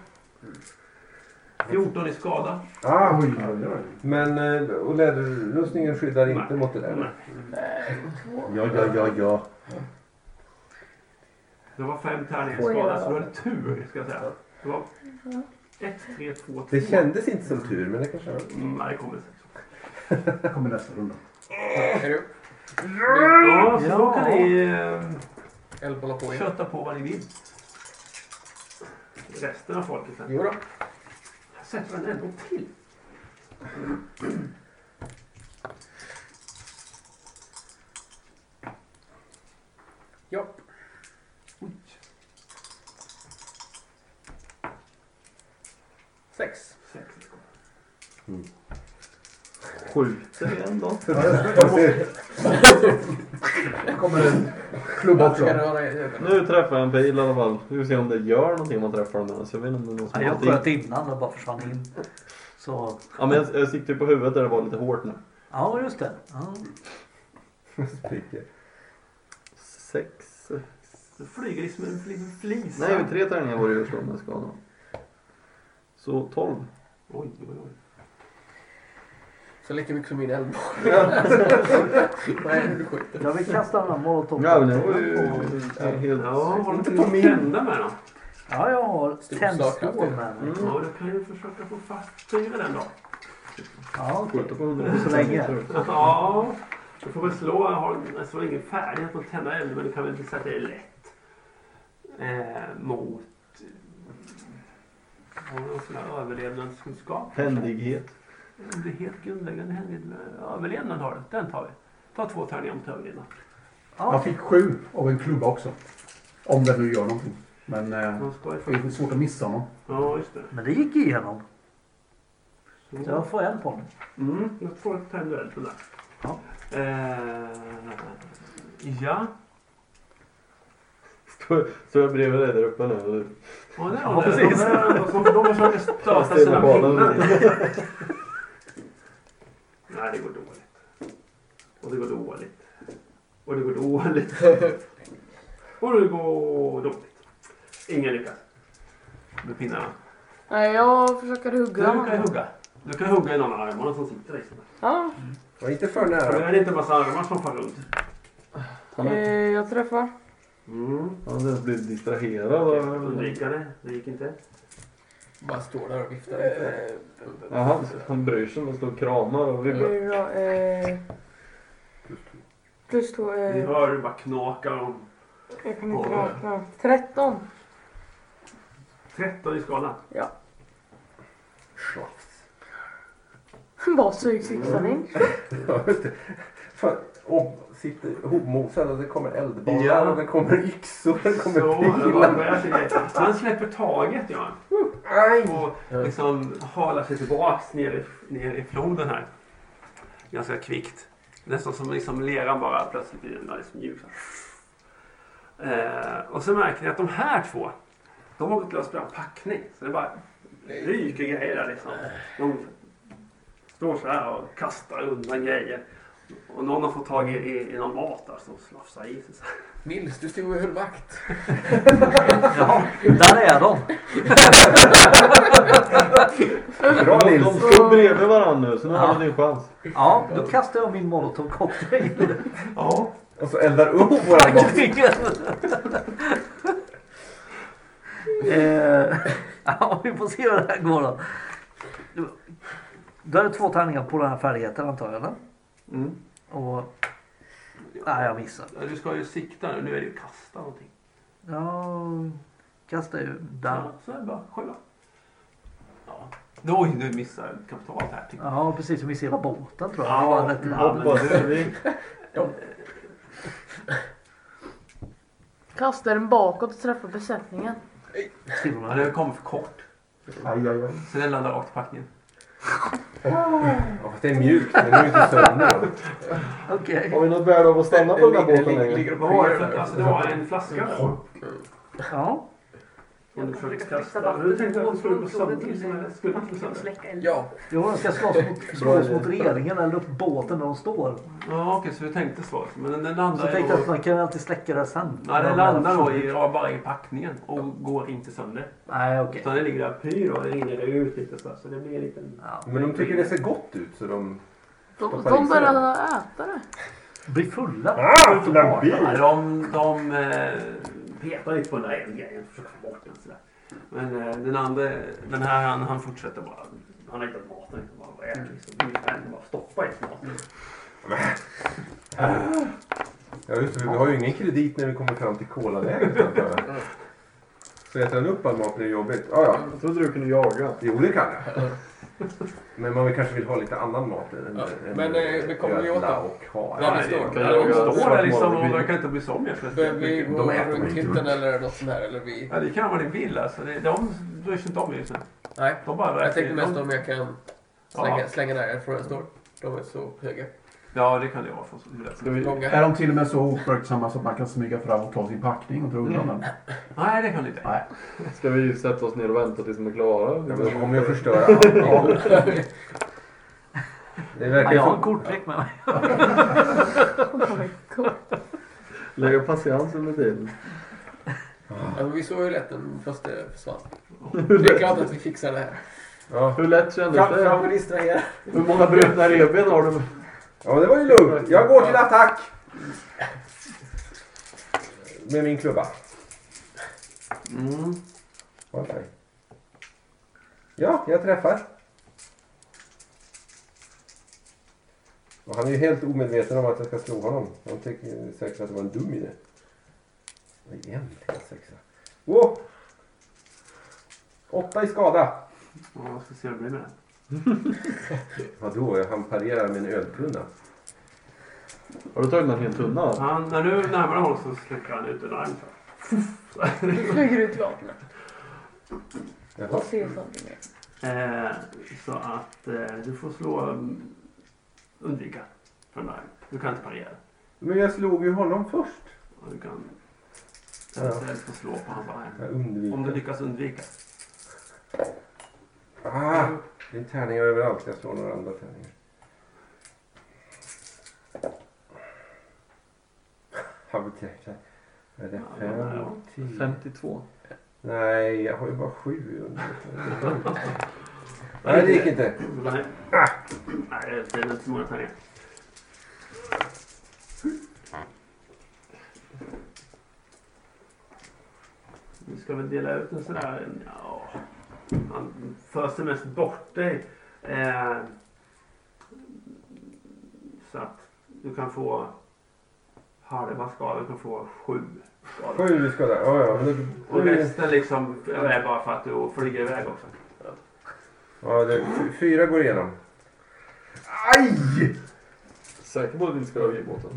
[SPEAKER 3] 14 i skada.
[SPEAKER 2] Ah,
[SPEAKER 6] Oj, oj, oj.
[SPEAKER 2] men eh, och läderrustningen skyddar inte
[SPEAKER 3] Nej.
[SPEAKER 2] mot det där?
[SPEAKER 3] Nej.
[SPEAKER 2] Ja, ja, ja, ja.
[SPEAKER 3] Det var fem tärningar i
[SPEAKER 8] Oj,
[SPEAKER 3] skada,
[SPEAKER 8] ja.
[SPEAKER 3] så du hade tur ska jag säga. Det var 1, 3, 2, 2.
[SPEAKER 2] Det kändes inte som tur, men det kanske var.
[SPEAKER 3] Mm, Nej, det kommer sen.
[SPEAKER 6] Jag kommer nästa runda.
[SPEAKER 7] Är du?
[SPEAKER 3] Ja, så då kan ni eh,
[SPEAKER 7] Eldbollar på in.
[SPEAKER 3] köta på vad ni vill. Resten av folket sen.
[SPEAKER 7] Jo då.
[SPEAKER 3] Jag sätter den en gång till.
[SPEAKER 7] Ja.
[SPEAKER 3] Oj.
[SPEAKER 7] Sex.
[SPEAKER 3] Sex i skada.
[SPEAKER 4] Skjuter igen då.
[SPEAKER 6] Jag kommer en klubba
[SPEAKER 7] Vad ska
[SPEAKER 6] också.
[SPEAKER 7] röra i huvudet?
[SPEAKER 4] Nu träffar jag en pil i alla fall. Vi får se om det gör någonting om man träffar dem. Så jag vet inte om det är någon som
[SPEAKER 5] Nej,
[SPEAKER 4] har
[SPEAKER 5] jag
[SPEAKER 4] någonting.
[SPEAKER 5] sköt innan och bara försvann in. Så
[SPEAKER 4] Ja, men jag, jag siktar ju på huvudet där det var lite hårt nu.
[SPEAKER 5] ja, just det. Ja.
[SPEAKER 2] Spricker.
[SPEAKER 4] Sex.
[SPEAKER 3] Du flyger liksom en liten flis.
[SPEAKER 4] Nej, men tre tärningar var det ju att slå med skadan. Så 12.
[SPEAKER 3] Oj, oj, oj.
[SPEAKER 7] Så lika mycket som min eldboll. Nej, du skjuter.
[SPEAKER 5] Jag vill kasta den här
[SPEAKER 4] Ja, men
[SPEAKER 5] molotovcocktail
[SPEAKER 4] det var ju
[SPEAKER 5] på-
[SPEAKER 4] helt...
[SPEAKER 3] Ja, har du inte fått tända med den?
[SPEAKER 5] Ja, jag har
[SPEAKER 7] Stor
[SPEAKER 5] tändstål
[SPEAKER 7] slagkraft, ja.
[SPEAKER 5] med
[SPEAKER 4] Mm.
[SPEAKER 5] mig.
[SPEAKER 3] Ja, då kan du försöka få fast fyra den då.
[SPEAKER 5] Ja, okej.
[SPEAKER 4] Skjuta på 100
[SPEAKER 5] Så länge.
[SPEAKER 3] Ja, du får väl slå. Jag har alltså ingen färdighet på att tända eld, men du kan väl visa att det är lätt. Eh, mot... Har du någon sån här överlevnadskunskap?
[SPEAKER 4] Händighet.
[SPEAKER 3] Det är helt grundläggande händighet med överlevnad har du. Den tar vi. Ta två tärningar mot överlevnad.
[SPEAKER 6] Jag fick sju av en klubba också. Om det nu gör någonting. Men eh,
[SPEAKER 3] Man ska ju
[SPEAKER 6] det
[SPEAKER 3] få-
[SPEAKER 6] är svårt att missa honom.
[SPEAKER 3] Ja, just det.
[SPEAKER 5] Men det gick igenom. Så
[SPEAKER 3] Så.
[SPEAKER 5] jag får en på den.
[SPEAKER 3] Mm, jag får ta en duell på det.
[SPEAKER 5] Ja.
[SPEAKER 3] Eh, ja.
[SPEAKER 4] Står står jag bredvid dig där uppe nu? eller?
[SPEAKER 3] Ja, det
[SPEAKER 5] Ja,
[SPEAKER 3] har du.
[SPEAKER 5] precis.
[SPEAKER 3] De, de, de försöker
[SPEAKER 4] Fast
[SPEAKER 3] stöta
[SPEAKER 4] det är
[SPEAKER 3] sina
[SPEAKER 4] med banan.
[SPEAKER 3] pinnar. Nej, det går dåligt. Och det går dåligt. Och det går dåligt. Och det går dåligt. Ingen lyckas. Med pinnarna.
[SPEAKER 8] Nej, jag försöker
[SPEAKER 3] Du
[SPEAKER 8] hugga
[SPEAKER 3] kan
[SPEAKER 8] honom.
[SPEAKER 3] hugga. Du kan hugga i någon av armarna som sitter liksom.
[SPEAKER 8] Ja,
[SPEAKER 2] Var inte för
[SPEAKER 3] Det
[SPEAKER 2] nära.
[SPEAKER 3] är inte en massa armar som far runt.
[SPEAKER 4] Han
[SPEAKER 8] eh,
[SPEAKER 4] har-
[SPEAKER 8] jag träffar.
[SPEAKER 3] Mm.
[SPEAKER 4] han har inte ens blivit distraherad.
[SPEAKER 3] Okej,
[SPEAKER 4] av-
[SPEAKER 3] Undvika det. Det gick inte.
[SPEAKER 7] Bara står där och viftar lite.
[SPEAKER 4] Ja, han, han bryr sig men står och kramar och vibbar.
[SPEAKER 8] Eh, ja, eh, plus två.
[SPEAKER 3] Ni
[SPEAKER 8] Eh,
[SPEAKER 3] hör hur det bara knakar om.
[SPEAKER 8] jag kan inte räkna. 13.
[SPEAKER 3] 13 i skalan.
[SPEAKER 8] Bara sugsixan in.
[SPEAKER 2] Ja, just det. Fan, och sitter ihopmosad och det kommer eldbollar
[SPEAKER 3] Ja.
[SPEAKER 2] och det kommer yxor. Det
[SPEAKER 3] Så,
[SPEAKER 2] kommer
[SPEAKER 3] det
[SPEAKER 2] pilar.
[SPEAKER 3] var börjar sig det. Han släpper taget, Johan. Och liksom halar sig tillbaks ner i, ner i floden här. Ganska kvickt. Nästan som liksom leran bara plötsligt blir den där liksom mjuk. så här. Eh, och så märker ni att de här två, de har gått lös på en packning. Så det bara ryker grejer där liksom. De står så här och kastar undan grejer. Och någon har fått tag i, i, i någon mat där som slafsar i sig. så här.
[SPEAKER 7] Nils, du stod och höll vakt.
[SPEAKER 5] Ja, där är de.
[SPEAKER 2] Bra
[SPEAKER 4] De,
[SPEAKER 2] Nils!
[SPEAKER 4] de står bredvid varandra nu så nu har
[SPEAKER 5] Ja.
[SPEAKER 4] han din chans.
[SPEAKER 5] Ja, då kastar jag min molotovcocktail.
[SPEAKER 3] Ja,
[SPEAKER 2] Och så eldar upp våra barn.
[SPEAKER 5] eh, ja, vi får se hur det här går då. Då är det två tärningar på den här färdigheten antar jag. eller?
[SPEAKER 3] Mm.
[SPEAKER 5] Och... Nej, jag missar.
[SPEAKER 3] Ja, Du ska ju sikta nu. Nu är det ju kasta någonting.
[SPEAKER 5] Jag kastar ju där.
[SPEAKER 3] Ja, så är det bara. Sjua. Ja. Nu- Oj, nu missar jag kapitalt här. tycker jag.
[SPEAKER 5] Ja, precis. Vi ser hela båten tror jag.
[SPEAKER 3] Ja,
[SPEAKER 5] Det var rätt
[SPEAKER 3] ja,
[SPEAKER 5] larm.
[SPEAKER 3] men-
[SPEAKER 4] Hoppas vi.
[SPEAKER 8] Kastar den bakåt och träffar besättningen.
[SPEAKER 5] till och
[SPEAKER 3] Ja,
[SPEAKER 5] med.
[SPEAKER 3] den kom för kort.
[SPEAKER 6] Aj, aj, aj.
[SPEAKER 3] Så den landar rakt i packningen.
[SPEAKER 2] Ja, fast det är mjukt. Den är ju inte sönder. då.
[SPEAKER 5] Okej.
[SPEAKER 4] Har vi något värde av att stanna på den här båten längre?
[SPEAKER 7] ligger och
[SPEAKER 3] Vad var det för
[SPEAKER 7] pirrar.
[SPEAKER 3] alltså, Det var en flaska där. va?
[SPEAKER 5] Ja.
[SPEAKER 3] Som du försökte kasta.
[SPEAKER 9] vatten
[SPEAKER 3] Du tänkte att den skulle gå
[SPEAKER 9] från floden
[SPEAKER 3] sönder.
[SPEAKER 9] till
[SPEAKER 3] som
[SPEAKER 9] sig.
[SPEAKER 3] den Skulle
[SPEAKER 9] Man
[SPEAKER 3] inte gå
[SPEAKER 9] kan
[SPEAKER 3] sönder.
[SPEAKER 9] släcka elden.
[SPEAKER 7] Ja,
[SPEAKER 5] Jo, de ska slåss mot, slåss mot regeringen eller upp båten där de står.
[SPEAKER 3] Ja, okej, så du tänkte så. Men den, den
[SPEAKER 5] Så
[SPEAKER 3] landar
[SPEAKER 5] tänkte jag att
[SPEAKER 3] ju...
[SPEAKER 5] man kan alltid släcka det sen.
[SPEAKER 3] Ja, den landar då i, ja, bara i packningen och går inte sönder.
[SPEAKER 5] Nej, okej.
[SPEAKER 3] Utan den ligger där och pyr och den rinner ut lite så, här, så det blir en liten...
[SPEAKER 5] Ja.
[SPEAKER 2] Men de tycker det ser gott ut så de...
[SPEAKER 8] De,
[SPEAKER 2] Stoppar i
[SPEAKER 8] de
[SPEAKER 2] sig
[SPEAKER 8] börjar äta det.
[SPEAKER 5] Bli fulla.
[SPEAKER 2] Ah!
[SPEAKER 3] Nej, de, de eh, petar lite på den där ena grejen och försöker få bort den. Sådär. Men eh, den andra, den här han, han fortsätter bara. Han har hittat maten. Liksom, bara, vad är det liksom? Han bara stoppar i maten.
[SPEAKER 2] Ja just det, för vi har ju ingen kredit när vi kommer fram till Kolalägret antar jag. Så äter han upp all mat när det är jobbigt? Ja, ja.
[SPEAKER 4] Jag trodde du kunde jaga.
[SPEAKER 2] Jo, det kan jag. Men man vill kanske vill ha lite annan mat än...
[SPEAKER 7] Ja,
[SPEAKER 2] än-
[SPEAKER 7] men, eh, vi kommer ju åt
[SPEAKER 2] ödla
[SPEAKER 7] det.
[SPEAKER 2] och hare.
[SPEAKER 7] Där vi
[SPEAKER 3] Nej,
[SPEAKER 7] står.
[SPEAKER 3] de-
[SPEAKER 4] Där vi
[SPEAKER 3] De
[SPEAKER 4] står.
[SPEAKER 3] står där liksom och verkar inte bry sig om er. så
[SPEAKER 7] Bör vi
[SPEAKER 3] mycket.
[SPEAKER 7] gå
[SPEAKER 2] de äter
[SPEAKER 7] runt
[SPEAKER 2] mig inte.
[SPEAKER 7] hytten eller något sånt här? Eller vi...
[SPEAKER 3] Ja, det kan vara din bil alltså. Det, de bryr sig inte om er just nu.
[SPEAKER 7] Nej,
[SPEAKER 3] De bara
[SPEAKER 7] jag
[SPEAKER 3] verkar...
[SPEAKER 7] tänkte mest
[SPEAKER 3] De,
[SPEAKER 7] om jag kan
[SPEAKER 3] Ja.
[SPEAKER 7] slänga, slänga där jag från jag står. De är så höga.
[SPEAKER 3] ja, det kan det vara. För, för,
[SPEAKER 4] Ska vi...
[SPEAKER 7] Långa.
[SPEAKER 6] Är de till och med så ofruktsamma så att man kan smyga fram och ta sin packning och dra undan den?
[SPEAKER 3] nej, det kan det inte.
[SPEAKER 4] Ska vi sätta oss ner och vänta tills de är klara?
[SPEAKER 2] Ja, men då kommer jag förstöra allt. Det
[SPEAKER 5] Ja, jag
[SPEAKER 2] verkar
[SPEAKER 5] har en
[SPEAKER 2] som...
[SPEAKER 5] kortlek med mig.
[SPEAKER 8] Oh my God.
[SPEAKER 4] Lägga patiens under tiden.
[SPEAKER 7] Ja, men vi såg ju lätt den första försvann. Det är klart att vi fixar det här.
[SPEAKER 2] Ja.
[SPEAKER 4] Hur lätt kändes
[SPEAKER 7] Fram, fram
[SPEAKER 4] det?
[SPEAKER 7] och distrahera.
[SPEAKER 4] Hur många brutna revben har du?
[SPEAKER 2] ja, men det var ju lugnt. Jag går till attack! Med min klubba.
[SPEAKER 4] Mm.
[SPEAKER 2] Håll dig. Ja, jag träffar. Och han är ju helt omedveten om att jag ska slå honom. Han tycker säkert att det var en dum idé. Och Igen, sexa. Åh! Åtta i skada.
[SPEAKER 3] Ja, jag ska se hur det blir med det.
[SPEAKER 2] Vadå, han parerar med en öltunna.
[SPEAKER 4] Har du tagit någon helt tunna?
[SPEAKER 3] Han, när du närmar honom så släcker han ut en arm. Så.
[SPEAKER 8] Flyger ut vapnet
[SPEAKER 2] Jaha.
[SPEAKER 8] och ser sånt. mer.
[SPEAKER 3] Eh, så att eh, du får slå um, undvika för en arm. Du kan inte parera.
[SPEAKER 2] Men jag slog ju honom först.
[SPEAKER 3] Och du kan
[SPEAKER 2] Ja.
[SPEAKER 3] eventuellt få slå på hans arm.
[SPEAKER 2] Jag
[SPEAKER 3] Om du
[SPEAKER 2] undviker.
[SPEAKER 3] lyckas undvika.
[SPEAKER 2] Ah, det är tärningar överallt. Jag slår några andra tärningar. Han betyder... Är det fem?
[SPEAKER 3] Ja,
[SPEAKER 4] 52.
[SPEAKER 2] Nej, jag har ju bara sju. under. Nej, det gick inte.
[SPEAKER 3] Nej. Nej, det är inte så många tärningar. Vi ska väl dela ut en sån där... Ja, man föser mest bort dig. Eh, så att du kan få halva skador, du kan få sju skador.
[SPEAKER 2] Sju skada. Ja, ja. men
[SPEAKER 3] Och
[SPEAKER 2] det-
[SPEAKER 3] resten liksom är bara för att du flyger iväg också.
[SPEAKER 2] Ja, det, f- fyra går igenom.
[SPEAKER 4] Säker på att du inte ska ha ubåten?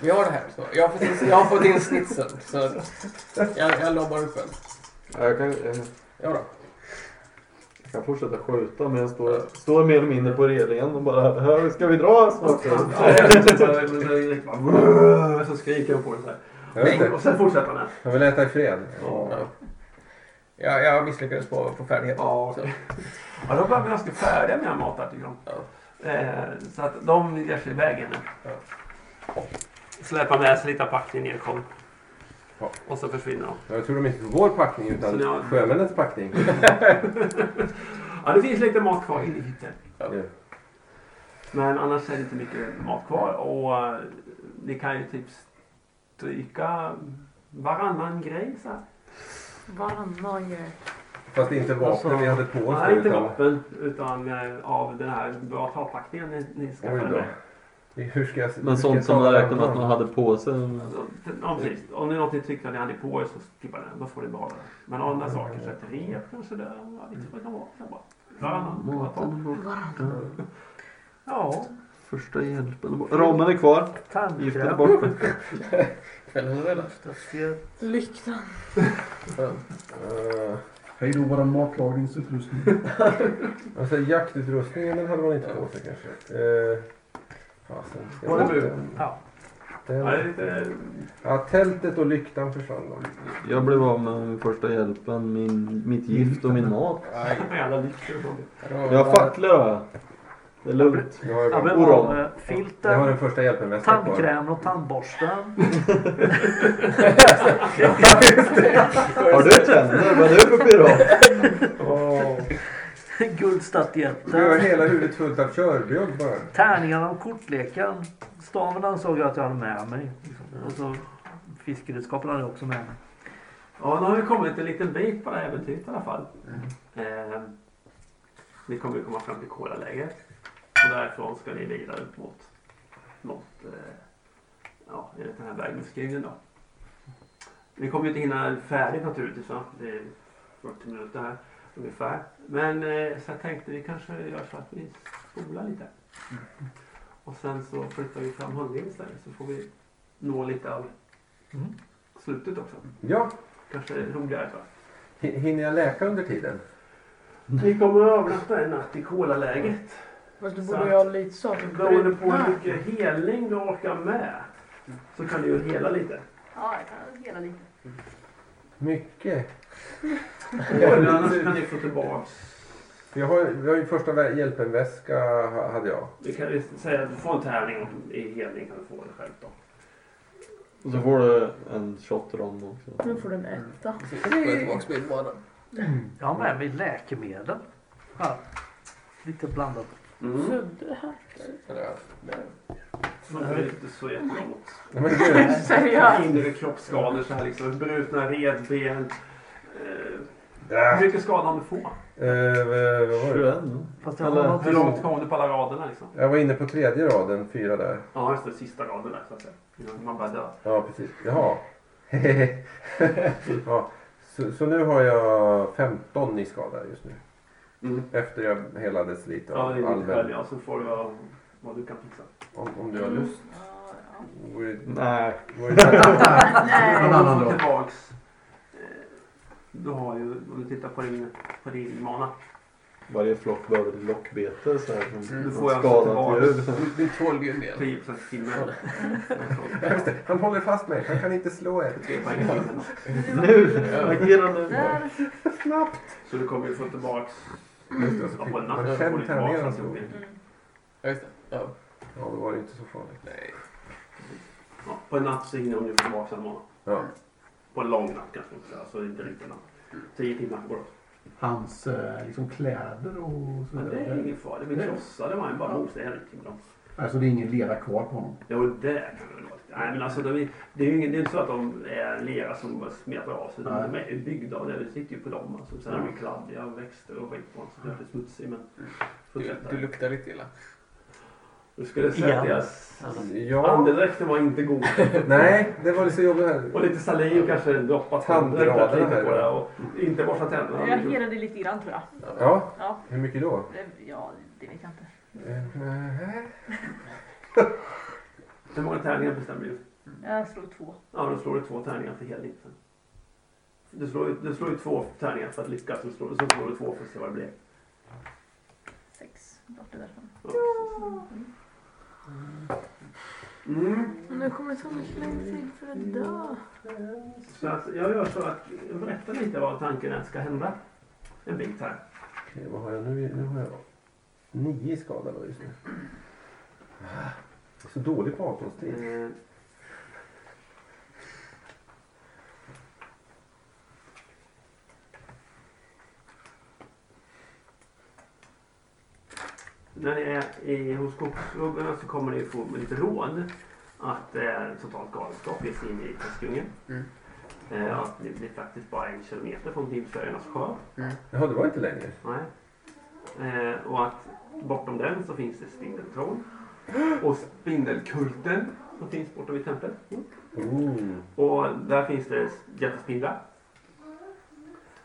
[SPEAKER 7] Vi har det här. Så. Jag, har fått in, jag har fått in snitsen. Så jag, jag lobbar upp en.
[SPEAKER 4] Ja, jag, kan, eh,
[SPEAKER 7] Ja då.
[SPEAKER 4] jag kan fortsätta skjuta men jag står, står mer eller mindre på relingen och bara "Hör, Ska vi dra snart?
[SPEAKER 7] liksom
[SPEAKER 3] Så skriker han på dig så här.
[SPEAKER 2] Jag vet
[SPEAKER 3] Och
[SPEAKER 2] inte.
[SPEAKER 3] sen fortsätter han. här.
[SPEAKER 2] Jag vill äta i fred.
[SPEAKER 7] Ja. Jag, jag misslyckades på, på färdighet.
[SPEAKER 3] Ja.
[SPEAKER 7] Så.
[SPEAKER 3] Ja, de börjar bli ganska färdiga med matar tycker de.
[SPEAKER 7] Ja.
[SPEAKER 3] Eh, så att de ger sig iväg nu.
[SPEAKER 7] Ja.
[SPEAKER 3] Släpar med sig lite av packningen ner kom.
[SPEAKER 2] Ja.
[SPEAKER 3] Och så försvinner de.
[SPEAKER 2] Jag tror de inte på vår packning utan
[SPEAKER 3] Så jag-
[SPEAKER 2] sjömännens packning.
[SPEAKER 3] Ja, det finns lite mat kvar inne i hytten.
[SPEAKER 2] Ja.
[SPEAKER 3] Men annars är det inte mycket mat kvar. Och eh, ni kan ju typ stryka varannan grej så här.
[SPEAKER 8] Varannan grej.
[SPEAKER 2] Fast det är inte vapnen vi hade på oss.
[SPEAKER 3] Alltså, Nej,
[SPEAKER 2] då,
[SPEAKER 3] inte
[SPEAKER 2] utan-
[SPEAKER 3] vapen. Utan eh, av den här bra talpackningen ni, ni
[SPEAKER 2] Oj
[SPEAKER 3] skaffade
[SPEAKER 2] då.
[SPEAKER 3] med.
[SPEAKER 2] Hur ska jag... hur
[SPEAKER 4] Men
[SPEAKER 2] ska jag
[SPEAKER 4] sånt som man
[SPEAKER 2] tala
[SPEAKER 4] räknar med att
[SPEAKER 2] om
[SPEAKER 4] man hade på sig.
[SPEAKER 3] Alltså, Ja, precis. Om det är något ni tyckte att ni hade på er så skippa den. Då får ni behålla den. Men
[SPEAKER 2] Mm.
[SPEAKER 3] andra saker, så ett rep kanske det. Jag vet inte vad det kan vara. Det är bara Varannan. kvartal.
[SPEAKER 4] Maten och
[SPEAKER 3] Ja,
[SPEAKER 4] första hjälpen. Ramen är kvar. Giftet är borta.
[SPEAKER 7] Kvällen är räddad.
[SPEAKER 8] Lyktan.
[SPEAKER 2] Eh,
[SPEAKER 6] Hej då våran matlagningsutrustning.
[SPEAKER 2] Alltså jaktutrustningen den hade man inte på sig kanske. Eh, fasen. Jag
[SPEAKER 3] Var det
[SPEAKER 2] vet
[SPEAKER 3] bur?
[SPEAKER 2] inte.
[SPEAKER 3] Ja. Ja, det är
[SPEAKER 2] Den,
[SPEAKER 3] lite...
[SPEAKER 2] ja, tältet och lyktan försvann då.
[SPEAKER 4] Jag blev av med min första hjälpen, min, mitt gift och min mat.
[SPEAKER 7] Nej.
[SPEAKER 3] Jävla lyxor och sånt.
[SPEAKER 7] det
[SPEAKER 8] Mm.
[SPEAKER 7] var-
[SPEAKER 4] Jag har facklor har jag. Det är lugnt.
[SPEAKER 2] Jag har, ju bara-
[SPEAKER 4] men-
[SPEAKER 5] av eh,
[SPEAKER 2] jag har den
[SPEAKER 5] filter,
[SPEAKER 2] första hjälpenväskan kvar.
[SPEAKER 5] tandkräm och tandborsten.
[SPEAKER 4] Har du tänder? Vad är du för pirat?
[SPEAKER 2] Jag har
[SPEAKER 5] Guldstatyetten.
[SPEAKER 2] hela huvudet fullt av körbjugg bara.
[SPEAKER 5] Tärningarna och kortleken. Staven ansåg jag att jag hade med mig. liksom. Och så fiskeredskapen hade jag också med mig.
[SPEAKER 3] Ja, nu har vi kommit en liten bit på det här äventyret i alla fall. Eh, ni kommer ju komma fram till Kolalägret. Och därifrån ska ni vidare upp mot något, eh, ja, enligt den här vägbeskrivningen då. Vi kommer ju inte hinna färdigt naturligtvis va? Det är 40 minuter här ungefär. Men eh, så jag tänkte vi kanske gör så att vi spolar lite. Och sen så flyttar vi fram handlingen istället så får vi nå lite av
[SPEAKER 5] Mm.
[SPEAKER 3] slutet också.
[SPEAKER 2] Ja,
[SPEAKER 3] Kanske roligare så.
[SPEAKER 2] hin- hinner jag läka under tiden?
[SPEAKER 3] Ni kommer att övernatta en natt i Kolalägret.
[SPEAKER 8] Fast du borde ju ha lite saker
[SPEAKER 3] Beroende på hur
[SPEAKER 8] brutna.
[SPEAKER 3] mycket helning du orkar med så kan du ju hela lite.
[SPEAKER 9] Ja, jag kan hela lite.
[SPEAKER 2] Mycket.
[SPEAKER 3] Eller annars kan ni få tillbaks.
[SPEAKER 2] Jag har, jag har ju första vä- hjälpenväska ha- hade jag.
[SPEAKER 3] Vi kan ju säga att du får en tärning i helning kan du få det själv då.
[SPEAKER 4] Och så får du en shot rom också.
[SPEAKER 8] Nu Mm, får du en etta.
[SPEAKER 7] Precis, får jag tillbaka min mana.
[SPEAKER 5] Jag har med mig läkemedel. Här. Lite blandat.
[SPEAKER 8] Ludde här.
[SPEAKER 2] Eller,
[SPEAKER 3] Man är inte så jätteemot.
[SPEAKER 2] nej, men du,
[SPEAKER 8] Mm. Seriöst.
[SPEAKER 3] Inre kroppsskador så här liksom. Brutna revben. Eh,
[SPEAKER 2] Äh,
[SPEAKER 3] Hur mycket skada har du fått?
[SPEAKER 2] eh, vad var det?
[SPEAKER 4] 21.
[SPEAKER 5] Fast jag har något
[SPEAKER 3] Hur långt kom du på alla raderna liksom?
[SPEAKER 2] Jag var inne på tredje raden, fyra där.
[SPEAKER 3] Ja, just det. Sista raden där så att säga. Innan Man bara dör.
[SPEAKER 2] Ja, precis. Jaha. ja. Så, så nu har jag 15 i skada just nu.
[SPEAKER 3] Mm.
[SPEAKER 2] Efter jag helades lite
[SPEAKER 3] Ja,
[SPEAKER 2] av
[SPEAKER 3] det är ditt
[SPEAKER 2] allmän.
[SPEAKER 3] skölj. Ja, Mm. så får du vad, vad du kan fixa.
[SPEAKER 2] Om, om du har lust.
[SPEAKER 9] Ja, ja.
[SPEAKER 2] Vore,
[SPEAKER 4] Nej.
[SPEAKER 2] vore det
[SPEAKER 6] Någon
[SPEAKER 3] Nej,
[SPEAKER 6] annan
[SPEAKER 3] du
[SPEAKER 6] dag.
[SPEAKER 3] tillbaks. Eh, Du har ju, om du tittar på din, på din mana.
[SPEAKER 4] Varje flock behöver ett lockbete. Så här, som
[SPEAKER 3] Du
[SPEAKER 4] ett
[SPEAKER 3] får ju alltså
[SPEAKER 4] Mm. skadat djur.
[SPEAKER 3] tillbaks
[SPEAKER 7] Du tål ju en del.
[SPEAKER 3] 10% timme.
[SPEAKER 2] Just det, Han håller fast mig. Han kan inte slå er.
[SPEAKER 4] Nu! Agera nu!
[SPEAKER 9] Där.
[SPEAKER 2] Snabbt.
[SPEAKER 3] Så du kommer ju få tillbaks
[SPEAKER 2] Just det, så
[SPEAKER 3] ja,
[SPEAKER 2] fick
[SPEAKER 3] på en
[SPEAKER 2] man
[SPEAKER 3] natt. så får
[SPEAKER 2] fem
[SPEAKER 3] du tillbaks alltså.
[SPEAKER 2] tärningar och
[SPEAKER 3] alltihop.
[SPEAKER 2] så.
[SPEAKER 7] Ja, just det. Ja.
[SPEAKER 2] Ja, då var det inte så farligt.
[SPEAKER 7] Nej.
[SPEAKER 3] Ja, På en natt så hinner hon ju tillbaks en mana.
[SPEAKER 2] Ja.
[SPEAKER 3] På en lång natt kanske inte. Alltså inte riktigt en natt. 10 timmar går det.
[SPEAKER 6] Hans eh, liksom, kläder och så
[SPEAKER 3] Men det är ingen fara. Det blir krossade man ju bara mot sig.
[SPEAKER 6] Alltså det är ingen lera kvar på honom.
[SPEAKER 3] Jo, det kan det väl vara. Nej, men alltså de är, det är ju ingen, det är inte så att de är lera som bara smetar av sig.
[SPEAKER 6] Nej.
[SPEAKER 3] De är ju byggda av det. Det sitter ju på dem. Alltså. Sen är de ju kladdiga och växter och skit på dem. Så det är lite smutsigt. Men
[SPEAKER 2] Mm.
[SPEAKER 7] Du,
[SPEAKER 3] fortsätt
[SPEAKER 7] du
[SPEAKER 3] där.
[SPEAKER 7] luktar lite illa.
[SPEAKER 3] Du skulle säga att
[SPEAKER 5] Igen.
[SPEAKER 3] deras
[SPEAKER 2] ja.
[SPEAKER 3] andedräkten var inte god.
[SPEAKER 2] Nej, det var lite så jobbigt här.
[SPEAKER 3] Och lite saliv kanske droppat
[SPEAKER 2] Tandraderna
[SPEAKER 3] Jag tänkte
[SPEAKER 2] här,
[SPEAKER 3] på
[SPEAKER 2] ja.
[SPEAKER 3] det. Och inte borsta
[SPEAKER 9] Jag
[SPEAKER 3] tänderna.
[SPEAKER 9] helade lite grann tror jag.
[SPEAKER 2] Ja,
[SPEAKER 9] Ja,
[SPEAKER 2] hur mycket då?
[SPEAKER 9] det- ja det vet jag inte.
[SPEAKER 3] Mm.
[SPEAKER 2] Eh,
[SPEAKER 3] Hur många tärningar bestämmer du?
[SPEAKER 9] Jag slog två.
[SPEAKER 3] Ja, då slår du två tärningar för helheten. Du slår, ju- du slår ju två tärningar för att lyckas. Så slår, så slår du två för att se vad det blir.
[SPEAKER 9] Sex. Borta därifrån.
[SPEAKER 3] Ja, precis. Mm.
[SPEAKER 8] Men nu kommer det ta mycket längre tid för att dö.
[SPEAKER 2] Eh,
[SPEAKER 3] Så att jag gör så att jag berättar lite vad tanken är att ska hända. En bit här.
[SPEAKER 2] Okej, vad har jag nu? Nu har jag nio i skada då just nu. Så dålig på avståndstid.
[SPEAKER 3] Eh, När ni är i, hos skogsgubbarna så kommer ni få lite råd att det är totalt galenskap ge sig in i Kungsdjungeln.
[SPEAKER 7] Mm.
[SPEAKER 3] Eh, att ni blir faktiskt bara en kilometer från Dimsöjarnas sjö.
[SPEAKER 2] Jaha, det var inte längre.
[SPEAKER 3] Nej. Eh, och att bortom den så finns det spindeltron. Och spindelkulten som finns borta vid templet. Mm.
[SPEAKER 2] Ooh.
[SPEAKER 3] Och där finns det jättespindlar.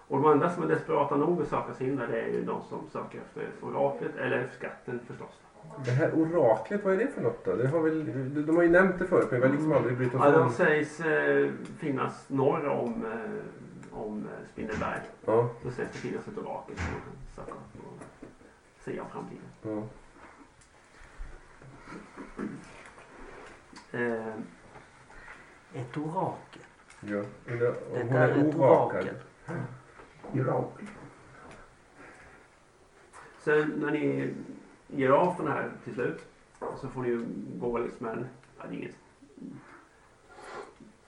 [SPEAKER 3] Och de enda som är desperata nog att söka sig in där det är ju de som söker efter oraklet eller efter skatten förstås.
[SPEAKER 2] Det här oraklet, vad är det för något då? Det har väl, de har ju nämnt det förut men vi har liksom aldrig brytt oss
[SPEAKER 3] Ja, de
[SPEAKER 2] om.
[SPEAKER 3] sägs eh, finnas norr om, eh, om eh, Spindelberg.
[SPEAKER 2] Ja,
[SPEAKER 3] Då sägs det finnas ett orakel som man kan söka upp och se om framtiden.
[SPEAKER 2] ja.
[SPEAKER 3] Eh,
[SPEAKER 5] Ett orakel.
[SPEAKER 2] ja. Undrar
[SPEAKER 5] Det
[SPEAKER 2] om hon
[SPEAKER 5] där är
[SPEAKER 2] är
[SPEAKER 5] ett orakel.
[SPEAKER 2] orakad.
[SPEAKER 6] Irak.
[SPEAKER 3] Sen när ni ger av den här till slut så får ni ju gå liksom en... Ja, det är inget...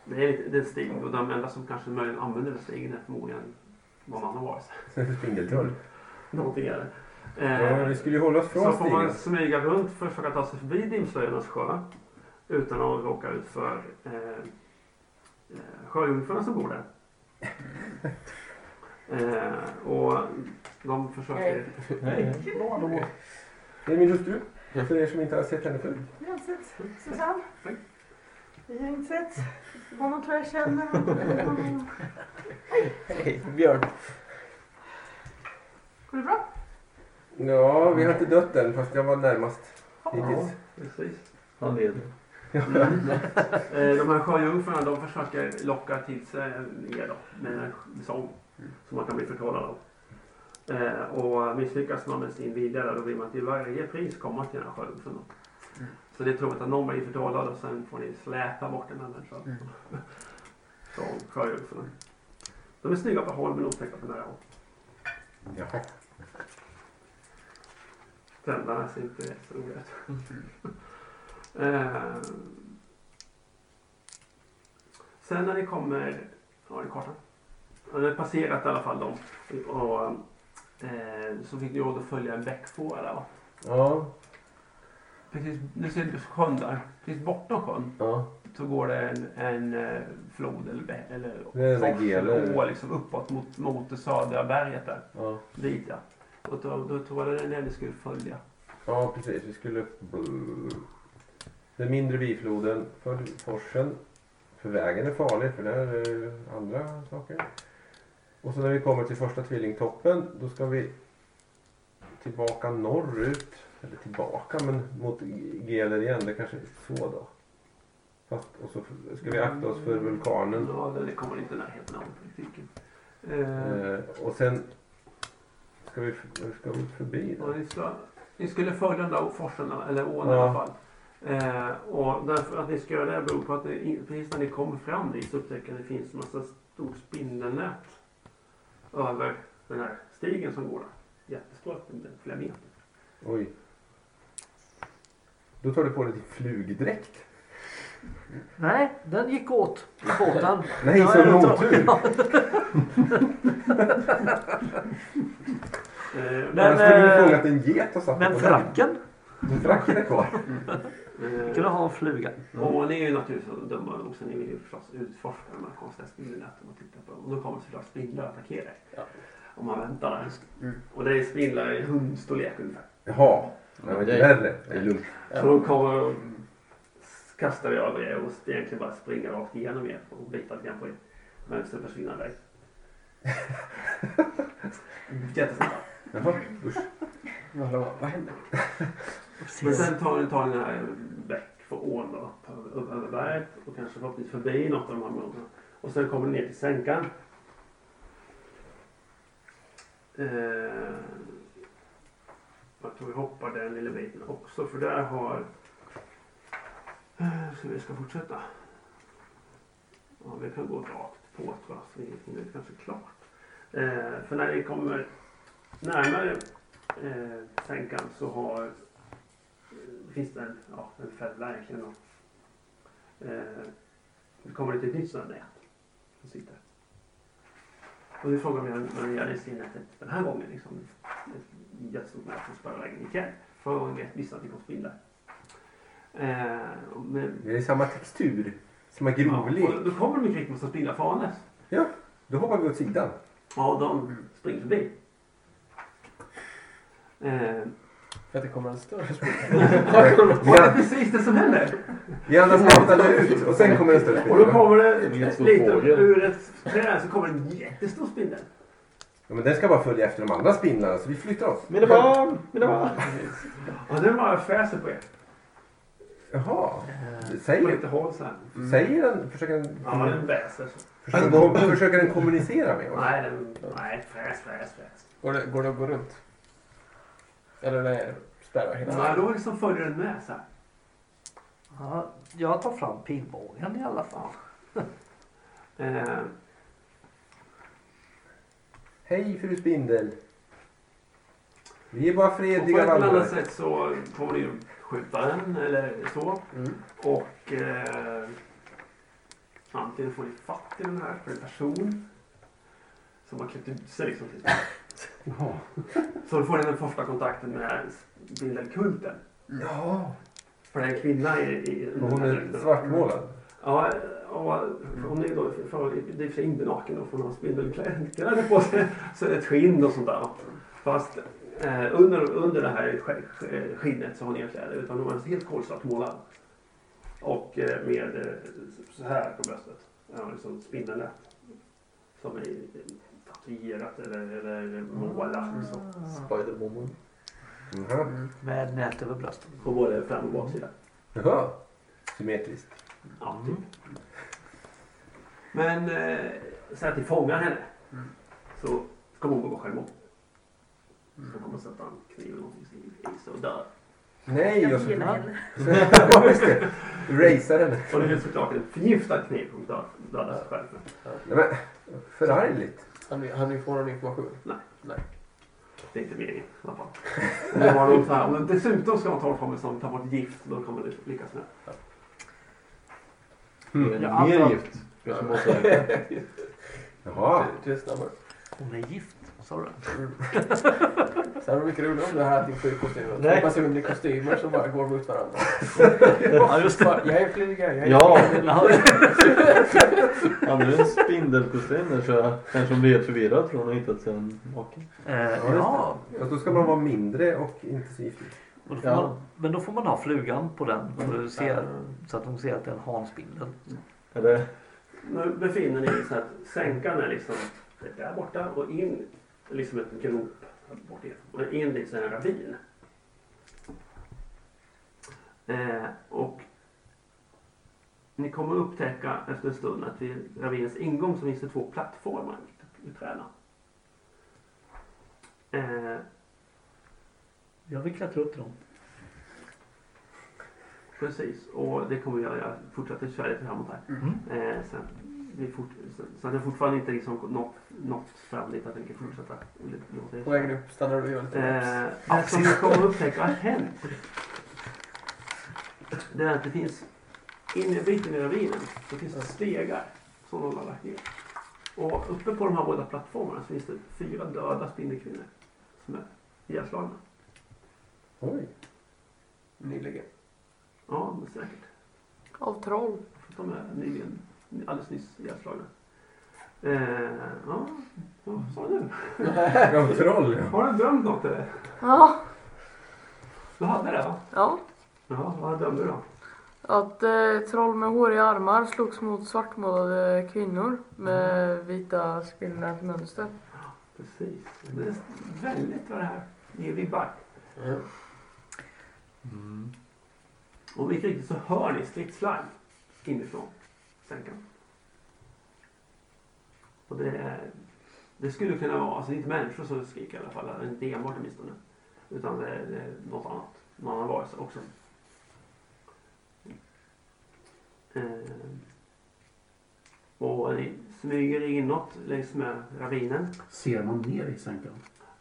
[SPEAKER 3] Det är, lite, det är en stig och de enda som kanske möjligen använder den stigen är förmodligen någon annan varelse. Eh,
[SPEAKER 2] Sen är det spindeltroll.
[SPEAKER 3] Någonting är det.
[SPEAKER 2] Ja, vi skulle ju hålla oss
[SPEAKER 3] så
[SPEAKER 2] från
[SPEAKER 3] får man
[SPEAKER 2] stigen.
[SPEAKER 3] smyga runt för att försöka ta sig förbi Dimslöjornas sjö utan att råka ut för eh, eh, sjöjungfrurna som bor där. Eh, och de försöker...
[SPEAKER 2] Det är min hustru. För er som inte har sett henne förut.
[SPEAKER 10] Vi har inte sett Susanne. Vi har inte sett. Honom tror jag känner. Honom.
[SPEAKER 7] Hej, Björn.
[SPEAKER 10] Går det bra?
[SPEAKER 2] Ja, vi har inte dött än fast jag var närmast hittills.
[SPEAKER 3] Precis.
[SPEAKER 4] Han leder.
[SPEAKER 3] Eh, De här sjöjungfrurna de försöker locka till sig er då, med en sång som man kan bli förtrollad av. Eh, Och misslyckas man med sin vilja där, då vill man till varje pris komma till den här sjöjungfrun. då. Så det är troligt att någon blir förtrollad och sen får ni släta bort den här människan
[SPEAKER 7] Mm.
[SPEAKER 3] från sjöjungfrun. De är snygga på håll men otäcka på nära håll.
[SPEAKER 2] Jaha.
[SPEAKER 3] Tänderna ser inte så roliga ut. Eh, Sen när ni kommer... Har ni kartan? Han hade passerat i alla fall dem. Och, eh, så fick ni råd att följa en bäckfåra där va?
[SPEAKER 2] Ja,
[SPEAKER 3] Precis, du ser sjön där. Precis bortom sjön
[SPEAKER 2] ja.
[SPEAKER 3] så går det en, en eh, flod eller, bä- eller
[SPEAKER 2] Det är en
[SPEAKER 3] fors
[SPEAKER 2] gel.
[SPEAKER 3] eller å liksom uppåt mot, mot det södra berget där.
[SPEAKER 2] Ja.
[SPEAKER 3] Dit ja. Och då, då tror jag det är den ni skulle följa.
[SPEAKER 2] Ja, precis. Vi skulle... Den mindre bifloden, följ forsen. För vägen är farlig, för där är eh, andra saker. Och så när vi kommer till första tvillingtoppen, då ska vi tillbaka norrut. Eller tillbaka, men mot Geler igen. Det kanske är så då. Fast, och så ska vi akta oss för vulkanen.
[SPEAKER 3] Ja, det kommer inte i närheten av politiken. Eh,
[SPEAKER 2] Eh, och sen ska vi, ska vi förbi
[SPEAKER 3] och
[SPEAKER 2] den.
[SPEAKER 3] ni, ska, ni skulle följa den där forsen, eller ån i
[SPEAKER 2] Ja.
[SPEAKER 3] alla fall. Eh, och därför att ni ska göra det beror på att ni, precis när ni kommer fram dit så upptäcker ni att det finns en massa stort spindelnät över den här stigen som går där. Jättestor, flera meter.
[SPEAKER 2] Oj. Då tar du på dig din flugdräkt.
[SPEAKER 5] Nej, den gick åt i båten.
[SPEAKER 2] Nej,
[SPEAKER 5] Ja,
[SPEAKER 2] så
[SPEAKER 5] jag tar-
[SPEAKER 2] otur!
[SPEAKER 3] Eh,
[SPEAKER 5] Men,
[SPEAKER 2] Annars skulle
[SPEAKER 5] eh,
[SPEAKER 2] du fångat en get och satt den
[SPEAKER 5] Men
[SPEAKER 2] på
[SPEAKER 5] fracken
[SPEAKER 2] den. Men fracken är kvar.
[SPEAKER 3] eh,
[SPEAKER 5] kunde ha en fluga.
[SPEAKER 3] Och ni är ju naturligtvis så dumma nog så ni vill ju förstås utforska de här konstiga spindelnäten och titta på dem. Och då kommer såklart spindlar att attackera er. Om man väntar där. Och det är spindlar i hundstorlek ungefär.
[SPEAKER 2] Jaha. Det var inte
[SPEAKER 4] Det-
[SPEAKER 2] värre. Det är lugnt.
[SPEAKER 3] Så de kommer och kastar över er och egentligen bara springer rakt igenom er och bitar lite grann på er. Men sen försvinner iväg. Jättesnabba.
[SPEAKER 2] Jaha. Usch.
[SPEAKER 7] Hallå, vad händer?
[SPEAKER 3] Men sen tar ni, tar ni den här väck för ån då, upp- upp över berget och kanske förhoppningsvis förbi något av de här områdena. Och sen kommer ni ner till sänkan. Eh, jag tror vi hoppar den lilla biten också för där har... Eh, så vi ska fortsätta. Ja, vi kan gå rakt på tror jag så vi hinner kanske klart. Eh, för när ni kommer närmare eh, sänkan så har det finns det en, ja, en fälla egentligen. Då. Eh, det kommer lite nytt sådant nät som sitter. Och nu frågar man vad ni gör i sin nätet den här gången. Liksom, ett jättestort nät som spärrar vägen igen. Förra gången vet vissa att det kom spindlar. Eh, och men,
[SPEAKER 2] Det är samma textur. Samma
[SPEAKER 3] ja,
[SPEAKER 2] grovlek.
[SPEAKER 3] och då kommer de en kvick massa spindlar farandes.
[SPEAKER 2] Då hoppar vi åt sidan.
[SPEAKER 3] Ja, de springer förbi. Eh,
[SPEAKER 7] För att det kommer en större
[SPEAKER 3] och det är precis det som händer.
[SPEAKER 2] Vi andra skrattade ut och sen kommer en större
[SPEAKER 3] Och då
[SPEAKER 2] spindel.
[SPEAKER 3] kommer det
[SPEAKER 4] Det är en stor
[SPEAKER 3] lite
[SPEAKER 4] fågel.
[SPEAKER 3] ur ett träd så kommer det en jättestor spindel.
[SPEAKER 2] Ja, men den ska bara följa efter de andra spindlarna så vi flyttar oss.
[SPEAKER 4] Mina barn! Mina barn!
[SPEAKER 3] Och den bara fräser på er.
[SPEAKER 2] Jaha.
[SPEAKER 5] Eh,
[SPEAKER 3] På
[SPEAKER 2] Säger,
[SPEAKER 3] lite håll så här.
[SPEAKER 2] säger den... Försöker den,
[SPEAKER 3] Ja, den väser så.
[SPEAKER 2] försöker, kom, försöker den kommunicera med oss?
[SPEAKER 3] Nej, den... Nej, fräs, fräs, fräs.
[SPEAKER 7] Går det, går det att gå runt? Eller nej, spärrar hela
[SPEAKER 3] Ja,
[SPEAKER 7] vägen?
[SPEAKER 3] då liksom följer den med så här.
[SPEAKER 5] Ja, jag tar fram pilbågen i alla fall.
[SPEAKER 3] Eh,
[SPEAKER 2] Hej fru spindel. Vi är bara
[SPEAKER 3] och på
[SPEAKER 2] fredliga
[SPEAKER 3] ett eller
[SPEAKER 2] vandrare.
[SPEAKER 3] annat sätt så kommer ni ju skjuta den eller så. Och eh, antingen får ni fatt i den här för en person som har klätt ut sig liksom. till- Så då får ni den första kontakten med spindelkulten.
[SPEAKER 2] Ja.
[SPEAKER 3] För det är en kvinna i, i Mm.
[SPEAKER 2] Och hon är svartmålad.
[SPEAKER 3] Ja, och om ni då får, det är i och för sig inte naken då, får man ha spindelkläder på sig så är det ett skinn och sånt där. va. Fast eh, under, under det här sk- eh, skinnet så har ni inga kläder utan de är alltså helt kolsvartmålad. Och eh, med eh, så här på bröstet, ja, liksom spindelnät. Som är tatuerat eller, eller målat liksom. så,
[SPEAKER 4] Spiderwoman.
[SPEAKER 2] Jaha.
[SPEAKER 5] Med nät över bröstet.
[SPEAKER 3] på både fram och baksida.
[SPEAKER 2] Jaha. Symmetriskt.
[SPEAKER 3] Ja, typ. Men eh, så att ni fångar henne så kommer hon att gå självmord. Så kommer hon sätta en kniv eller någonting i- i sig och dör.
[SPEAKER 2] Nej, jag skulle...
[SPEAKER 9] henne.
[SPEAKER 2] Ja, just det. Racear henne.
[SPEAKER 3] Och det är såklart en förgiftad kniv hon dör- dödar sig själv med.
[SPEAKER 2] Nej, men, förargligt.
[SPEAKER 7] Han, han får någon information.
[SPEAKER 3] Det är inte meningen i alla fall. Om det var något så här, om det dessutom ska man ta fram en som tar bort gift då kommer det lyckas med.
[SPEAKER 4] Mm.
[SPEAKER 5] Jag
[SPEAKER 4] Mer
[SPEAKER 3] Mm.
[SPEAKER 5] antar-
[SPEAKER 3] alltså-
[SPEAKER 4] gift. Kanske måste
[SPEAKER 2] Jaha.
[SPEAKER 7] Du är snabbare.
[SPEAKER 5] Hon är gift, sa du?
[SPEAKER 7] Sen var det mycket roligare om du hade haft sju kostymer.
[SPEAKER 5] Nej.
[SPEAKER 7] Två personer i kostymer som bara går mot varandra.
[SPEAKER 5] Ja, just det.
[SPEAKER 7] Bara, Jag är flyga, jag är
[SPEAKER 4] Ja.
[SPEAKER 5] Ja,
[SPEAKER 4] Hade du en spindelkostym där så kanske hon blev förvirrad för hon har hittat sin make.
[SPEAKER 5] eh,
[SPEAKER 2] Ja,
[SPEAKER 5] ja.
[SPEAKER 2] just det. Fast då ska man vara mindre och inte så giftig.
[SPEAKER 5] Och då får
[SPEAKER 4] Ja.
[SPEAKER 5] man, men då får man ha flugan på den så, du ser, så att hon ser att det är en hanspindel.
[SPEAKER 4] Är det
[SPEAKER 3] Nu befinner ni er så att sänkan är liksom där borta och in liksom ett grop. Bort igen. Och in i en ravin. Eh, och ni kommer upptäcka efter en stund att vid ravinens ingång så finns det två plattformar i träna. Eh,
[SPEAKER 5] Jag vill klättra upp till dem.
[SPEAKER 3] Precis, och det kommer jag göra. Fortsätter köra lite framåt här.
[SPEAKER 5] Mm.
[SPEAKER 3] Eh, sen, vi fort, sen, så att jag fortfarande inte liksom nått, nått fram dit att jag tänker fortsätta. Låt det-
[SPEAKER 7] På vägen upp stannar du och gör lite laps.
[SPEAKER 3] Eh, allt som ni kommer upptäcka har hänt. Det är att det finns inne i biten i ravinen så finns det stegar som de har lagt ner. Och uppe på de här båda plattformarna så finns det fyra döda spindelkvinnor som är ihjälslagna.
[SPEAKER 2] Oj.
[SPEAKER 7] Nyligen.
[SPEAKER 3] Ja, men säkert.
[SPEAKER 8] Av troll.
[SPEAKER 3] För De är nyligen, alldeles nyss ihjälslagna. Eh, ja, vad sa du?
[SPEAKER 2] Av troll ja.
[SPEAKER 3] Har du drömt något eller?
[SPEAKER 8] Ja.
[SPEAKER 3] Du hade det va?
[SPEAKER 8] ja.
[SPEAKER 3] Ja, vad drömde du då?
[SPEAKER 8] Att eh, troll med håriga armar slogs mot svartmålade kvinnor med vita spindelnät mönster.
[SPEAKER 3] Precis. Det är väldigt vad det här ger vibbar. Och mycket riktigt så hör ni stridslarm inifrån sänkan. Och det, är- det skulle kunna vara, alltså det är inte människor som skriker i alla fall, inte enbart åtminstone. Utan det är, det är något annat, någon annan varelse också. Ehm. Och ni smyger er inåt längs med ravinen.
[SPEAKER 6] Ser man ner i sänkan?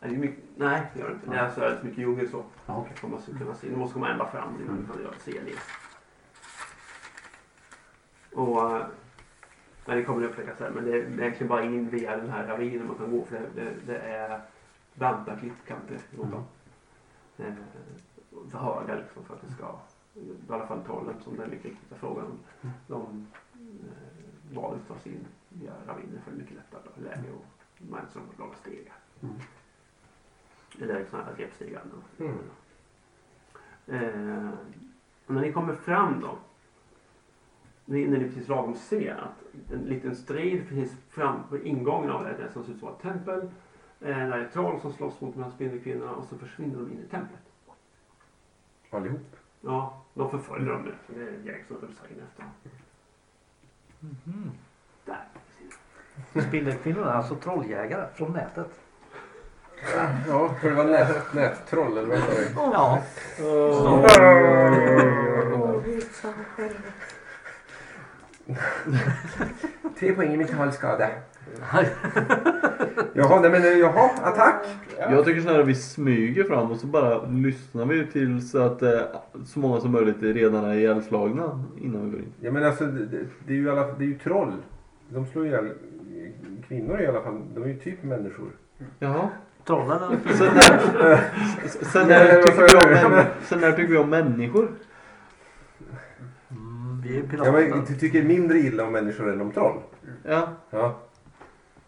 [SPEAKER 3] Nej, det är mycket, nej, det gör det inte. Det är alltså väldigt mycket djungel så.
[SPEAKER 6] Ja, okej.
[SPEAKER 3] Man måste kunna se. Du måste komma ända fram innan du kan se det. Och, eh, men det kommer ni upptäcka sen. Men det är egentligen bara in via den här ravinen man kan gå. För det, det, det är branta klippkanter i botten. Eh, och För höga liksom för att det ska, i alla fall trollen som det är mycket riktigt är frågan om. De eh, valde att ta sig in via ravinen för det är mycket lättare läge och människor har långa stegar.
[SPEAKER 6] Mm.
[SPEAKER 3] Eller sådana här repstegar.
[SPEAKER 2] Mm.
[SPEAKER 3] Eh, och när ni kommer fram då. Nu hinner ni precis lagom se att en liten strid precis framför ingången av det, det som ser ut som ett tempel. Eh, där är troll som slåss mot de här spindelkvinnorna och så försvinner de in i templet.
[SPEAKER 2] Allihop.
[SPEAKER 3] Ja, de förföljer dem nu. så Det är ett gäng som är uppsagna efter dem. Där.
[SPEAKER 5] Spindelkvinnorna, alltså trolljägare från nätet.
[SPEAKER 2] Ja, för det var nät, nättroll eller vad sa du?
[SPEAKER 5] Ja.
[SPEAKER 4] Oh.
[SPEAKER 8] Åh, visa mig själv.
[SPEAKER 2] Tre poäng i metallskada. Jaha, nej men eh, jaha, attack.
[SPEAKER 4] Jag tycker snarare vi smyger fram och så bara lyssnar vi till så att eh, så många som möjligt redan är ihjälslagna innan vi går in.
[SPEAKER 2] Ja men alltså det, det, det, är ju alla, det är ju troll. De slår ihjäl eh, kvinnor i alla fall. De är ju typ människor.
[SPEAKER 4] Jaha.
[SPEAKER 5] Trollen eller?
[SPEAKER 4] Sen när, s- sen
[SPEAKER 2] Nej,
[SPEAKER 4] när,
[SPEAKER 2] vad
[SPEAKER 4] tycker,
[SPEAKER 2] sa
[SPEAKER 4] vi
[SPEAKER 2] du?
[SPEAKER 4] om, män- sen när tycker vi om människor?
[SPEAKER 5] Mm, vi är
[SPEAKER 2] Ja,
[SPEAKER 5] pirater.
[SPEAKER 2] men, du tycker mindre illa om människor än om troll.
[SPEAKER 4] Ja.
[SPEAKER 2] Ja,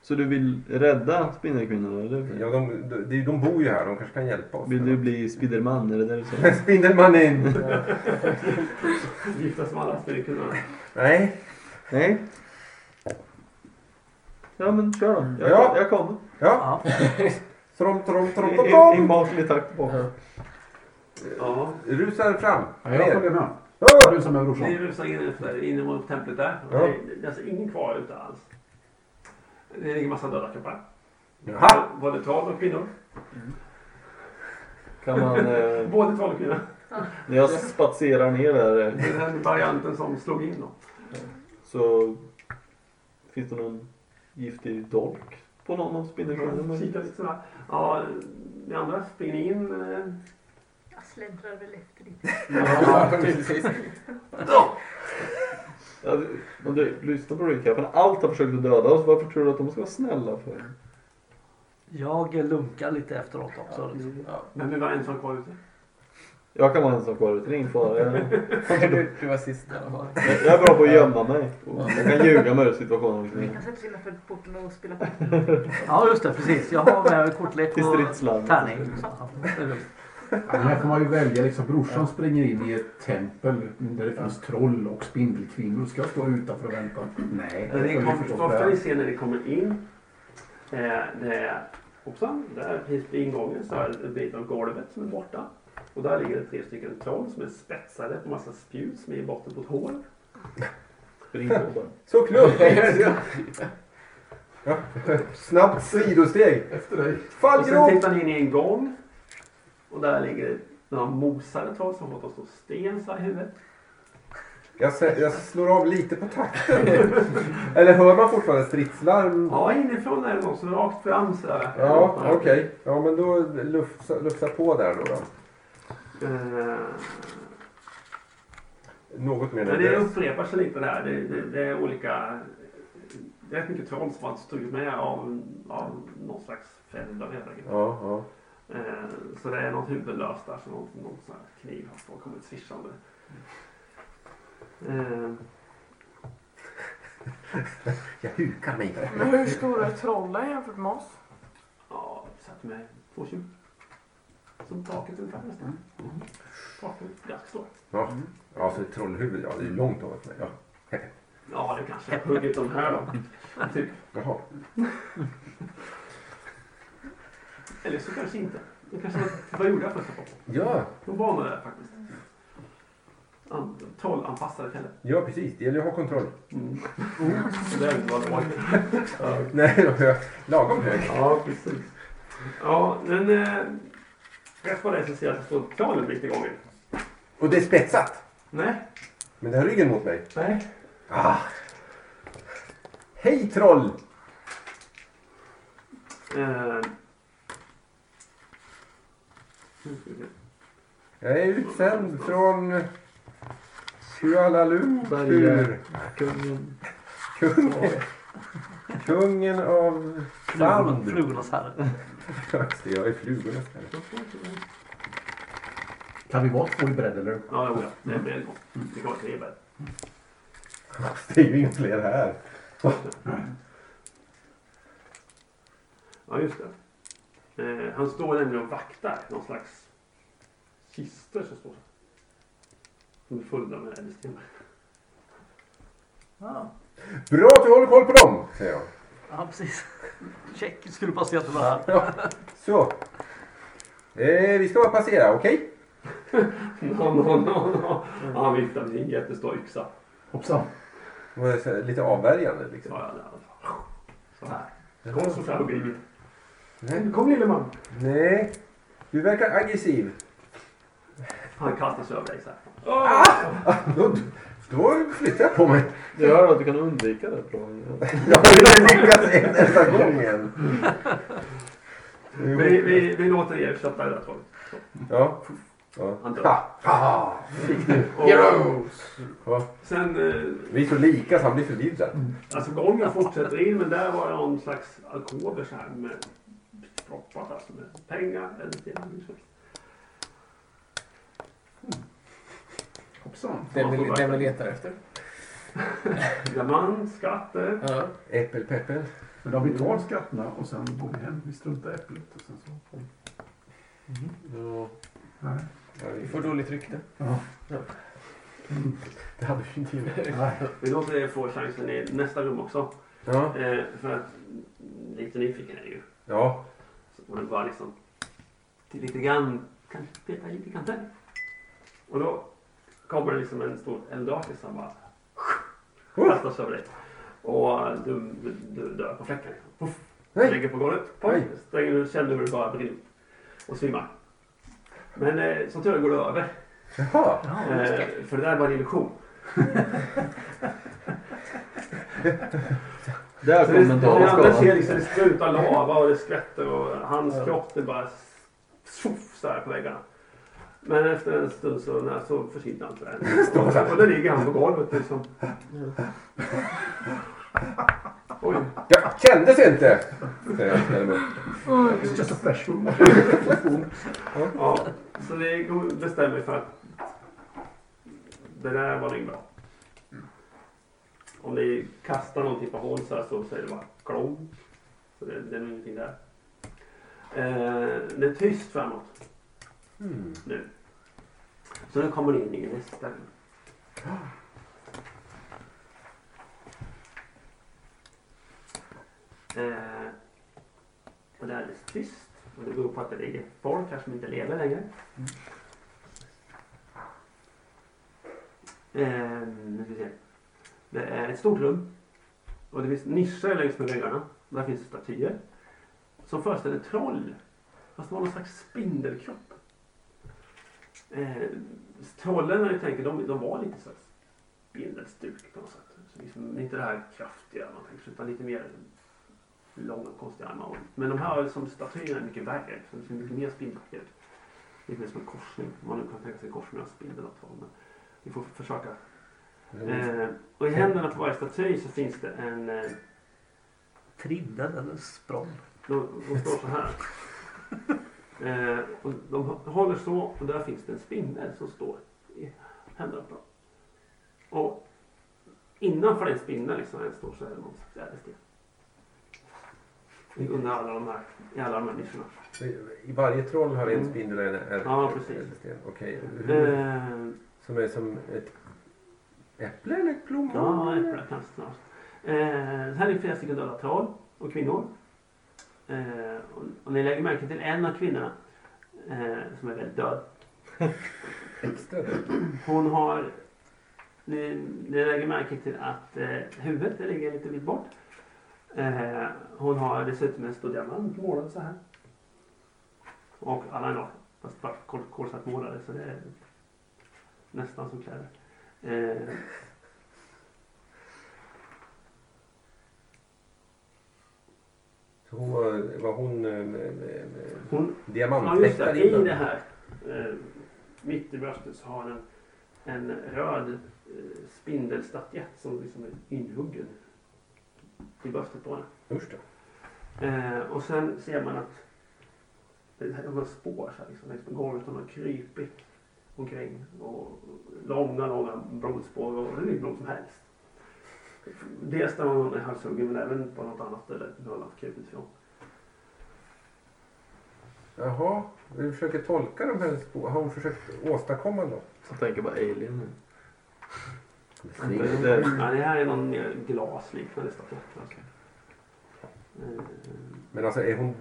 [SPEAKER 4] Så du vill rädda spindelkvinnorna eller?
[SPEAKER 2] ja de, de, de, de bor ju här. De kanske kan hjälpa oss.
[SPEAKER 4] Vill du bli Spiderman? Är det det du säger?
[SPEAKER 2] Spindelmannen!
[SPEAKER 3] Giftas med alla spindelkvinnorna.
[SPEAKER 2] Nej.
[SPEAKER 4] Nej. Ja men kör då. Jag,
[SPEAKER 2] Ja.
[SPEAKER 4] jag kommer.
[SPEAKER 2] Ja.
[SPEAKER 5] Ja.
[SPEAKER 2] Trom, trom, trom, trom,
[SPEAKER 4] I, i, i
[SPEAKER 2] trom.
[SPEAKER 4] maklig takt bakom.
[SPEAKER 3] Ja,
[SPEAKER 2] Rusar fram.
[SPEAKER 6] Ja, jag
[SPEAKER 2] Ner.
[SPEAKER 6] följer med.
[SPEAKER 2] Ja.
[SPEAKER 6] Du som är
[SPEAKER 3] Ni
[SPEAKER 6] brorsan.
[SPEAKER 3] rusar in efter, in mot templet där. Och
[SPEAKER 2] Ja.
[SPEAKER 3] Det, det är alltså ingen kvar ute alls. Det ligger en massa döda kroppar.
[SPEAKER 2] Jaha.
[SPEAKER 3] Både troll och kvinnor.
[SPEAKER 4] Kan man... Eh,
[SPEAKER 3] Både troll och kvinnor.
[SPEAKER 4] när jag spatserar ner där eh,
[SPEAKER 3] Det är den varianten som slog in då.
[SPEAKER 4] Så finns det någon giftig dolk på någon av spindelkvinnorna?
[SPEAKER 3] Kika lite sådär. Ja, ni andra springer ni in. eh,
[SPEAKER 9] Jag släntrar väl efter ditt.
[SPEAKER 7] Ja, precis.
[SPEAKER 4] Ja, du- men du, lyssna på recapen. Allt har försökt att döda oss. Varför tror du att de ska vara snälla för?
[SPEAKER 5] Jag lunkar lite efteråt också. Liksom.
[SPEAKER 3] Men vi var en som kvar ute.
[SPEAKER 4] Jag kan vara ensam kvar ute, det är ingen fara. Jag,
[SPEAKER 7] Du, du var sist i alla fall.
[SPEAKER 4] jag är bra på att gömma mig. Jag kan ljuga mig ur situationen.
[SPEAKER 9] kan sätta sig innanför porten och spela kort.
[SPEAKER 5] Ja just det, precis. Jag har med kortlek
[SPEAKER 4] Till
[SPEAKER 5] och
[SPEAKER 4] stridslarm.
[SPEAKER 5] tärning. Ja, det är lugnt.
[SPEAKER 6] Men här får man ju välja. Liksom, brorsan springer in i ett tempel där det finns troll och spindelkvinnor. Ska jag stå utanför och vänta? Nej.
[SPEAKER 3] Men
[SPEAKER 6] det
[SPEAKER 3] ni
[SPEAKER 6] får vi
[SPEAKER 3] kommer,
[SPEAKER 6] förstås
[SPEAKER 3] vad
[SPEAKER 6] göra.
[SPEAKER 3] ofta ni ser när ni kommer in. Eh, det är, hoppsan, där precis vid ingången så är det en bit av golvet som är borta. Och där ligger det tre stycken troll som är spetsade på massa spjut som är i botten på ett hål.
[SPEAKER 4] Spring på bara.
[SPEAKER 2] Så knuffigt! Ja, Snabbt sidosteg.
[SPEAKER 6] Efter dig.
[SPEAKER 2] Fall
[SPEAKER 3] Och sen
[SPEAKER 2] grop!
[SPEAKER 3] tittar ni in i en gång. Och där ligger det några mosade troll som fått oss att sten så här i huvudet.
[SPEAKER 2] Jag, sä- jag slår av lite på takten. Eller hör man fortfarande stridslarm?
[SPEAKER 3] Ja, inifrån är det någon som rakt fram sådär.
[SPEAKER 2] Ja, okej. Ja, men då lufsa, lufsa på där då. då.
[SPEAKER 3] Eh,
[SPEAKER 2] Något mer
[SPEAKER 3] Men det
[SPEAKER 2] nervös.
[SPEAKER 3] upprepar sig lite där. Det, det, det är olika... Det är rätt mycket troll som har stugit med av, av någon slags fälla helt enkelt.
[SPEAKER 2] Ja, ja.
[SPEAKER 3] Eh, så det är något huvudlöst där. Så någon, någon sån här kniv har stå- kommit svischande. Eh,
[SPEAKER 2] Jag hukar mig.
[SPEAKER 8] Men hur stora är trollen jämfört med oss?
[SPEAKER 3] ja, vi satt med två tjuv. Som taket ungefär nästan. Taket, ganska stort.
[SPEAKER 2] Ja, ja så ett trollhuvud. Ja, det är långt ovanför mig. Ja.
[SPEAKER 3] Ja, du kanske har huggit de här då. Typ.
[SPEAKER 2] Jaha.
[SPEAKER 3] Eller så kanske inte. Det kanske var, vad gjorde jag för att
[SPEAKER 2] Ja,
[SPEAKER 3] De var nog det faktiskt. An, trollanpassade fällor.
[SPEAKER 2] ja, precis. Det gäller ju att ha kontroll.
[SPEAKER 3] Mm. Den var låg.
[SPEAKER 2] Nej, då, jag, lagom hög.
[SPEAKER 3] Ja, precis. Ja, men... eh, Rätt vad det är så ser jag att det står planen mitt i gången.
[SPEAKER 2] Och det är spetsat.
[SPEAKER 3] Nej.
[SPEAKER 2] Men det har ryggen mot mig.
[SPEAKER 3] Nej.
[SPEAKER 2] Ah. Hej troll!
[SPEAKER 3] Eh, nu ska vi se.
[SPEAKER 2] Jag är utsänd från Kuala Lumpur.
[SPEAKER 4] Berge. Kungen.
[SPEAKER 2] Kungen, kungen av
[SPEAKER 5] Flugorna-
[SPEAKER 2] sand.
[SPEAKER 5] Flugornas herre.
[SPEAKER 2] Jag är flugornas herre.
[SPEAKER 6] Kan vi vara två i bredd eller?
[SPEAKER 3] Ja, jo, ja. Det är med en gång. Det kommer tre bär.
[SPEAKER 2] Fast Det är ju inga fler här.
[SPEAKER 3] Ja, just det. Eh, han står nämligen och vaktar någon slags kister som står som är fulla med ädelstenar.
[SPEAKER 5] Ja,
[SPEAKER 2] Bra att du håller koll på dem, säger jag.
[SPEAKER 5] ja precis. Check. Skulle passa att det var här.
[SPEAKER 2] Så. Eh, vi ska bara passera, okej?
[SPEAKER 3] No, no, no, no. Han viftar med sin jättestor yxa.
[SPEAKER 6] Hoppsan.
[SPEAKER 2] Det var så här Lite avvärjande liksom.
[SPEAKER 3] Ja, ja, ja. Så här. Kom så fram och grip. Kom lille man.
[SPEAKER 2] Nej, du verkar aggressiv.
[SPEAKER 3] Han kastar sig över dig så här.
[SPEAKER 2] Då, då flyttar jag på mig.
[SPEAKER 4] Det gör att du kan undvika det. Från.
[SPEAKER 2] Jag har ju lyckats en enda gång igen.
[SPEAKER 3] Vi, vi, vi låter er kötta det där trollet. Så.
[SPEAKER 2] Ja. ja.
[SPEAKER 3] Han dör.
[SPEAKER 2] Ha, ha.
[SPEAKER 3] Och
[SPEAKER 2] Ja.
[SPEAKER 3] sen, eh,
[SPEAKER 2] Vi är så lika så han blir förvirrad.
[SPEAKER 3] alltså gången fortsätter in men där var det någon slags alkover så här med proppat alltså med pengar eller till liksom. Mm.
[SPEAKER 7] Hoppsan. Den vi, den vi letar efter.
[SPEAKER 3] Diamant, eh, skatter.
[SPEAKER 7] Ja.
[SPEAKER 2] Äppelpeppel.
[SPEAKER 6] Men då vi tar skatterna och sen går vi hem. Vi struntar i äpplet och sen så.
[SPEAKER 2] Ja.
[SPEAKER 6] Nej.
[SPEAKER 7] Vi får dåligt rykte.
[SPEAKER 6] Ja.
[SPEAKER 2] Det hade vi inte gjort.
[SPEAKER 6] Nej.
[SPEAKER 3] Vi låter er få chansen i nästa rum också.
[SPEAKER 2] Ja.
[SPEAKER 3] Eh, för att lite nyfiken är det ju.
[SPEAKER 2] Ja.
[SPEAKER 3] Så man bara liksom till lite grann, kan peta lite grann där. Och då kommer det liksom en stor eldrakis som bara kastas över dig. Och du, du, du dör på fläcken. Liksom. Puff. Du
[SPEAKER 2] Nej.
[SPEAKER 3] Ligger på golvet.
[SPEAKER 2] Nej.
[SPEAKER 3] Poj, Stänger du känner hur du bara brinner upp och svimmar. Men eh, som tur är går det över.
[SPEAKER 2] Jaha.
[SPEAKER 3] Eh, för det där var en illusion.
[SPEAKER 4] Där
[SPEAKER 3] Så det,
[SPEAKER 4] kom en
[SPEAKER 3] det, andra ser
[SPEAKER 4] dam.
[SPEAKER 3] liksom, det sprutar lava och det skvätter och hans kropp det bara tjoff så här på väggarna. Men efter en stund så, nej, så försvinner allt det där. Och då ligger han på golvet liksom. Oj.
[SPEAKER 2] Jag kändes inte! Säger han snäll mot.
[SPEAKER 6] It's just a flesh wound.
[SPEAKER 3] Ja, så vi kom- bestämde vi för att det där var nog inget bra. Om ni kastar någon typ av hål så, här så säger det bara klong. Så det, det är nog ingenting där. Eh, det är tyst framåt
[SPEAKER 2] Hmm.
[SPEAKER 3] nu. Så nu kommer ni in i nästa. Eh, och det är alldeles tyst. Och det beror på att det ligger folk här som inte lever längre. Ehm, nu ska vi se. Det är ett stort rum. Och det finns nischer längs med väggarna. Där finns statyer. Som föreställer troll. Fast de har någon slags spindelkropp. Ehm, trollen när ni tänker, de, de var lite så här spindelstuk på något sätt. Så liksom, inte det här kraftiga man tänker sig, utan lite mer långa konstiga armar. och- Men de här som statyerna är mycket värre. Så det ser mycket mer spindelaktiga ut. Lite mer som en korsning. om Man nu kan tänka sig en korsning av spindel och tål. Men vi får försöka. Eh, och i händerna på varje staty så finns det en... Eh,
[SPEAKER 5] Trindad eller språng.
[SPEAKER 3] de, de står så här. Eh, och de håller så och där finns det en spindel som står i händerna på dem. Och innanför den spindeln liksom, den står så är det någon slags ädelsten. I- Under alla de här, i alla de här nischerna.
[SPEAKER 2] I varje troll har en spindel och en är-
[SPEAKER 3] Mm. Ja, precis.
[SPEAKER 2] ädelsten. Okej. Hur-
[SPEAKER 3] Eh,
[SPEAKER 2] Som är som ett äpple eller ett plommon?
[SPEAKER 3] ja,
[SPEAKER 2] eller?
[SPEAKER 3] äpplen kanske snart. Eh, här är flera stycken döda troll och kvinnor. Eh, och, och ni lägger märke till en av kvinnorna eh, som är väldigt död.
[SPEAKER 2] Extra.
[SPEAKER 3] Hon har... Ni, ni lägger märke till att eh, huvudet det ligger lite bit bort. Eh, hon har dessutom en stor diamant målad så här. Och alla är nakna. Fast bara kol, kolsvart målade så det är nästan som kläder. Eh,
[SPEAKER 2] Så Hon var, var hon eh, med- med- med-
[SPEAKER 3] hon, ja, just
[SPEAKER 2] diamanthäktad
[SPEAKER 3] det, i
[SPEAKER 2] innan?
[SPEAKER 3] det här eh, mitt i bröstet så har den en röd eh, spindelstatyett som liksom är inhuggen i bröstet på henne.
[SPEAKER 2] Usch då.
[SPEAKER 3] Eh, och sen ser man att det här var spår så här, liksom, längs med golvet. Hon har krypit omkring. Och långa, långa blodspår. Och hur mycket blod som helst. Dels där hon är halshuggen men även på något annat ställe. Hur hon har krupit ifrån.
[SPEAKER 2] Jaha, vi försöker tolka de här spå- Har hon försökt åstadkomma något?
[SPEAKER 4] Så tänker bara alien nu.
[SPEAKER 2] Snyggt.
[SPEAKER 4] Det är
[SPEAKER 3] Ja, det här är någon mer glasliknande statyett. Alltså. Eh,
[SPEAKER 2] Men alltså är hon,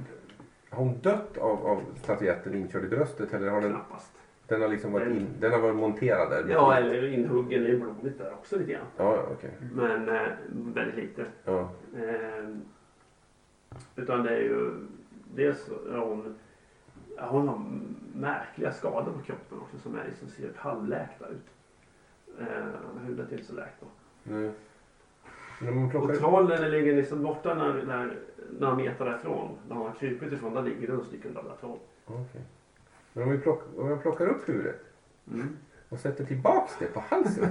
[SPEAKER 2] har hon dött av, av statyetten inkörd i bröstet eller har den,
[SPEAKER 3] knappast.
[SPEAKER 2] den har liksom varit, in, den har varit monterad där?
[SPEAKER 3] Ja, eller inhuggen i blodet där också lite grann.
[SPEAKER 2] Ja, ja, okej.
[SPEAKER 3] Men eh, väldigt lite.
[SPEAKER 2] Ja.
[SPEAKER 3] Eh, utan det är ju dels är hon, ja, hon har märkliga skador på kroppen också som är liksom ser halvläkta ut. Eh, huvudet är inte så läkt då.
[SPEAKER 2] Nu. Men om man
[SPEAKER 3] Och
[SPEAKER 2] plockar...
[SPEAKER 3] trollen ligger liksom borta när, när, några meter därifrån. När hon har krupit ifrån, där ligger det några stycken döda troll.
[SPEAKER 2] Okej. Men om, vi plock, om jag plockar upp huvudet
[SPEAKER 3] Mm.
[SPEAKER 2] och sätter tillbaks det på halsen.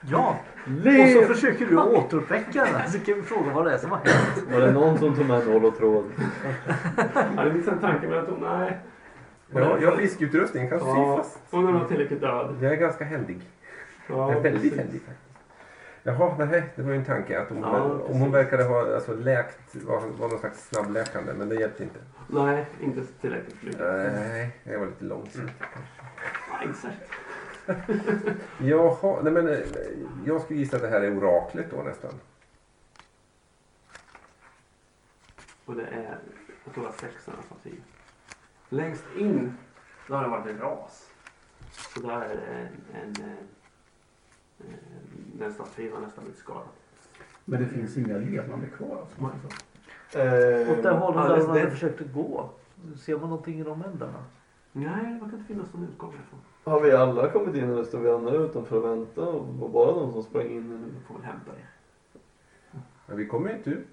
[SPEAKER 5] Ja, och så försöker du återuppväcka den. Så kan vi fråga vad det är som har hänt.
[SPEAKER 4] Var det någon som tog med nål och tråd?
[SPEAKER 3] Ja, det finns en tanke med att hon, nej.
[SPEAKER 2] Ja, jag har fiskutrustning, kan sy
[SPEAKER 3] Ja,
[SPEAKER 2] fast.
[SPEAKER 3] hon är nog tillräckligt död.
[SPEAKER 2] Jag är ganska händig.
[SPEAKER 3] Ja,
[SPEAKER 2] Jag är väldigt
[SPEAKER 3] precis.
[SPEAKER 2] händig faktiskt. Jaha, nej, det var ju en tanke. Att om,
[SPEAKER 3] Ja,
[SPEAKER 2] om hon
[SPEAKER 3] precis.
[SPEAKER 2] verkade ha alltså, läkt, var, var någon slags snabbläkande, men det hjälpte inte.
[SPEAKER 3] Nej, inte tillräckligt mycket.
[SPEAKER 2] Nej, jag var lite
[SPEAKER 3] Mm.
[SPEAKER 2] långsint.
[SPEAKER 3] Nej, inte särskilt.
[SPEAKER 2] Jaha, nej men eh, jag skulle gissa att det här är oraklet då nästan.
[SPEAKER 3] Och det är, jag tror det var sexan alternativ. Längst in, där har det varit en ras. Så där är det en, en, eh, eh, den statyn har nästan blivit skadad.
[SPEAKER 6] Men det finns inga levande kvar alltså.
[SPEAKER 3] Nej.
[SPEAKER 5] Åt det
[SPEAKER 4] Eh,
[SPEAKER 5] hållet
[SPEAKER 3] alldeles
[SPEAKER 5] där man
[SPEAKER 3] det-
[SPEAKER 5] hade försökt gå. Ser man någonting i de ändarna?
[SPEAKER 3] Nej, det verkar inte finnas någon utgång härifrån.
[SPEAKER 4] Har vi alla kommit in eller står vi andra utanför och väntar? Och var bara de som sprang in nu?
[SPEAKER 3] Vi får väl hämta det.
[SPEAKER 2] Men vi kommer ju inte ut.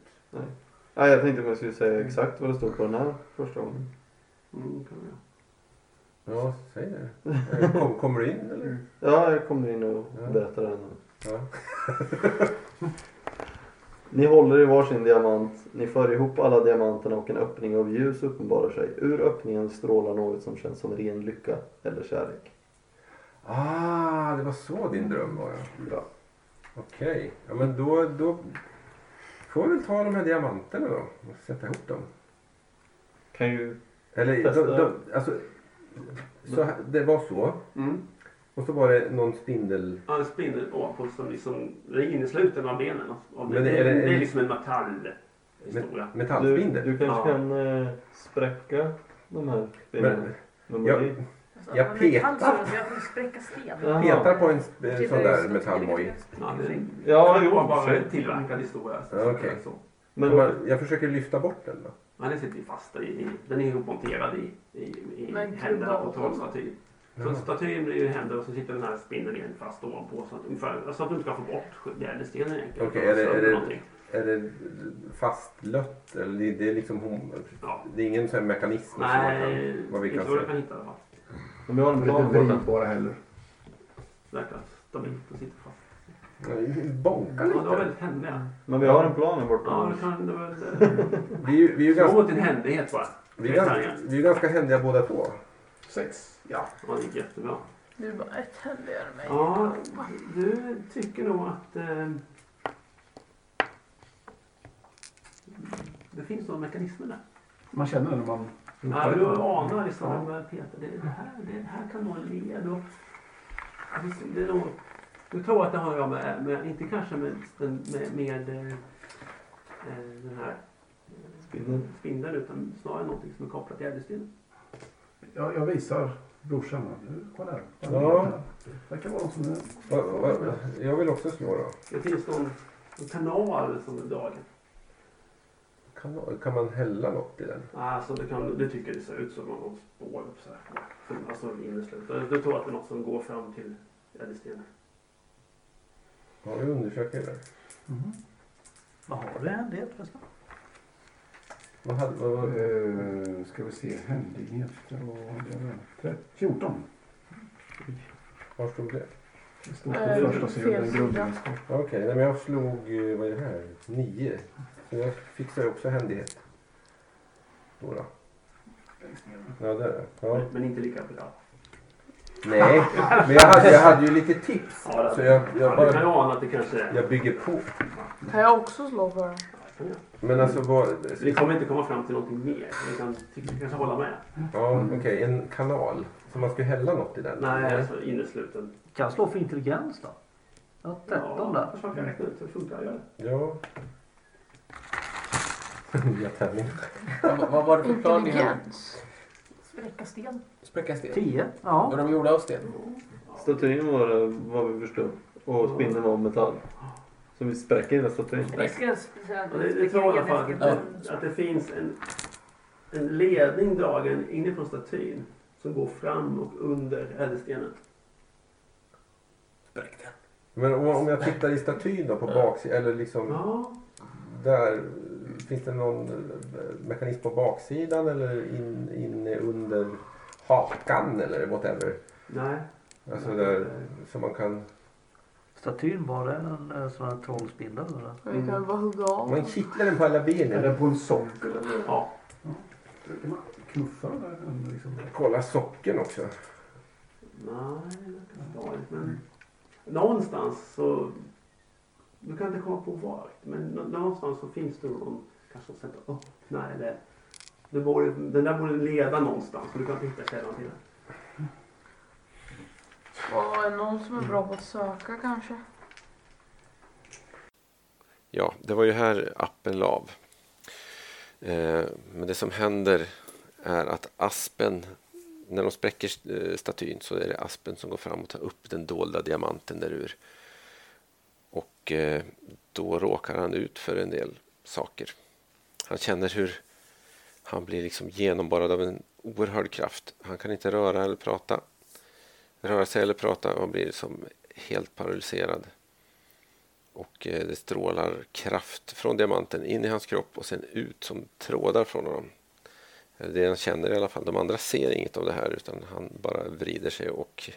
[SPEAKER 4] Nej, jag tänkte att jag skulle säga exakt vad det stod på den här första gången.
[SPEAKER 3] Mm, kan vi göra.
[SPEAKER 2] Ja, säg det. Eh, Kom, kommer du in eller?
[SPEAKER 4] Ja, jag kommer in och
[SPEAKER 2] Ja.
[SPEAKER 4] berättar det här nu.
[SPEAKER 2] Ja.
[SPEAKER 4] Ni håller i varsin diamant. Ni för ihop alla diamanterna och en öppning av ljus uppenbarar sig. Ur öppningen strålar något som känns som ren lycka eller kärlek.
[SPEAKER 2] Ah, det var så din dröm var ja.
[SPEAKER 4] Ja.
[SPEAKER 2] Okej, ja, men då, då får vi väl ta de här diamanterna då och sätta ihop dem.
[SPEAKER 4] Kan ju...
[SPEAKER 2] Eller
[SPEAKER 4] Testa.
[SPEAKER 2] de, de, alltså, så här, det var så.
[SPEAKER 3] Mm.
[SPEAKER 2] Och så var det någon spindel.
[SPEAKER 3] Ja, en spindel ovanpå som liksom det innesluten av benen. Av det,
[SPEAKER 2] Men
[SPEAKER 3] det,
[SPEAKER 2] är
[SPEAKER 3] är
[SPEAKER 2] det- är det-
[SPEAKER 3] liksom en metallhistoria.
[SPEAKER 4] Du,
[SPEAKER 2] Metallspindel.
[SPEAKER 4] du kanske
[SPEAKER 3] Ja.
[SPEAKER 4] kan eh, spräcka de här
[SPEAKER 2] Men,
[SPEAKER 4] stenarna. Men
[SPEAKER 2] Ja.
[SPEAKER 4] det-
[SPEAKER 9] Alltså,
[SPEAKER 2] Jag
[SPEAKER 9] men metall
[SPEAKER 2] petar.
[SPEAKER 9] så Jag vill spräcka sten.
[SPEAKER 4] Jaha.
[SPEAKER 2] petar på en sp-
[SPEAKER 9] Det är
[SPEAKER 2] sån
[SPEAKER 9] ju
[SPEAKER 2] där
[SPEAKER 9] så-
[SPEAKER 2] metallmoj.
[SPEAKER 3] Ja, det,
[SPEAKER 4] Ja,
[SPEAKER 3] det
[SPEAKER 4] jo.
[SPEAKER 3] var bara
[SPEAKER 4] säkert.
[SPEAKER 3] en tillverkad historia.
[SPEAKER 2] Ja, okej.
[SPEAKER 3] Så.
[SPEAKER 4] Men
[SPEAKER 2] Jag- Jag försöker lyfta bort den då.
[SPEAKER 3] Men den sitter ju fast i, i- den är ju monterad i, i, i
[SPEAKER 8] Men
[SPEAKER 3] händerna på
[SPEAKER 8] klubba
[SPEAKER 3] trollstatyn. Så statyn blir ju händer och så sitter den här spindeln igen fast ovanpå. Så att, ungefär, så att du inte kan få bort gärdestenen egentligen.
[SPEAKER 2] Okej, är det-
[SPEAKER 3] Så
[SPEAKER 2] är det-
[SPEAKER 3] någonting.
[SPEAKER 2] Är det fastlött? Eller det, det är liksom hon,
[SPEAKER 3] Ja.
[SPEAKER 2] Det är ingen sån här mekanism som man
[SPEAKER 3] Nej,
[SPEAKER 2] kan, vad vi
[SPEAKER 3] inte
[SPEAKER 2] kan
[SPEAKER 3] vad jag
[SPEAKER 2] se.
[SPEAKER 3] kan hitta i alla fall.
[SPEAKER 4] om jag har en
[SPEAKER 6] De är
[SPEAKER 4] plan
[SPEAKER 6] inte
[SPEAKER 4] borta.
[SPEAKER 6] vridbara heller.
[SPEAKER 3] Verkar
[SPEAKER 2] Mm.
[SPEAKER 3] stabilt och sitter fast.
[SPEAKER 2] Bonka
[SPEAKER 3] Ja, det var
[SPEAKER 2] lite.
[SPEAKER 3] väldigt händiga.
[SPEAKER 4] Men vi har en plan här
[SPEAKER 3] Ja,
[SPEAKER 4] borta.
[SPEAKER 3] det kan det väl... eh,
[SPEAKER 2] Vi är ju, vi är ju
[SPEAKER 3] Slå
[SPEAKER 2] ganska,
[SPEAKER 3] mot din händighet bara.
[SPEAKER 2] vi är ganska, vi är ganska händiga båda två.
[SPEAKER 6] Sex. Ja.
[SPEAKER 3] Ja, det gick jättebra.
[SPEAKER 8] Du är bara ett händigare än mig.
[SPEAKER 3] Ja, du tycker nog att eh, det finns några mekanismer där.
[SPEAKER 6] Man känner det när man
[SPEAKER 3] Ja, du
[SPEAKER 6] efter.
[SPEAKER 3] anar liksom, ja. Peter, det, är det, här, det, är det här kan vara en led. Och, Alltså, det är nog, du tror att det har att göra med, med inte kanske med, den- med, med eh, eh, den här eh,
[SPEAKER 4] Spindeln.
[SPEAKER 3] spindeln utan snarare någonting som är kopplat till ädelstenen.
[SPEAKER 6] Ja, jag visar brorsan. här. Nu, kolla här.
[SPEAKER 2] Ja.
[SPEAKER 6] Det verkar vara någon som är...
[SPEAKER 2] Va, va, jag vill också slå då.
[SPEAKER 3] Det finns någon, någon kanal som är dragen.
[SPEAKER 2] Kan, kan man hälla något i den?
[SPEAKER 3] Alltså det, kan, det tycker det ser ut som någon spår upp så här. Som- Alltså inneslut. Du tror att det är något som går fram till ädelstenen.
[SPEAKER 2] Ja, vi undersöker det där.
[SPEAKER 6] Mhm.
[SPEAKER 5] Vad har du i händighet förresten?
[SPEAKER 2] Vad hade, vad, vad,
[SPEAKER 6] Eh, ska vi se, händigheter och... det är väl tre- 14.
[SPEAKER 2] var stod det?
[SPEAKER 6] Det står på
[SPEAKER 8] Eh,
[SPEAKER 6] första sidan,
[SPEAKER 8] fel
[SPEAKER 6] en
[SPEAKER 8] sida.
[SPEAKER 6] grundegenskap.
[SPEAKER 2] Ja, Okej, nej, men jag slog, eh, vad är det här? Nio. Så jag fixar ju också händighet. Då då. Ja, där är det. Ja.
[SPEAKER 3] Men inte lika bra.
[SPEAKER 2] Nej, men jag hade, jag hade ju lite tips.
[SPEAKER 3] Ja, det-
[SPEAKER 2] Så jag, jag
[SPEAKER 3] Ja, du kan ju
[SPEAKER 2] bara...
[SPEAKER 3] ana att det kanske är...
[SPEAKER 2] Jag bygger på.
[SPEAKER 8] Kan jag också slå för den?
[SPEAKER 2] Men alltså vad...
[SPEAKER 3] Så vi kommer inte komma fram till någonting mer. Vi kan tycker- kanske hålla med.
[SPEAKER 2] Ja, okej. En kanal. Så man ska hälla något i den?
[SPEAKER 3] Nej, alltså innesluten.
[SPEAKER 5] Kan jag slå för intelligens då? Jag har 13
[SPEAKER 3] Ja,
[SPEAKER 5] där.
[SPEAKER 3] försöka räkna ut hur det funkar. Gör det.
[SPEAKER 2] Ja. Jag tärningar.
[SPEAKER 7] Vad vad var det för plan ni hade?
[SPEAKER 8] Intelligens.
[SPEAKER 9] Spräcka sten.
[SPEAKER 7] Spräcka sten?
[SPEAKER 5] 10.
[SPEAKER 7] Var
[SPEAKER 5] Ja.
[SPEAKER 7] de gjorda av sten?
[SPEAKER 4] Statyn var eh, vad vi förstod. Och spindeln var av metall. Så vi spräcker hela statyn.
[SPEAKER 9] Men Jag ska säga att
[SPEAKER 3] Ja, det, det tror jag i alla fall att,
[SPEAKER 9] spräcka
[SPEAKER 3] det-
[SPEAKER 9] sten.
[SPEAKER 3] att det finns en, en ledning dragen inifrån statyn som går fram och under ädelstenen.
[SPEAKER 7] Spräck den.
[SPEAKER 2] Men om, om jag tittar i statyn då på baksidan. Eller liksom
[SPEAKER 3] Ja,
[SPEAKER 2] där. Finns det någon eh, mekanism på baksidan eller in, inne under hakan eller whatever?
[SPEAKER 3] nej.
[SPEAKER 2] Alltså där som man kan...
[SPEAKER 5] Statyn, var det en eh, sån här trollspindel eller?
[SPEAKER 8] Vi kan bara hugga av.
[SPEAKER 2] Man kittlar den på alla
[SPEAKER 6] Är
[SPEAKER 2] benen.
[SPEAKER 6] det på en sockel eller?
[SPEAKER 3] Ja,
[SPEAKER 6] Kan man knuffa den där? eller Liksom?
[SPEAKER 2] Kolla socken också.
[SPEAKER 3] Nej, det kan inte ha varit. Men någonstans så... Du kan inte komma på var. Men nå- någonstans så finns det någon kanske som sätter öppna eller... Det borde, den där borde leda någonstans. Men du kan inte hitta källan till den.
[SPEAKER 8] Och är någon som är bra på att söka kanske?
[SPEAKER 1] Ja, det var ju här appen lav. Eh, Men det som händer är att aspen, när de spräcker eh, statyn så är det aspen som går fram och tar upp den dolda diamanten där ur. Och eh, då råkar han ut för en del saker. Han känner hur han blir liksom genomborrad av en oerhörd kraft. Han kan inte röra eller prata. Röra sig eller prata och blir som helt paralyserad. Och eh, det strålar kraft från diamanten in i hans kropp och sen ut som trådar från honom. Eh, Det han känner i alla fall. De andra ser inget av det här utan han bara vrider sig och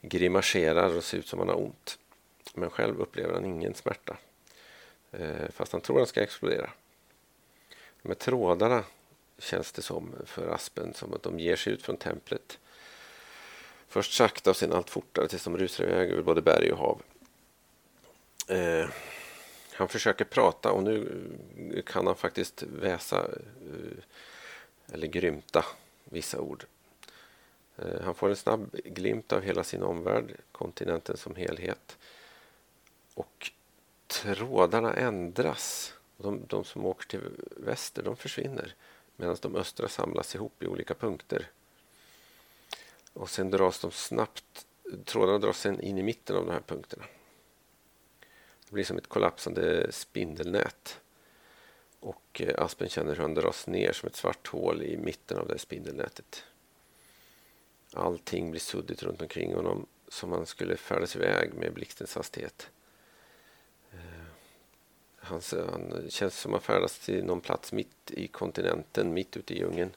[SPEAKER 1] grimaserar och ser ut som han har ont. Men själv upplever han ingen smärta. Eh, Fast han tror han ska explodera. De här trådarna känns det som för Aspen som att de ger sig ut från templet. Först sakta och sen allt fortare tills de rusar iväg över både berg och hav. Eh, han försöker prata och nu eh, kan han faktiskt väsa eh, eller grymta vissa ord. Eh, Han får en snabb glimt av hela sin omvärld, kontinenten som helhet. Och trådarna ändras. De, de som åker till väster de försvinner medan de östra samlas ihop i olika punkter. Och sen dras de snabbt, trådarna dras sen in i mitten av de här punkterna. Det blir som ett kollapsande spindelnät. Och eh, Aspen känner hur han dras ner som ett svart hål i mitten av det här spindelnätet. Allting blir suddigt runt omkring honom som han skulle färdas iväg med blixtens hastighet. Eh, Han, s- han känns som att han färdas till någon plats mitt i kontinenten, mitt ute i djungeln.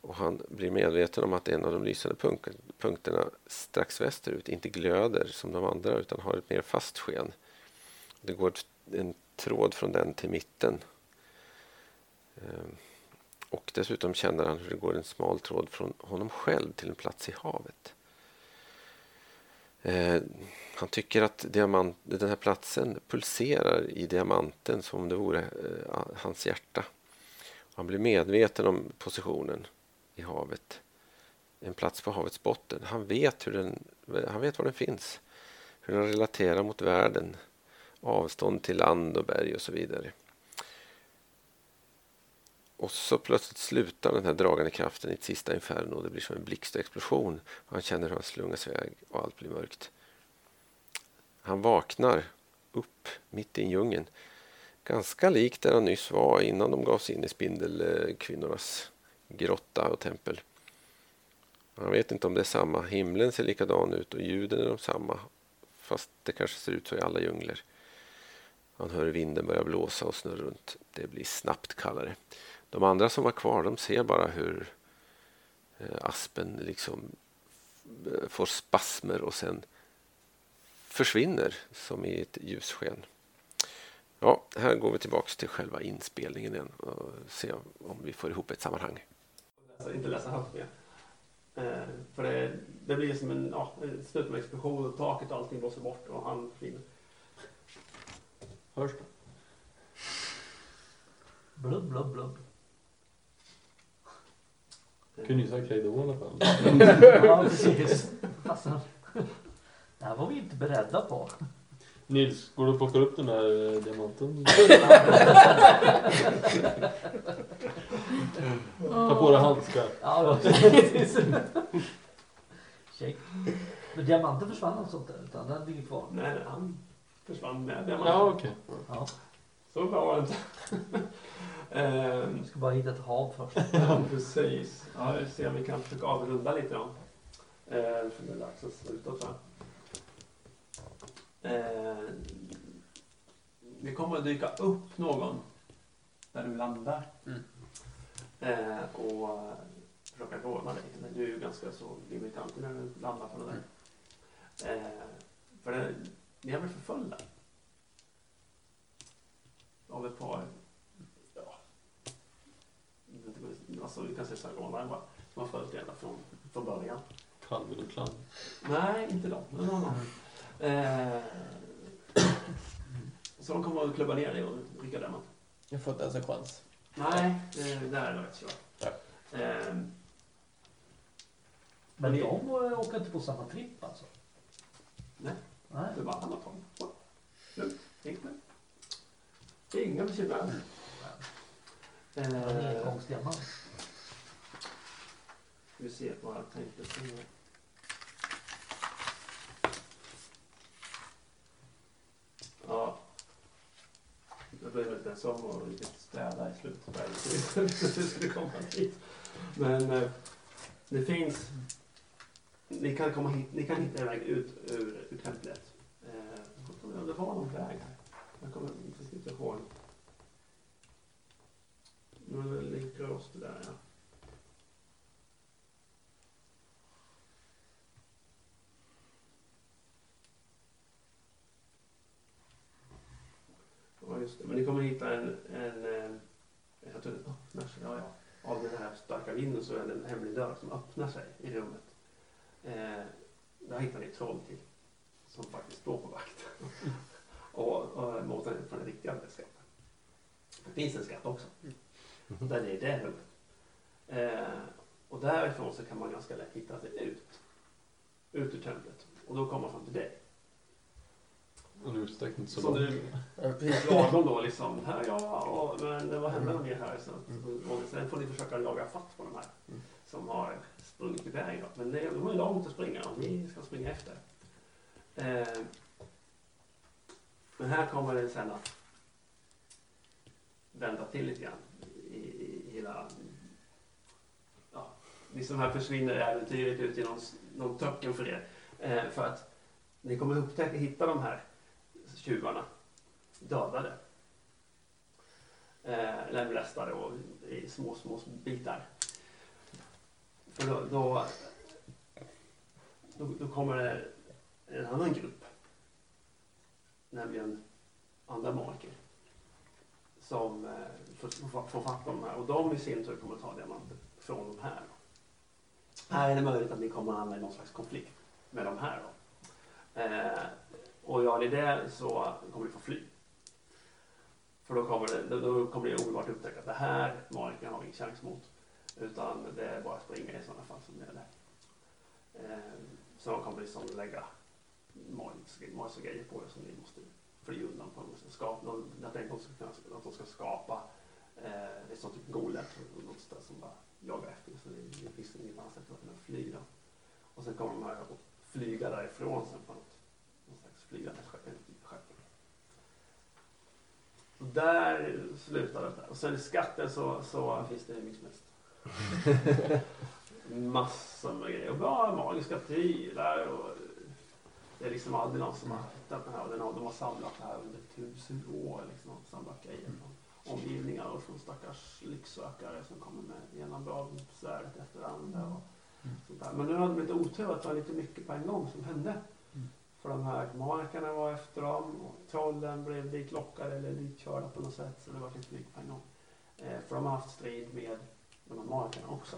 [SPEAKER 1] Och han blir medveten om att en av de lysande punk- punkterna strax västerut inte glöder som de andra utan har ett mer fast sken. Det går ett- en tråd från den till mitten. Ehm, Och dessutom känner han hur det går en smal tråd från honom själv till en plats i havet. Eh, Han tycker att diamant, den här platsen pulserar i diamanten som om det vore eh, hans hjärta. Han blir medveten om positionen i havet. En plats på havets botten. Han vet, hur den, han vet var den finns. Hur den relaterar mot världen. Avstånd till land och berg och så vidare. Och så plötsligt slutar den här dragande kraften i ett sista inferno. Det blir som en blixt och explosion. Han känner hur han slungas iväg och allt blir mörkt. Han vaknar upp mitt i djungeln. Ganska lik där han nyss var innan de gav sig in i spindelkvinnornas grotta och tempel. Han vet inte om det är samma. Himlen ser likadan ut och ljuden är de samma. Fast det kanske ser ut så i alla djungler. Han hör vinden börja blåsa och snurra runt. Det blir snabbt kallare. De andra som var kvar de ser bara hur eh, aspen liksom eh, får spasmer och sen försvinner som i ett ljussken. Ja, här går vi tillbaks till själva inspelningen igen och ser om vi får ihop ett sammanhang.
[SPEAKER 3] Alltså, inte läsa högt mer. Eh, för det, det blir som en, ja, en slut med explosion och taket och allting blåser bort och han försvinner. Hörs det?
[SPEAKER 5] Blubb, blubb, blubb.
[SPEAKER 11] Kunde ju sagt hej då i alla fall.
[SPEAKER 5] Ja, precis. Alltså, det här var vi inte beredda på.
[SPEAKER 11] Nils, går du och plockar upp den där eh, diamanten? Ta på dig handskar.
[SPEAKER 5] Ja, precis. Check. Men diamanten försvann och sånt där, utan den ligger kvar.
[SPEAKER 3] Nej, nej, han försvann med
[SPEAKER 11] Ja,
[SPEAKER 3] diamanten.
[SPEAKER 11] okej.
[SPEAKER 5] Ja,
[SPEAKER 3] Så bra var det inte. Ehm,
[SPEAKER 5] vi ska bara hitta ett hav först.
[SPEAKER 3] Ja, precis. Ja, vi får se om vi kan försöka avrunda lite då. Eh, för det är dags att sluta tror jag. Eh, det kommer att dyka upp någon när du landar.
[SPEAKER 7] Mm.
[SPEAKER 3] Eh, och försöka råna dig. Men Du är ju ganska så limitantig när du landar på det där. Eh, för det, ni har blivit förföljda. Av ett par Alltså vi kan säga sargonare bara. Som har följt ända från, från början.
[SPEAKER 11] Calvin och Klein.
[SPEAKER 3] Nej, inte dem. Men någon annan. Eh, så de kommer att klubba ner dig och rycka den.
[SPEAKER 7] Jag får inte ens en chans.
[SPEAKER 3] Nej, det där är nog rätt kört. Eh,
[SPEAKER 5] Men de eh, åker inte på samma tripp alltså?
[SPEAKER 3] Nej.
[SPEAKER 5] Nej.
[SPEAKER 3] det var alla tom. Nu, gick det. Det är Inga bekymmer.
[SPEAKER 5] Det är
[SPEAKER 3] Eh,
[SPEAKER 5] Engångsdiamant.
[SPEAKER 3] Ska vi se vad jag tänkte på. Ja. Det blev inte ens om och riktigt städa i slutet på det vi skulle komma dit. Men eh, det finns... Ni kan, komma hit, ni kan hitta en väg ut ur, ur templet. Eh, jag kommer ihåg om det var någon väg här. Jag kommer precis inte ihåg. Men det ligger oss det där ja. Just det, men ni kommer hitta en... en, eh, jag tror den öppnar sig. Ja, ja. Av den här starka vinden så är det en hemlig dörr som öppnar sig i rummet. Eh, där hittar ni ett troll till. Som faktiskt står på vakt. och, och mot den från den riktiga skatten. Det finns en skatt också. Den är i det rummet. Eh, och därifrån så kan man ganska lätt hitta sig ut. Ut ur templet. Och då kommer man fram till dig.
[SPEAKER 11] Och nu stack inte så
[SPEAKER 3] Som
[SPEAKER 11] långt.
[SPEAKER 3] du, precis lagom då liksom. Här, ja, ja, men vad händer om vi är här? Så, och sen får ni försöka jaga fatt på de här som har sprungit iväg. då. Men det, de har ju långt att springa och ni ska springa efter. Eh, men här kommer det sen att vända till lite grann i, i i hela... Ja, ni som här försvinner i äventyret ut i någon, någon töcken för er. Eh, för att ni kommer upptäcka, hitta de här tjuvarna dödade. Eh, lemlästade och i små, små bitar. För då, då, då, då kommer det en annan grupp. Nämligen andra marker. Som eh, får, får, får fatt på de här och de i sin tur kommer ta diamanter från de här. Här är det möjligt att ni kommer att hamna i någon slags konflikt med de här. Då. Eh, och gör ni det så kommer ni få fly. För då kommer, det, då- då kommer ni omedelbart upptäcka att det här magiken har vi ingen chans mot. Utan det är bara att springa i sådana fall som det är där. Eh, så de kommer liksom lägga magiska magiska grejer på er som ni måste fly undan på. De måste skapa, de, jag tänker att de ska, kunna- att de ska skapa eh, ett sånt typ golem, något sånt där som bara jagar efter er. Så det, det finns liksom inget annat sätt att kunna fly då. Och sen kommer de här och flyga därifrån sen på något, någon slags flygande skepp. ett skepp. Och där slutar det. där. Och sen i skatten så, så finns det hur mycket som helst. Massor med grejer. Och bra magiska prylar. Och det är liksom aldrig någon som har hittat den här. Och den har, de har samlat det här under tusen år. Liksom, och samlat grejer från omgivningar och från stackars lycksökare som kommer med ena brödsvärdet efter det andra. Och, Sånt där. Men nu hade de lite otur att det var lite mycket på en gång som hände. För de här markarna var efter dem och trollen blev ditlockade eller ditkörda på något sätt. Så det var lite mycket på en gång. Eh, för de har haft strid med de här markarna också.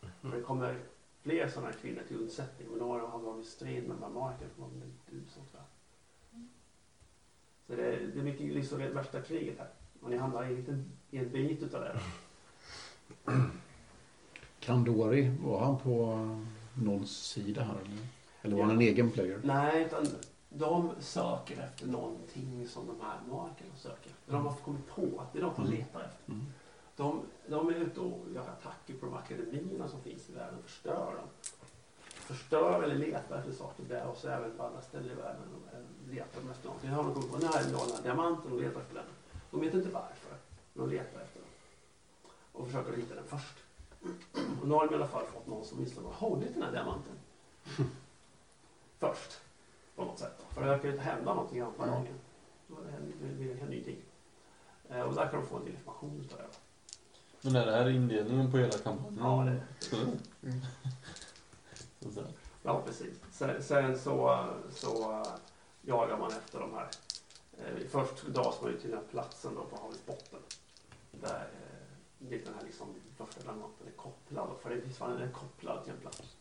[SPEAKER 3] För Mm. det kommer fler sådana här kvinnor till undsättning. Men några har varit i strid med de här markarna som har blivit utsatta. tror jag. Så det, det är mycket liksom det värsta kriget här. Och ni hamnar i en, liten- i en bit utav det. här.
[SPEAKER 6] Kandori, var han på eh, någons sida här eller? Eller var han en
[SPEAKER 3] Ja.
[SPEAKER 6] egen player?
[SPEAKER 3] Nej, utan de söker efter någonting som de här markerna söker efter. De har kommit på att det är de de letar efter.
[SPEAKER 6] Mm.
[SPEAKER 3] De, de är ute och gör attacker på de akademierna som finns i världen och förstör dem. Förstör eller letar efter saker där och så även på andra ställen i världen. De letar de efter någonting. Nu har de kommit på den här enorma diamanten och letar efter den. De vet inte varför, men de letar efter den. Och försöker hitta den först. Och nu har de i alla fall fått någon som åtminstone har hållit den här diamanten först. På något sätt. För det verkar ju inte hända någonting annat varje gång. Det händer- det blir en ny ting. Eh, Och där kan de få en del information utav det.
[SPEAKER 11] Men är det här inledningen på hela kampanjen?
[SPEAKER 3] Ja, det Mm. är
[SPEAKER 11] Så- så- så.
[SPEAKER 3] Ja, precis. Sen, sen så, så eh, jagar man efter de här. Eh, Först dras man ju till den här platsen då på havets botten. Där eh, dit den här liksom första diamanten är kopplad. För det finns fan den är kopplad till en plats.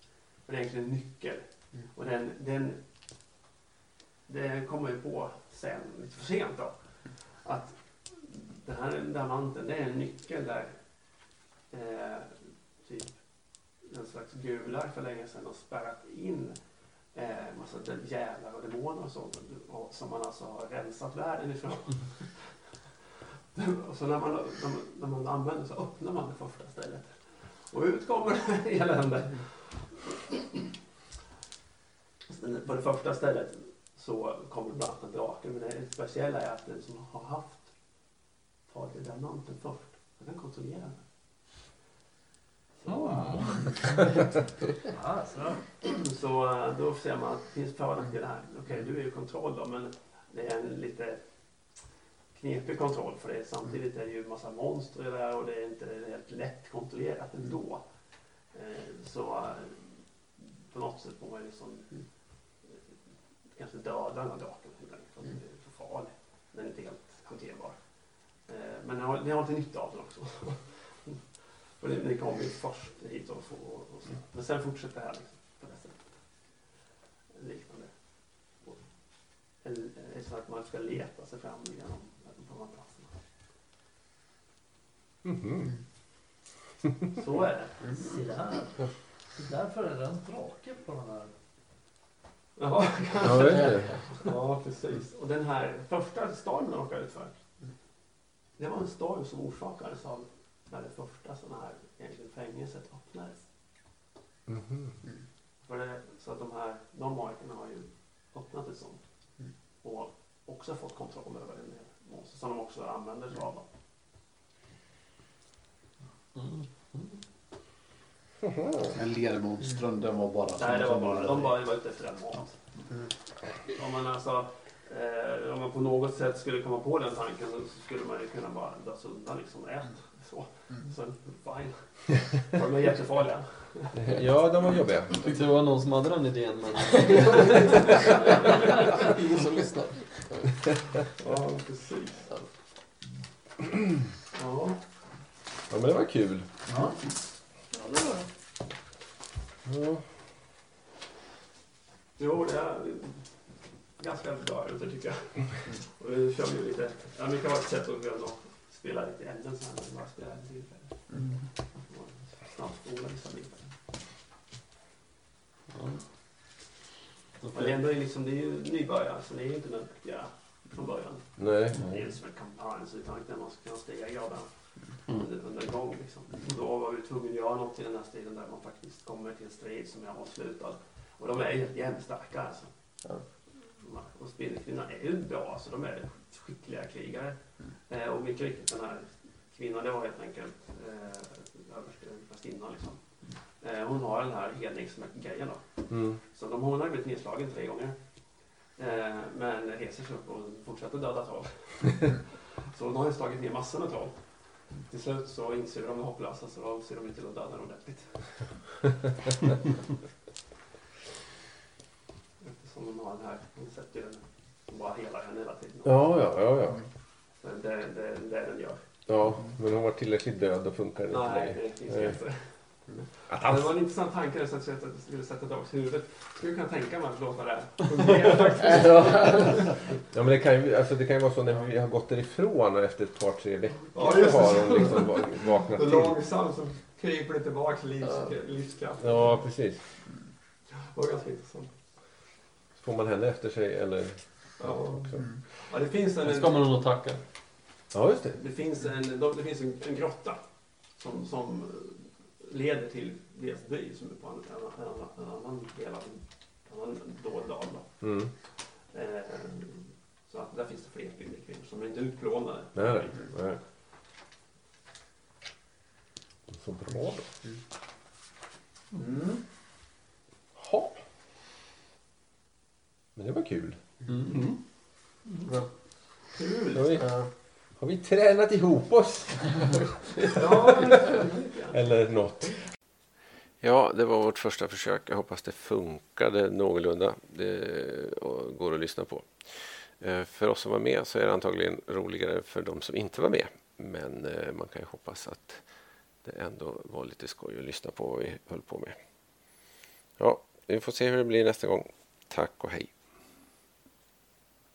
[SPEAKER 3] För det är egentligen en nyckel. Och den, den, den kommer ju på sen, lite för sent då, att den här diamanten, det är en nyckel där eh, typ en slags gular för länge sedan har spärrat in eh, massa de- djävlar och demoner och sånt och, som man alltså har rensat världen ifrån. och så när man, när, när man använder så öppnar man det första stället och ut kommer elände. Sen På det första stället så kommer det bland annat en drake men det speciella är att den som har haft tagit den diamanten först, den kan kontrollera den. Ja, så. Alltså. så eh, då ser man att det finns för och nackdelar här. Okej, du är ju kontroll då, men det är en lite knepig kontroll för det är, samtidigt är det ju en massa monster där och det är inte helt lätt kontrollerat ändå. Eh, Så eh, på något sätt får man ju liksom eh, kanske döda den här draken ibland för att den är för farlig. Den är inte helt hanterbar. Eh, Men ni har, ni har inte nytta av den också. Och ni, ni kom ju först hit och, får, och så. Men sen fortsätter det här liksom, på det här sättet. Liknande. Och, en- en- så att man ska leta sig fram genom de här platserna. Så är det.
[SPEAKER 5] Se där. Se där föräldrar en drake på den här.
[SPEAKER 3] Ja, kanske.
[SPEAKER 5] Ja, det är det.
[SPEAKER 3] ja, precis. Och den här första stormen de råkade ut för. Det var en storm som orsakades av när det första sådana här egentligen fängelset öppnades.
[SPEAKER 5] Mhm.
[SPEAKER 3] För det, så att de här de markerna har ju öppnat ett sånt.
[SPEAKER 5] Mm.
[SPEAKER 3] Och också fått kontroll över en del monster som de också använder sig av.
[SPEAKER 12] Men lermonstren, den var bara...
[SPEAKER 3] Nej, det var bara, de bara var ute efter en mat. Om man alltså, eh, om man på något sätt skulle komma på den tanken så skulle man ju kunna bara dras undan liksom. Ät så. Så fine. De är jättefarliga.
[SPEAKER 1] Ja, de var jobbiga.
[SPEAKER 4] Det var någon som hade den idén men...
[SPEAKER 12] Ingen som lyssnar.
[SPEAKER 3] Ja, precis. Ja.
[SPEAKER 1] Ja, men det var kul.
[SPEAKER 12] Ja.
[SPEAKER 1] Ja.
[SPEAKER 3] Jo, det är ganska bra ute tycker jag. Och nu kör vi ju lite. Ja, men det kan vara ett sätt att kunna spela lite ämnen så här. men Bara spela lite tillfälle.
[SPEAKER 1] Mm.
[SPEAKER 3] Och Snabbt spola vissa bitar. Men det är ändå liksom, det är ju nybörjare så det är ju inte nödvändiga från början.
[SPEAKER 1] Nej.
[SPEAKER 3] Det är ju som en kampanj så det är tanken att man ska kunna stiga graderna under, under en gång. Liksom. Och Då var vi tvungna att göra något i den här stilen där man faktiskt kommer till en strid som är avslutad. Och de är ju jämnstarka alltså. Och spindelkvinnan är ju bra, alltså de är skickliga krigare. Eh, och mycket riktigt den här kvinnan, det var helt enkelt eh, översteprästinnan liksom. Eh, hon har den här hedningsgrejen då.
[SPEAKER 1] Mm.
[SPEAKER 3] Så de, hon har blivit nedslagen tre gånger. Eh, men reser sig upp och fortsätter döda troll. så de har ju slagit ner massor med troll. Till slut så inser de är hopplösa så de ser de ju till att döda dem ordentligt. Eftersom de har den här, hon sätter ju den, hon bara helar henne hela tiden.
[SPEAKER 1] Ja, ja, ja, ja.
[SPEAKER 3] Så Det är det, det är den gör.
[SPEAKER 1] Ja, men hon var tillräckligt död och funkade inte
[SPEAKER 3] Nej,
[SPEAKER 1] längre.
[SPEAKER 3] det finns det
[SPEAKER 1] Nej.
[SPEAKER 3] inte.
[SPEAKER 1] Eh, Att
[SPEAKER 3] Ja, Det var en intressant tanke där, så att jag skulle sätta tillbaka huvudet. Skulle kunna tänka mig att låta det fungera faktiskt.
[SPEAKER 1] Ja, men det kan, ju, alltså det kan ju vara så när vi har gått därifrån och efter ett par, tre veckor
[SPEAKER 3] Ja, just det.
[SPEAKER 1] har hon liksom va- vaknat till.
[SPEAKER 3] Långsamt så kryper det tillbaka livs, livskraften.
[SPEAKER 1] Ja, precis.
[SPEAKER 3] Det var ganska intressant.
[SPEAKER 1] Får man henne efter sig eller?
[SPEAKER 3] Ja.
[SPEAKER 1] också.
[SPEAKER 3] Ja, det finns en...
[SPEAKER 11] Det ska man nog tacka.
[SPEAKER 1] Ja, just det.
[SPEAKER 3] Det finns en, de- det finns en, en grotta som, som eh, leder till deras by som är på en, en, en, en annan del av en annan dold dal. Då.
[SPEAKER 1] Mm.
[SPEAKER 3] Eh, så att där finns det fler kvinnor som är inte utplånade.
[SPEAKER 1] Nej, nej. nej. Så bra då.
[SPEAKER 12] Mm.
[SPEAKER 1] Ja. Men det var kul. Ja.
[SPEAKER 3] Kul.
[SPEAKER 1] Har vi, har vi tränat ihop oss?
[SPEAKER 3] Ja,
[SPEAKER 1] Eller något. Ja, det var vårt första försök. Jag hoppas det funkade någorlunda. Det eh, går att lyssna på. Eh, För oss som var med så är det antagligen roligare för de som inte var med. Men eh, man kan ju hoppas att det ändå var lite skoj att lyssna på vad vi höll på med. Ja, vi får se hur det blir nästa gång. Tack och hej.